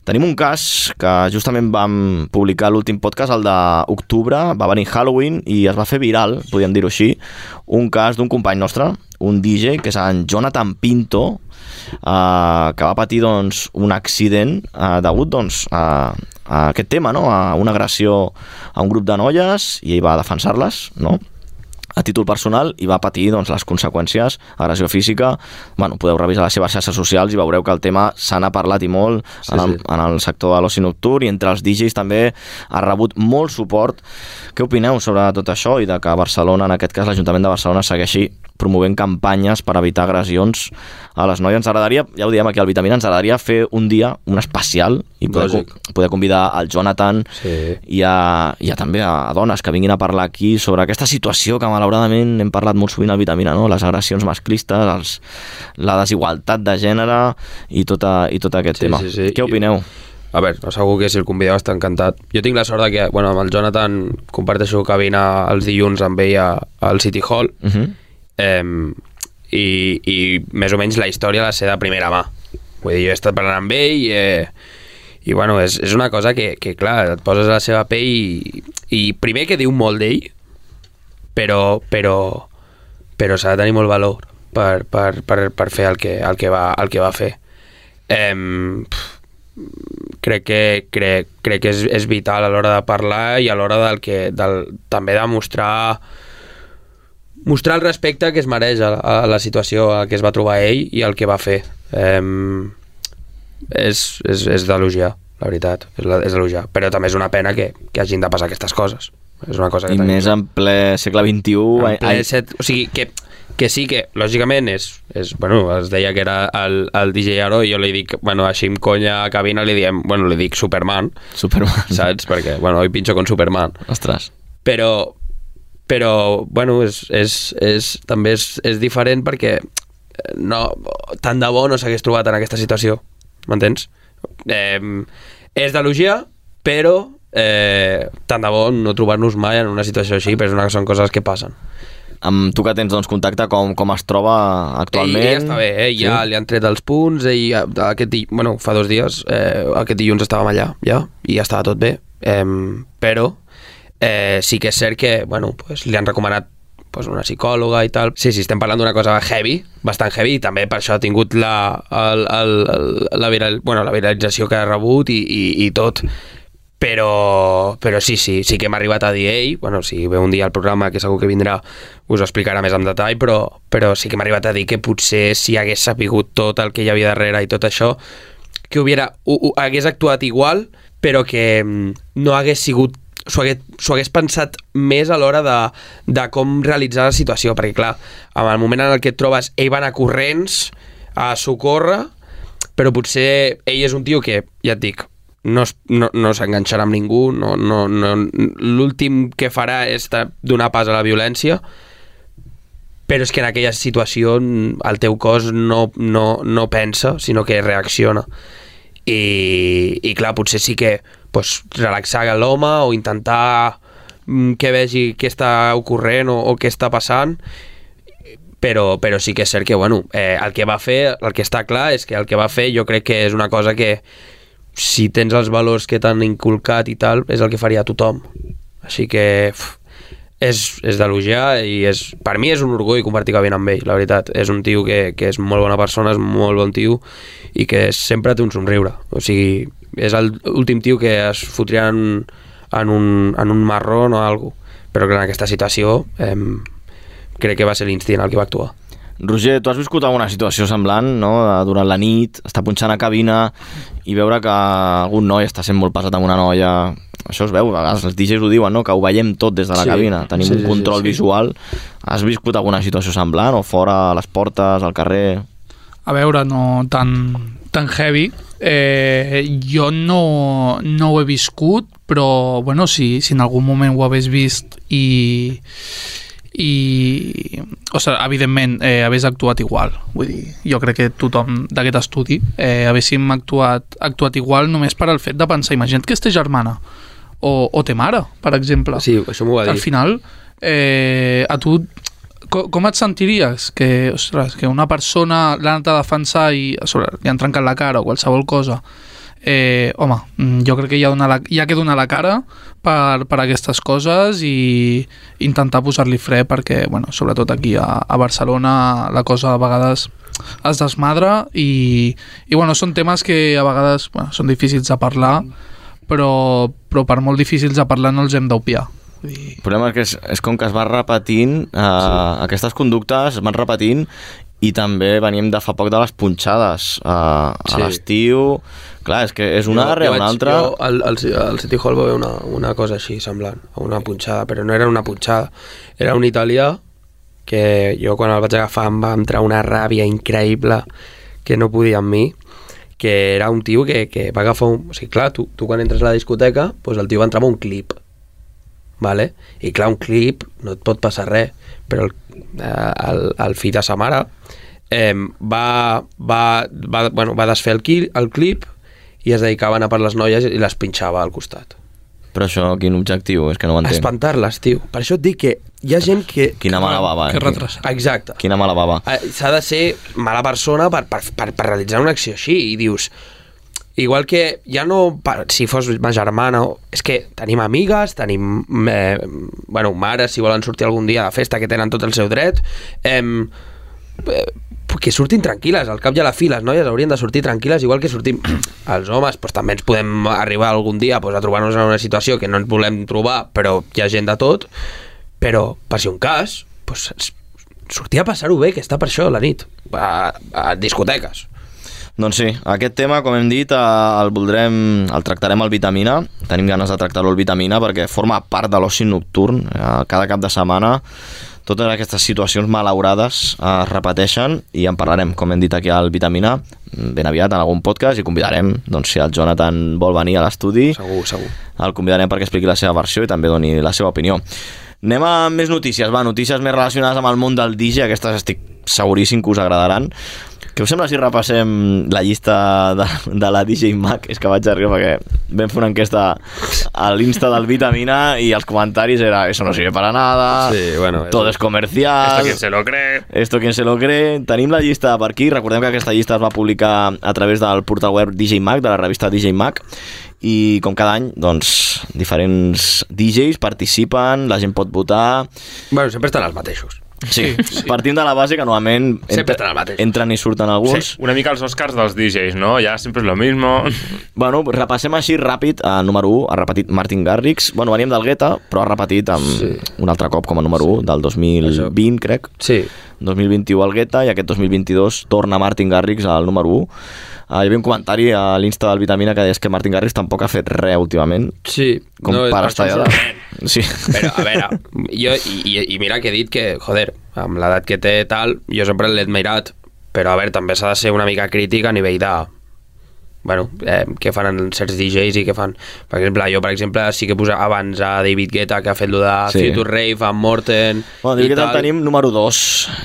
Speaker 6: Tenim un cas que justament vam publicar a l'últim podcast, el d'octubre, va venir Halloween i es va fer viral, podríem dir-ho així, un cas d'un company nostre, un DJ, que és en Jonathan Pinto, eh, que va patir doncs, un accident eh, degut doncs, a, a aquest tema, no? a una agressió a un grup de noies i ell va defensar-les, no? a títol personal i va patir doncs, les conseqüències, agressió física. Bueno, podeu revisar les seves xarxes socials i veureu que el tema se n'ha parlat i molt sí, en, el, sí. en el sector de l'oci nocturn i entre els DJs també ha rebut molt suport. Què opineu sobre tot això i de que Barcelona, en aquest cas l'Ajuntament de Barcelona, segueixi promovent campanyes per evitar agressions a les noies. Ens agradaria, ja ho diem aquí al Vitamina, ens agradaria fer un dia, un especial, i poder,
Speaker 21: Lògic.
Speaker 6: co- poder convidar al Jonathan sí. i, a, i a, també a, a dones que vinguin a parlar aquí sobre aquesta situació que malauradament hem parlat molt sovint al Vitamina, no? les agressions masclistes, els, la desigualtat de gènere i tot, a, i tot aquest tema. Què opineu?
Speaker 10: A veure, segur que si el convideu està encantat. Jo tinc la sort de que, bueno, amb el Jonathan comparteixo cabina els dilluns amb ell a- al City Hall
Speaker 6: Uh -huh.
Speaker 10: eh, i, i més o menys la història la sé de primera mà. Vull dir, jo he estat parlant amb ell i, eh, i bueno, és, és una cosa que, que, clar, et poses a la seva pell i, i primer que diu molt d'ell, però, però, però s'ha de tenir molt valor per, per, per, per fer el que, el que, va, el que va fer. Em, pff, crec que, crec, crec que és, és vital a l'hora de parlar i a l'hora del que del, també de mostrar mostrar el respecte que es mereix a, a la situació a la que es va trobar ell i el que va fer um, és, és, és d'elogiar la veritat, és, la, és d'elogiar però també és una pena que, que hagin de passar aquestes coses és una cosa que
Speaker 6: I
Speaker 10: tenim.
Speaker 6: més en ple segle XXI...
Speaker 10: En ple set, o sigui, que, que sí que, lògicament, és, és, bueno, es deia que era el, el DJ Aro i jo li dic, bueno, així amb conya a cabina li diem, bueno, li dic Superman.
Speaker 6: *laughs*
Speaker 10: *laughs*
Speaker 6: Superman.
Speaker 10: Saps? Perquè, bueno, hoy pincho con Superman.
Speaker 6: Ostres.
Speaker 10: Però, però bueno, és, és, és, també és, és diferent perquè eh, no, tant de bo no s'hagués trobat en aquesta situació, m'entens? Eh, és d'elogiar, però eh, tant de bo no trobar-nos mai en una situació així, però és una, són coses que passen.
Speaker 6: Amb tu que tens doncs, contacte, com, com es troba actualment?
Speaker 10: Ell ja està bé, eh? ja li han tret els punts, ell, ja- aquest, di- bueno, fa dos dies, eh, aquest dilluns estàvem allà, ja, i ja estava tot bé, eh, però eh, sí que és cert que, bueno, pues, li han recomanat pues, una psicòloga i tal. Sí, sí, estem parlant d'una cosa heavy, bastant heavy, i també per això ha tingut la, el, el, el, la, viral, bueno, la viralització que ha rebut i, i, i tot. Però, però sí, sí, sí que hem arribat a dir ell, bueno, si ve un dia al programa, que segur que vindrà, us ho explicarà més en detall, però, però sí que hem arribat a dir que potser si hagués sapigut tot el que hi havia darrere i tot això, que hubiera, ho, ho, hagués actuat igual, però que mm, no hagués sigut s'ho hagués, s'ho hagués pensat més a l'hora de, de com realitzar la situació, perquè clar, en el moment en el que et trobes ell va anar corrents a socórrer, però potser ell és un tio que, ja et dic, no, es- no, no s'enganxarà amb ningú, no, no, no, l'últim que farà és de- donar pas a la violència, però és que en aquella situació el teu cos no, no, no pensa, sinó que reacciona. I, i clar, potser sí que pues, relaxar l'home o intentar mm, que vegi què està ocorrent o, o què està passant però, però sí que és cert que bueno, eh, el que va fer, el que està clar és que el que va fer jo crec que és una cosa que si tens els valors que t'han inculcat i tal, és el que faria tothom així que pff, és, és d'elogiar i és, per mi és un orgull compartir cabina amb ell, la veritat és un tio que, que és molt bona persona, és molt bon tio i que sempre té un somriure o sigui, és l'últim tio que es fotria en, en, un, en un marró o alguna però clar, en aquesta situació em, crec que va ser l'instint el que va actuar.
Speaker 6: Roger, tu has viscut alguna situació semblant, no?, de- durant la nit, estar punxant a cabina i veure que algun noi està sent molt passat amb una noia... Això es veu, a vegades els DJs ho diuen, no?, que ho veiem tot des de la
Speaker 21: Sí,
Speaker 6: cabina, tenim
Speaker 21: sí,
Speaker 6: un
Speaker 21: sí,
Speaker 6: control
Speaker 21: sí, sí.
Speaker 6: visual. Has viscut alguna situació semblant, o fora, a les portes, al carrer...
Speaker 11: a veure, no tan, tan heavy. Eh, jo no, no ho he viscut, però bueno, si, si en algun moment ho hagués vist i, i o sigui, evidentment eh, hagués actuat igual vull dir, jo crec que tothom d'aquest estudi eh, haguéssim actuat, actuat igual només per al fet de pensar imagina't que és ta germana o, o te mare, per exemple
Speaker 10: sí, això m'ho va
Speaker 11: dir al final eh, a tu co- com et sentiries que, ostres, que una persona l'ha anat a defensar i a sobre, li han trencat la cara o qualsevol cosa eh, home, mm, jo crec que hi ha, donar la, hi ha que donar la cara per, per aquestes coses i intentar posar-li fre perquè, bueno, sobretot aquí a, a Barcelona la cosa a vegades es desmadra i, i bueno, són temes que a vegades bueno, són difícils de parlar però, però per molt difícils de parlar no els hem d'opiar
Speaker 6: El problema és que és, és com que es va repetint, eh, sí. aquestes conductes es van repetint i també veníem de fa poc de les punxades eh, a
Speaker 10: Sí.
Speaker 6: l'estiu. Clar, és que és una
Speaker 10: Jo-
Speaker 6: darrere
Speaker 10: jo vaig-
Speaker 6: una altra.
Speaker 10: Jo, al, al, al City Hall va haver una, una cosa així semblant, a una punxada, però no era una punxada, era un italià que jo quan el vaig agafar em va entrar una ràbia increïble que no podia amb mi, que era un tio que, que va agafar un... O sigui, clar, tu, tu quan entres a la discoteca, doncs el tio va entrar amb un clip, vale? i clar, un clip no et pot passar res, però el, eh, el, el fill de sa mare eh, va, va, va, bueno, va desfer el, qui- el clip i es dedicava a anar per les noies i les pinxava al costat.
Speaker 6: Però això, quin objectiu? És que no ho
Speaker 10: A
Speaker 6: entenc.
Speaker 10: espantar-les, tio. Per això et dic que hi ha gent que...
Speaker 6: Quina mala bava, eh? Que retrasat.
Speaker 10: Exacte.
Speaker 6: Quina mala bava.
Speaker 10: Eh, S'ha de ser mala persona per, per, per, per realitzar una acció així i dius... Igual que ja no... per- Si fos ma germana... o- És que tenim amigues, tenim... Eh, bueno, mares, si volen sortir algun dia de festa, que tenen tot el seu dret. Em, eh, que surtin tranquil·les, al cap i a la fi les noies haurien de sortir tranquil·les, igual que sortim *clears throat* els homes, doncs també ens podem arribar algun dia doncs, a trobar-nos en una situació que no ens volem trobar, però hi ha gent de tot però per si un cas doncs, s- sortir a passar-ho bé, que està per això la nit a, a discoteques
Speaker 6: Doncs sí, aquest tema, com hem dit, eh, el voldrem, el tractarem al Vitamina. Tenim ganes de tractar-lo al Vitamina perquè forma part de l'oci nocturn. eh, Cada cap de setmana totes aquestes situacions malaurades eh, es repeteixen i en parlarem, com hem dit aquí al Vitamina, ben aviat en algun podcast i convidarem, doncs, si el Jonathan vol venir a l'estudi,
Speaker 10: segur, segur.
Speaker 6: el convidarem perquè expliqui la seva versió i també doni la seva opinió. Anem a més notícies, va, notícies més relacionades amb el món del DJ, aquestes estic seguríssim que us agradaran. Què us sembla si repassem la llista de, de la DJ Mac? És que vaig arribar perquè vam fer una enquesta a l'Insta del Vitamina i els comentaris era eso no sirve para nada,
Speaker 10: Sí, bueno,
Speaker 6: todo
Speaker 10: eso-
Speaker 6: es comercial...
Speaker 7: Esto quién se lo cree.
Speaker 6: Esto quien se lo cree. Tenim la llista per aquí. Recordem que aquesta llista es va publicar a través del portal web DJ Mag, de la revista DJ Mag. I com cada any, doncs, diferents DJs participen, la gent pot votar...
Speaker 10: Bueno, sempre estan els mateixos.
Speaker 6: Sí, sí. partint de la base que normalment
Speaker 10: Sempre
Speaker 6: entra, entren i surten alguns.
Speaker 7: Sí, una mica els Oscars dels DJs, no? Ja sempre és lo mismo. *laughs*
Speaker 6: Bueno, repassem així ràpid. A número 1 ha repetit Martin Garrix. Bueno, veníem del Guetta, però ha repetit amb sí. un altre cop com a número 1 del 2020, Això. crec.
Speaker 10: Sí.
Speaker 6: 2021 al Guetta i aquest 2022 torna Martin Garrix al número 1. Uh, hi havia un comentari a l'Insta del Vitamina que deies que Martin Garrix tampoc ha fet res últimament.
Speaker 10: Sí,
Speaker 6: Com
Speaker 10: no, és
Speaker 6: per
Speaker 10: per
Speaker 6: estar
Speaker 10: això
Speaker 6: allà.
Speaker 10: sorprèn.
Speaker 6: Sí.
Speaker 10: Però, a veure, jo, i, i mira que he dit que, joder, amb l'edat que té tal, jo sempre l'he admirat, però a veure, també s'ha de ser una mica crític a nivell de... Bueno, eh, què fan en certs DJs i què fan... Per exemple, jo, per exemple, sí que posava abans a David Guetta, que ha fet lo de
Speaker 6: Sí.
Speaker 10: sí. Future Rave, amb Morten...
Speaker 6: *laughs* Bueno, David Guetta el tenim número 2.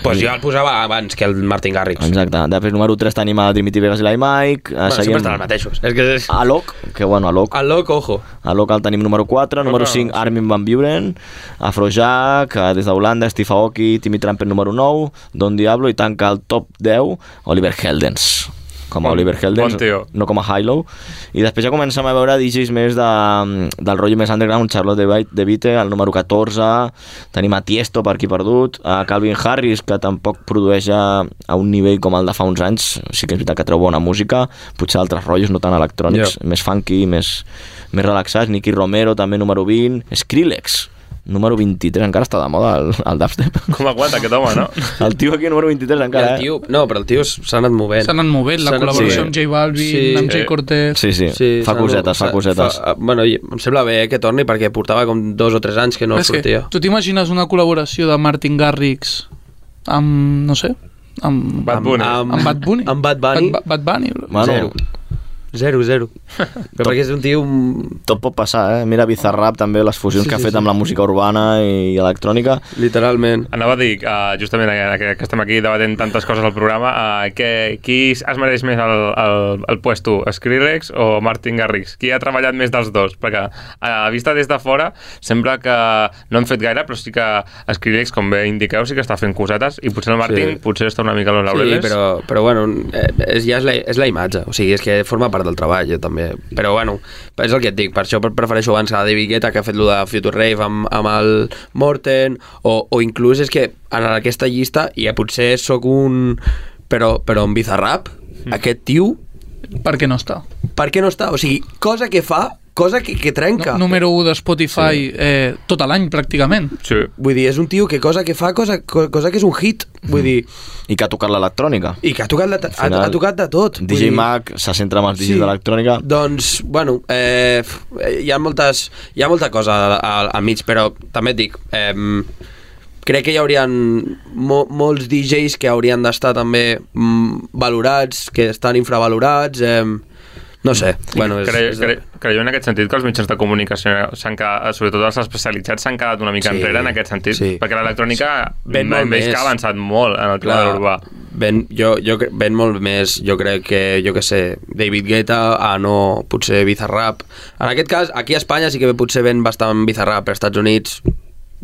Speaker 10: Pues jo el posava abans que el Martin Garrix.
Speaker 6: Exacte. Després, número 3 tenim a Dimitri Vegas i l'Imike.
Speaker 10: Bueno, sempre estan els mateixos. És que és...
Speaker 6: Alok, que bueno, Alok.
Speaker 10: Alok, ojo.
Speaker 6: Alok el tenim número 4, número 5 Armin Van Buren, Afrojack, eh, des d'Holanda, Steve Aoki, Timmy Trumpet número 9, Don Diablo i tanca el top 10 Oliver Heldens com a
Speaker 7: Bon-
Speaker 6: Oliver Heldens,
Speaker 7: bon tio.
Speaker 6: no com a Hilo i després ja comencem a veure DJs més de, del rotllo més underground Charlotte de, Vite- de Vite, el número 14 tenim a Tiesto per aquí perdut a Calvin Harris, que tampoc produeix a, a un nivell com el de fa uns anys sí que és veritat que treu bona música potser altres rotllos no tan electrònics
Speaker 10: Ja.
Speaker 6: més funky, més, més relaxats Nicky Romero també número 20, Skrillex número 23, encara està de moda el, el dubstep
Speaker 7: Com aguanta aquest home, no?
Speaker 6: el tio aquí número 23 encara eh?
Speaker 10: I el tio, no, però el tio s'ha anat movent.
Speaker 11: S'ha anat movent, la
Speaker 10: S'ha anat
Speaker 11: col·laboració amb J Balvin, amb
Speaker 10: eh,
Speaker 11: J Cortez. Sí, sí, fa
Speaker 10: s'ha-
Speaker 11: cosetes, fa
Speaker 10: s'ha-
Speaker 11: cosetes.
Speaker 10: fa- bueno, i em sembla bé que torni perquè portava com dos o tres anys que no
Speaker 11: És que
Speaker 10: sortia.
Speaker 11: tu t'imagines una col·laboració de Martin Garrix amb, no sé, amb...
Speaker 10: Bad Bunny.
Speaker 11: Amb, amb Bad Bunny.
Speaker 10: Amb Bad Bunny.
Speaker 11: Bad, Bad Bunny. bro.
Speaker 10: Zero. Zero,
Speaker 11: *laughs*
Speaker 10: zero. Però perquè és un tio...
Speaker 6: Tot pot passar, eh? Mira Bizarrap també, les fusions
Speaker 10: Sí,
Speaker 6: sí, que ha
Speaker 10: sí,
Speaker 6: fet
Speaker 10: sí.
Speaker 6: amb la música urbana i electrònica.
Speaker 10: Literalment.
Speaker 7: Anava a dir, uh, justament eh, que, que estem aquí debatent tantes coses al programa, uh, que, qui es mereix més el, el, el puesto, Skrillex o Martin Garrix? Qui ha treballat més dels dos? Perquè a la vista des de fora sembla que no han fet gaire, però sí que Skrillex, com bé indiqueu, sí que està fent cosetes i potser el Martin
Speaker 10: Sí.
Speaker 7: sí. potser està una mica a los
Speaker 10: Sí,
Speaker 7: laureles.
Speaker 10: però, però bueno, eh, és, ja és la, és la imatge, o sigui, és que forma part del treball, jo també. Però bueno, és el que et dic, per això prefereixo abans a David Guetta, que ha fet lo de Future Rave amb, amb el Morten, o, o inclús és que en aquesta
Speaker 11: Hmm.
Speaker 10: llista, i ja potser sóc un... Però, però en Bizarrap, mm. aquest tio
Speaker 11: Per què no està?
Speaker 10: Per què no està? O sigui, cosa que fa, cosa que, que trenca.
Speaker 11: No, número 1 de Spotify
Speaker 10: Sí.
Speaker 11: eh, tot l'any, pràcticament.
Speaker 7: Sí.
Speaker 10: Vull dir, és un tio que cosa que fa, cosa, co- cosa que és un hit.
Speaker 7: Mhm.
Speaker 10: Vull dir,
Speaker 6: I que ha tocat l'electrònica.
Speaker 10: i que ha tocat, la, ta- ha,
Speaker 6: Al final,
Speaker 10: ha tocat de tot. Vull
Speaker 6: DJ
Speaker 10: dir-
Speaker 6: Mag se centra en els DJs
Speaker 10: Sí.
Speaker 6: d'electrònica.
Speaker 10: Doncs, bueno, eh, f- eh, hi, ha moltes, hi ha molta cosa al, al, al mig, però també et dic, eh, crec que hi haurien mo, molts DJs que haurien d'estar també mm, valorats, que estan infravalorats, eh, no sé. Bueno, és,
Speaker 7: Cre,
Speaker 10: és
Speaker 7: cre, creieu en aquest sentit que els mitjans de comunicació s'han quedat, sobretot els especialitzats, s'han quedat una mica
Speaker 10: Sí,
Speaker 7: sí, enrere en aquest sentit?
Speaker 10: sí.
Speaker 7: Sí. Perquè l'electrònica
Speaker 10: Ven molt
Speaker 7: veig
Speaker 10: més.
Speaker 7: que ha avançat molt en el tema de l'urbà.
Speaker 10: Ben, jo, jo, cre- ben molt més, jo crec que, jo que sé, David Guetta a no, potser Bizarrap. En aquest cas, aquí a Espanya sí que potser ven bastant Bizarrap, però als Estats Units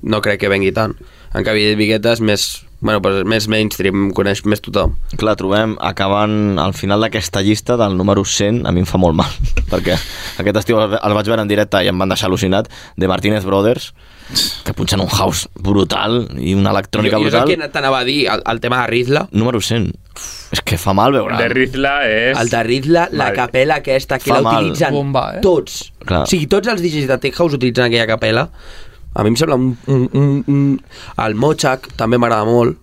Speaker 10: no crec que vengui tant. En canvi, David Guetta és més, bueno, pues, més mainstream, coneix més tothom.
Speaker 6: Clar, trobem acabant al final d'aquesta llista del número 100, a mi em fa molt mal, *laughs* perquè aquest estiu el, el vaig veure en directe i em van deixar al·lucinat, de Martínez Brothers, que punxen un house brutal i una electrònica
Speaker 10: jo, jo és el
Speaker 6: brutal.
Speaker 10: que t'anava a dir, el, el tema de Rizla.
Speaker 6: Número 100. És que fa mal veure.
Speaker 10: De
Speaker 7: Rizla és...
Speaker 10: El de Rizla, la capella aquesta, que
Speaker 6: Fa
Speaker 10: la
Speaker 6: mal.
Speaker 10: utilitzen
Speaker 6: Bomba, eh?
Speaker 10: tots.
Speaker 6: Clar.
Speaker 10: O sigui, tots els DJs de Tech House utilitzen aquella capella. A mi em sembla un... un, un, un... El Mochak també m'agrada molt.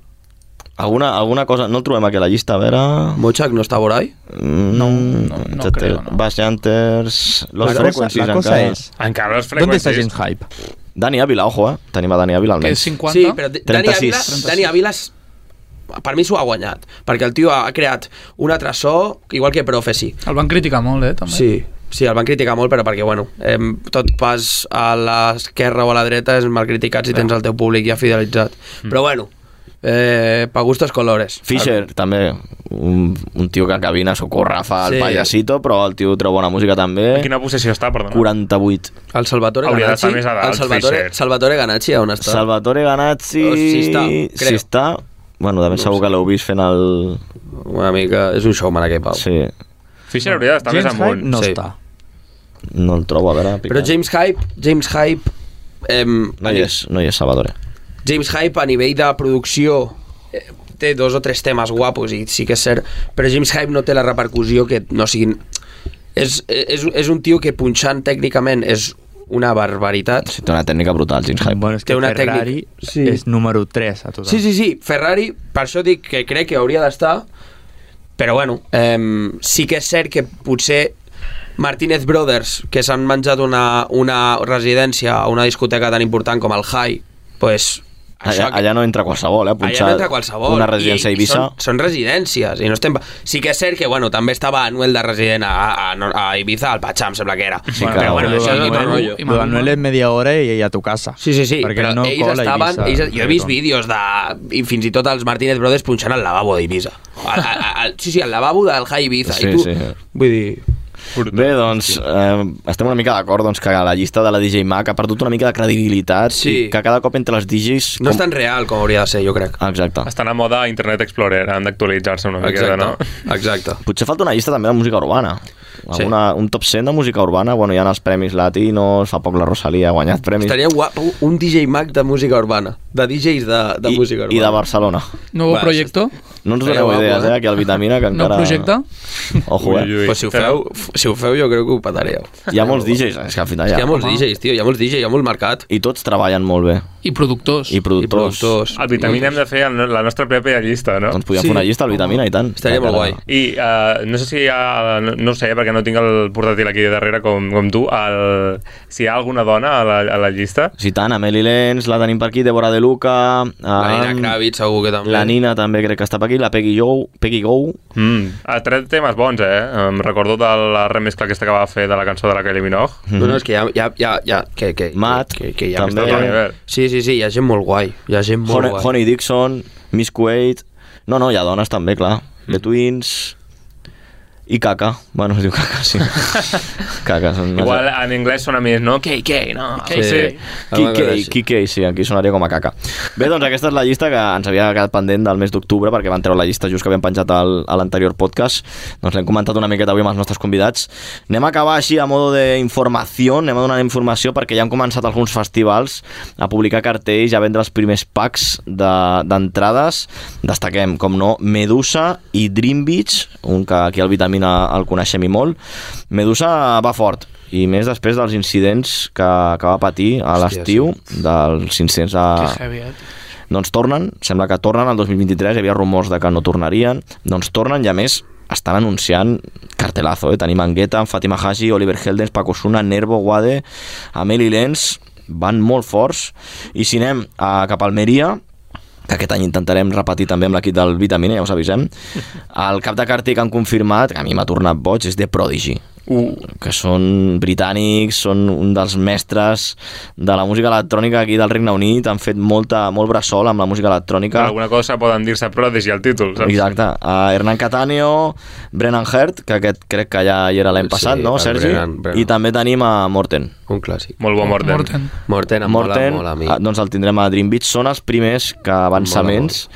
Speaker 6: Alguna, alguna cosa... No el trobem aquí a la llista, a veure...
Speaker 10: Mochak no està por ahí?
Speaker 6: No, no, no creo, no. Mm, Bass Hunters, Los Frequencies encara.
Speaker 7: Encara les
Speaker 6: ¿Dónde
Speaker 7: freqüències...
Speaker 6: está James Hype? Dani Ávila, ojo, eh? Tenim a Dani Ávila almenys.
Speaker 10: Sí, però D- Dani
Speaker 6: 36.
Speaker 10: Ávila, Dani Ávila és- per mi s'ho ha guanyat, perquè el tio ha creat un altre so, igual que Prophecy.
Speaker 11: El van criticar molt, eh, també.
Speaker 10: Sí, sí, el van criticar molt, però perquè, bueno, em, tot pas a l'esquerra o a la dreta és mal criticat si tens el teu públic ja fidelitzat. Però, bueno, eh, pa gustos colores.
Speaker 6: Fisher, també, un, un tio que cabina socorra, fa
Speaker 10: Sí.
Speaker 6: el payasito, però el tio treu bona música també.
Speaker 10: En quina
Speaker 7: posició està, perdona?
Speaker 6: 48.
Speaker 10: El Salvatore
Speaker 7: Hauria
Speaker 10: Ganacci,
Speaker 7: d'estar més a dalt,
Speaker 10: el Salvatore,
Speaker 7: Fisher.
Speaker 10: Salvatore Ganacci, on està?
Speaker 6: Salvatore Ganacci...
Speaker 10: O si està,
Speaker 6: si
Speaker 10: creo.
Speaker 6: Oh, està bueno, també segur que l'heu vist fent el...
Speaker 10: Una mica... És un showman, aquest Pau.
Speaker 6: Sí.
Speaker 7: Fisher hauria d'estar més amunt. sí.
Speaker 6: No el trobo, a veure...
Speaker 10: Però James Hype, James Hype... Em,
Speaker 6: No hi és, no hi és Salvatore.
Speaker 10: James Hype a nivell de producció eh, té dos o tres temes guapos i sí que és cert, però James Hype no té la repercussió que no siguin és, és, és un tio que punxant tècnicament és una barbaritat
Speaker 6: sí, té una tècnica brutal James Hype
Speaker 10: bueno, que
Speaker 20: Ferrari és número 3 a tot
Speaker 10: sí, sí, sí, Ferrari per això dic que crec que hauria d'estar però bueno, eh, sí que és cert que potser Martínez Brothers, que s'han menjat una, una residència a una discoteca tan important com el High, pues, això
Speaker 6: Allà, allà no entra qualsevol, eh? Punxar
Speaker 10: Allà no entra qualsevol.
Speaker 6: Una residència a
Speaker 10: I- i
Speaker 6: Eivissa...
Speaker 10: Són, són residències. I no estem... Sí que és cert que, bueno, també estava Anuel de resident a, a, a Ibiza, al Patxà, em sembla que era. Sí,
Speaker 20: que
Speaker 10: però, bueno, això és
Speaker 20: Manuel-
Speaker 10: otro rotllo.
Speaker 20: lo d'Anuel és media hora i, i a tu casa.
Speaker 10: Sí, sí, sí,
Speaker 20: Perquè
Speaker 10: però
Speaker 20: no
Speaker 10: ells
Speaker 20: cola
Speaker 10: estaven...
Speaker 20: Eivissa,
Speaker 10: ells, jo he vist
Speaker 20: reggaeton.
Speaker 10: vídeos de... I fins i tot els Martínez Brothers punxant al lavabo d'Ibiza. Al- al- al- Sí, sí, al lavabo del High Ibiza. I tu, Vull dir...
Speaker 6: Bé, doncs, eh, estem una mica d'acord doncs, que la llista de la DJ Mac ha perdut una mica de credibilitat sí. i que cada cop entre els DJs...
Speaker 10: No és tan real com hauria de ser, jo crec.
Speaker 6: Exacte.
Speaker 7: Estan a moda Internet Explorer, han d'actualitzar-se una miqueta, Ah, no?
Speaker 10: Exacte, exacte.
Speaker 6: Potser falta una llista també de música urbana.
Speaker 10: Sí.
Speaker 6: Alguna, Un top 100 de música urbana. Bueno, hi ha els premis latinos, fa poc la Rosalia ha guanyat premis.
Speaker 10: Estaria guap un DJ Mac de música urbana. De DJs de, de música urbana.
Speaker 6: I de Barcelona.
Speaker 11: Nuevo
Speaker 10: Va,
Speaker 11: projecte?
Speaker 6: No ens
Speaker 10: Estaria
Speaker 6: doneu
Speaker 10: guapo,
Speaker 6: idees,
Speaker 10: eh?
Speaker 6: eh? Aquí al Vitamina,
Speaker 11: *laughs*
Speaker 6: que
Speaker 11: Nou
Speaker 6: encara...
Speaker 11: projecte?
Speaker 6: Ojo, eh?
Speaker 10: Pues si ho feu, f- si ho feu jo crec que ho petaríeu.
Speaker 6: Hi ha molts DJs, és que al final hi
Speaker 10: És
Speaker 6: ha...
Speaker 10: que hi ha molts DJs, tio, hi ha molts DJs, hi ha molt mercat.
Speaker 6: I tots treballen molt bé.
Speaker 11: I productors.
Speaker 6: I productors.
Speaker 10: Doncs
Speaker 7: Al Vitamina hem de fer el- la nostra prèpia llista, no?
Speaker 6: Doncs podíem fer una llista al Vitamina i tant. Encara-
Speaker 7: I uh, no sé si hi ha, no, no ho sé perquè no tinc el portàtil aquí darrere com, com tu, el, si hi ha alguna dona a la, a la llista.
Speaker 6: Sí, tant, Amelie Lenz, la tenim per aquí, Débora De Luca... La
Speaker 10: Nina Kravitz, segur que també.
Speaker 6: Ah, La Nina també crec que està per aquí, la Peggy Go... Peggy Go.
Speaker 7: Mm. Ha tret temes bons, eh? Em recordo de la remescla aquesta que va fer de la cançó de la Kylie Minogue.
Speaker 10: No, no, és que hi ha... Hi ha, hi ha, hi ha que, que, Matt, que, que hi ha
Speaker 6: també.
Speaker 10: aquesta dona. Sí, sí, sí, hi ha gent molt guai. Hi ha gent molt
Speaker 6: Honey,
Speaker 10: guai.
Speaker 6: Honey Dixon, Miss Kuwait... No, no, hi ha dones també, clar.
Speaker 10: Mm.
Speaker 6: The Twins... I Caca. Bueno, es diu Caca,
Speaker 10: *laughs*
Speaker 6: sí. Caca, són... unes-
Speaker 7: Igual en anglès sona més, no? KK, no?
Speaker 6: Kikei, Kikei, sí, aquí sonaria com a caca. Bé, doncs aquesta és la llista que ens havia quedat pendent del mes d'octubre perquè van treure la llista just que havíem penjat al, a l'anterior podcast. Doncs l'hem comentat una miqueta avui amb els nostres convidats. Anem a acabar així a modo d'informació, anem a donar informació perquè ja han començat alguns festivals a publicar cartells, a vendre els primers packs de- d'entrades. De, Destaquem, com no, Medusa i Dream Beach, un que aquí al Vitamina Molina el coneixem i molt. Medusa va fort, i més després dels incidents que, que va patir a
Speaker 22: Hòstia,
Speaker 6: l'estiu, dels incidents a...
Speaker 22: Que heavy, eh?
Speaker 6: Doncs tornen, sembla que tornen, el 2023 hi havia rumors de que no tornarien, doncs tornen i a més estan anunciant cartelazo, eh? tenim Angueta, Fatima Haji, Oliver Heldens, Paco Suna, Nervo, Guade, Ameli Lenz, van molt forts, i si anem a, cap a Almeria, que aquest any intentarem repetir també amb l'equip del Vitamina, ja us avisem. El cap de cartell que han confirmat, que a mi m'ha tornat boig, és The Prodigy. Uh. que són britànics, són un dels mestres de la música electrònica aquí del Regne Unit, han fet molta, molt bressol amb la música electrònica.
Speaker 7: Per alguna cosa poden dir-se Prodigy al títol, saps?
Speaker 6: Exacte. Uh, Hernán Cataneo, Brennan Hurt, que aquest crec que ja hi era l'any
Speaker 7: Sí,
Speaker 6: passat, no,
Speaker 7: el
Speaker 6: Sergi?
Speaker 7: Brennan- Brennan.
Speaker 6: I també tenim a Morten. Un clàssic.
Speaker 7: Molt bo, Morten. Morten.
Speaker 6: Morten,
Speaker 7: em mola molt a mi.
Speaker 6: ah, doncs el tindrem a Dream Beach. Són els primers que avançaments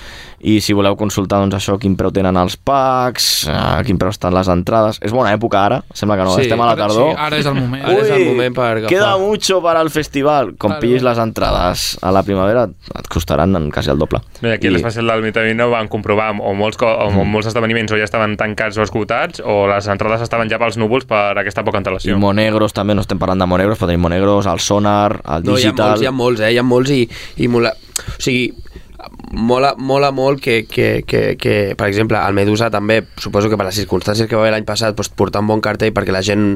Speaker 6: i si voleu consultar doncs, això, quin preu tenen els packs, a quin preu estan les entrades... És bona època ara, sembla que no,
Speaker 10: Sí,
Speaker 6: estem a la
Speaker 10: ara-
Speaker 6: tardor.
Speaker 10: sí, ara és el moment.
Speaker 6: Ui,
Speaker 10: Ara és el moment per agafar.
Speaker 6: Queda mucho para el festival. Com pillis les entrades a la primavera et costaran en quasi el doble.
Speaker 7: Bé, aquí I... les fases del Vitamina van comprovar o molts, co- o mm. molts esdeveniments o ja estaven tancats o esgotats o les entrades estaven ja pels núvols per aquesta poca
Speaker 6: I
Speaker 7: antelació.
Speaker 6: Monegros també, no estem parlant de Monegros, però tenim Monegros, el Sonar, el
Speaker 10: No, hi ha
Speaker 6: Digital...
Speaker 10: molts, hi ha molts, eh? Hi ha molts i, i mola... O sigui, mola, mola molt que, que, que, que, per exemple, el Medusa també, suposo que per les circumstàncies que va haver l'any passat, doncs, portar un bon cartell perquè la gent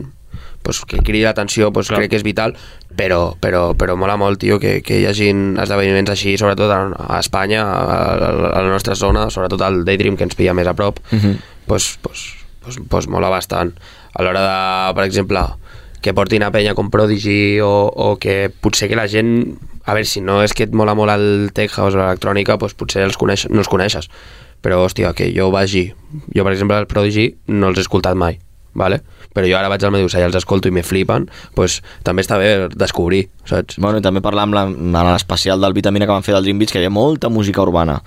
Speaker 10: doncs, que cridi l'atenció doncs, crec que és vital, però, però, però mola molt, tio, que, que hi hagin esdeveniments així, sobretot a, a Espanya, a, a, a la nostra zona, sobretot al Daydream, que ens pilla més a prop,
Speaker 6: Mhm.
Speaker 10: pues, pues, pues, pues mola bastant. A l'hora de, per exemple, que portin a penya com Prodigy o, o que potser que la gent... A veure, si no és que et mola molt el tech house o l'electrònica, pues potser els coneix, no els coneixes. Però, hòstia, que jo vagi... Jo, per exemple, el Prodigy no els he escoltat mai, vale? però jo ara vaig al Medusa i els escolto i me flipen, pues, també està bé descobrir, saps?
Speaker 6: Bueno, i també parlar amb la, en l'especial del Vitamina que van fer del Dream Beach, que hi havia molta música urbana.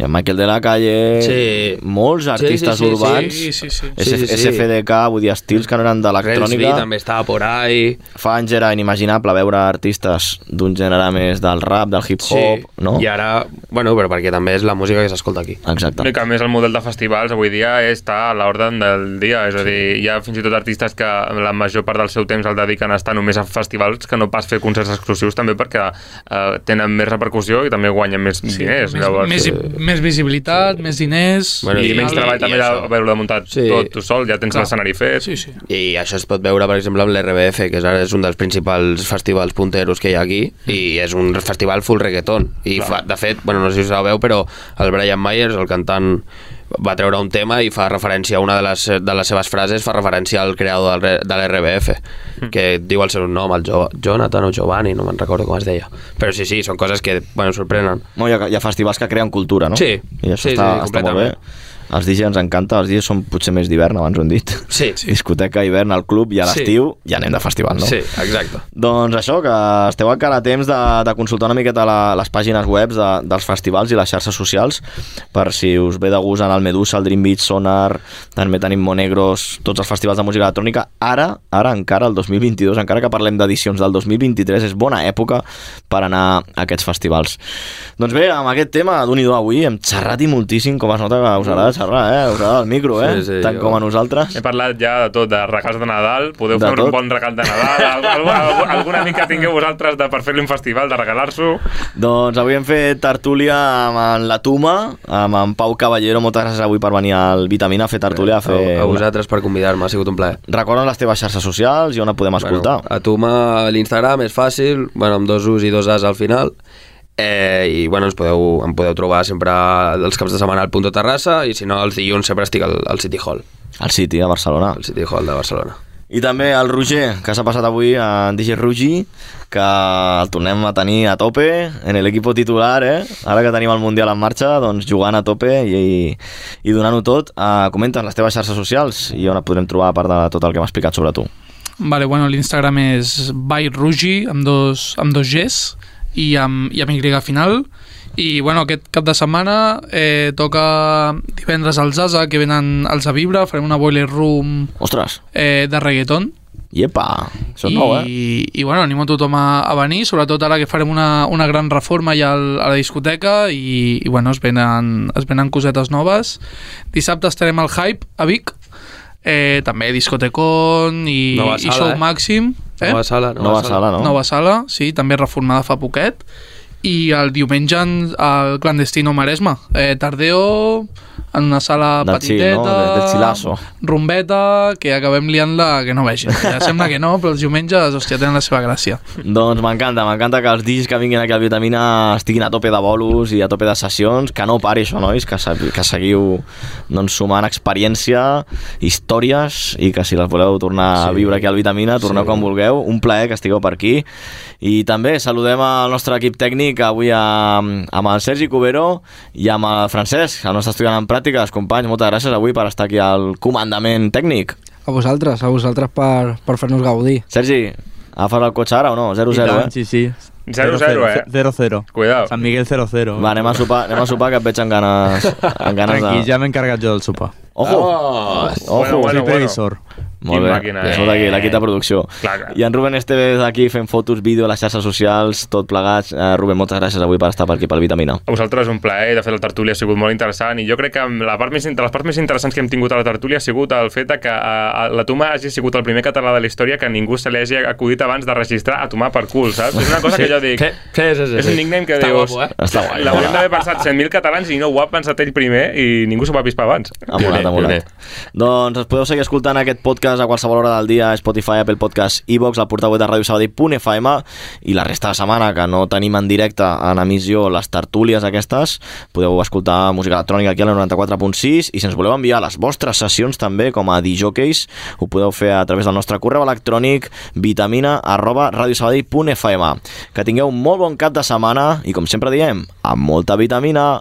Speaker 6: Hi ha Michael de la Calle,
Speaker 10: Sí.
Speaker 6: molts
Speaker 10: Sí,
Speaker 6: artistes
Speaker 10: sí, sí,
Speaker 6: urbans,
Speaker 10: sí, sí, sí.
Speaker 6: SF,
Speaker 10: Sí, sí, sí.
Speaker 6: SFDK, vull dir, estils que no eren d'electrònica.
Speaker 10: Relsby també estava por ahí.
Speaker 6: Fa anys era inimaginable veure artistes d'un gènere més del rap, del hip-hop, no?
Speaker 10: I ara, bueno, però perquè també és la música que s'escolta aquí.
Speaker 6: Exacte.
Speaker 7: No, i que a més el model de festivals avui dia està a l'ordre del dia, és a dir, hi ha fins i tot artistes que la major part del seu temps el dediquen a estar només a festivals que no pas fer concerts exclusius també perquè eh, tenen més repercussió i també guanyen més sí, diners.
Speaker 11: Més, més,
Speaker 7: eh,
Speaker 11: més visibilitat, més diners...
Speaker 7: Bueno, I, menys treball també d'haver-ho muntat
Speaker 10: Sí.
Speaker 7: sí. tot tu sol, ja tens
Speaker 10: Clar.
Speaker 7: l'escenari fet.
Speaker 11: Sí, sí.
Speaker 10: I això es pot veure, per exemple, amb l'RBF, que és ara és un dels principals festivals punteros que hi ha aquí, i és un festival full reggaeton. I, fa, de fet, bueno, no sé si us sabeu, però el Brian Myers, el cantant, va treure un tema i fa referència a una de les, de les seves frases, fa referència al creador del, re- de l'RBF, que diu el seu nom, el jo, Jonathan o Giovanni, no me'n recordo com es deia. Però sí, sí, són coses que, bueno, sorprenen.
Speaker 6: No, hi, ha, hi ha festivals que creen cultura, no?
Speaker 10: Sí.
Speaker 6: I això està,
Speaker 10: Sí, sí, sí,
Speaker 6: està molt bé.
Speaker 10: completament.
Speaker 6: Els DJs ens encanta, els DJs són potser més d'hivern, abans ho hem dit.
Speaker 10: Sí.
Speaker 6: *laughs* Discoteca, hivern, al club i a
Speaker 10: Sí.
Speaker 6: l'estiu ja anem de festival, no?
Speaker 10: Sí, exacte.
Speaker 6: Doncs això, que esteu encara a temps de, de consultar una miqueta la, les pàgines webs de, dels festivals i les xarxes socials per si us ve de gust anar al Medusa, al Dream Beach, Sonar, també tenim Monegros, tots els festivals de música electrònica. Ara, ara encara, el 2022, encara que parlem d'edicions del 2023, és bona època per anar a aquests festivals. Doncs bé, amb aquest tema d'un i do avui hem xerrat i moltíssim, com es nota que us agrada xerrar, eh? Us agrada el micro, eh?
Speaker 7: Sí, sí,
Speaker 6: Tant
Speaker 7: jo-
Speaker 6: com a nosaltres.
Speaker 7: He parlat ja de tot, de regals de Nadal, podeu
Speaker 6: De
Speaker 7: fer
Speaker 6: tot.
Speaker 7: un bon regal de Nadal, alg- alg- alguna mica tingueu vosaltres de, per fer-li un festival, de regalar-s'ho.
Speaker 6: Doncs avui hem fet tertúlia amb en la Tuma, amb en Pau Caballero. Moltes gràcies avui per venir al Vitamina a fer tertúlia. A, fer
Speaker 10: Eh, A, a vosaltres per convidar-me, ha sigut un plaer.
Speaker 6: Recorda'm les teves xarxes socials i on et podem escoltar.
Speaker 10: Bueno, a tu mà, l'Instagram és fàcil, bueno, amb dos U's i dos A's al final. Eh, I bueno, ens podeu, em podeu trobar sempre els caps de setmana al Punto Terrassa i si no, els dilluns sempre estic al, al City Hall.
Speaker 6: Al City, a Barcelona.
Speaker 10: Al City Hall de Barcelona.
Speaker 6: I també el Roger, que s'ha passat avui, en DJ Rugi, que el tornem a tenir a tope en l'equipo titular, eh? Ara que tenim el Mundial en marxa, doncs jugant a tope i, i, i donant-ho tot. Uh, comenta'n les teves xarxes socials i on et podrem trobar a part de tot el que hem explicat sobre tu.
Speaker 11: Vale, bueno, l'Instagram és byrugi, amb dos, amb dos Gs i amb, i amb Y final. I bueno, aquest cap de setmana eh, toca divendres al Zaza, que venen els a Vibra, farem una boiler room
Speaker 6: Ostres!
Speaker 11: eh, de reggaeton.
Speaker 6: Iepa! Això és
Speaker 11: I,
Speaker 6: nou, eh?
Speaker 11: I bueno, animo a tothom a, a venir, sobretot ara que farem una, una gran reforma ja al, a la discoteca i, i bueno, es venen, es venen cosetes noves. Dissabte estarem al Hype a Vic, eh, també Discotecon i,
Speaker 10: Nova
Speaker 11: i
Speaker 10: sala,
Speaker 11: Show
Speaker 10: eh?
Speaker 11: Màxim. eh?
Speaker 10: Nova sala, nova Nova sala. sala, no?
Speaker 11: Nova sala, sí, també reformada fa poquet. I el diumenge en- al clandestino Maresme. Eh, Tardeo, en una sala
Speaker 6: Del chill,
Speaker 11: petiteta...
Speaker 6: no? De- del chillazo.
Speaker 11: Rumbeta, que acabem liant-la que no vegin. Ja sembla que no, però els diumenges, hòstia, tenen la seva gràcia.
Speaker 6: Doncs m'encanta, m'encanta que els digis que vinguin aquí al Vitamina estiguin a tope de bolos i a tope de sessions, que no pari això, nois, que, sa- que seguiu doncs, sumant experiència, històries, i que si les voleu tornar sí. a viure aquí al Vitamina, torneu sí. quan vulgueu. Un plaer que estigueu per aquí. I també saludem al nostre equip tècnic avui amb, amb el Sergi Cubero i amb el Francesc, el nostre estudiant en pràctiques. Companys, moltes gràcies avui per estar aquí al comandament tècnic.
Speaker 8: A vosaltres, a vosaltres per, per fer-nos gaudir.
Speaker 6: Sergi, agafes el cotxe ara o no? 0-0,
Speaker 8: I
Speaker 6: eh?
Speaker 8: tant,
Speaker 6: Sí, sí.
Speaker 8: 0-0, eh?
Speaker 6: 0-0.
Speaker 7: Cuidado.
Speaker 6: Sant Miguel 0-0. Va, anem a sopar, anem a sopar que et veig amb ganes, amb ganes
Speaker 20: Tranquil,
Speaker 6: de...
Speaker 20: ja m'he encarregat jo del sopar.
Speaker 6: Ojo!
Speaker 20: Oh,
Speaker 6: Ojo,
Speaker 20: bueno, bueno,
Speaker 6: soy
Speaker 20: bueno.
Speaker 6: previsor. Molt
Speaker 20: Quin
Speaker 6: bé,
Speaker 20: màquina,
Speaker 6: ja
Speaker 20: eh?
Speaker 6: surt aquí, l'equip de producció.
Speaker 20: Clar, clar.
Speaker 6: I en Ruben Esteves aquí fent fotos, vídeo a les xarxes socials, tot plegat. Eh, Ruben, moltes gràcies avui per estar per aquí pel Vitamina.
Speaker 7: A vosaltres un plaer, de fet la tertúlia ha sigut molt interessant i jo crec que amb la part més, de les parts més interessants que hem tingut a la tertúlia ha sigut el fet de que a, a, la Toma hagi sigut el primer català de la història que ningú se li hagi acudit abans de registrar a Tomà per cul, saps? És una cosa
Speaker 10: Sí.
Speaker 7: que jo dic...
Speaker 10: Sí, sí, sí, sí,
Speaker 7: és un
Speaker 10: sí.
Speaker 7: nickname que
Speaker 10: Està
Speaker 7: dius...
Speaker 10: guapo, eh? Està guai.
Speaker 7: L'haurien d'haver pensat 100.000 catalans i no ho ha pensat ell primer i ningú s'ho va pispar abans.
Speaker 6: Ha molat, ha molat. Doncs ens podeu seguir escoltant aquest podcast a qualsevol hora del dia, Spotify, Apple Podcast, iVox, la portaveu de Ràdio Sabadell.fm i la resta de setmana, que no tenim en directe en emissió les tertúlies aquestes, podeu escoltar música electrònica aquí a la 94.6 i si ens voleu enviar les vostres sessions també com a DJs, ho podeu fer a través del nostre correu electrònic vitamina arroba radiosabadell.fm Que tingueu un molt bon cap de setmana i com sempre diem, amb molta vitamina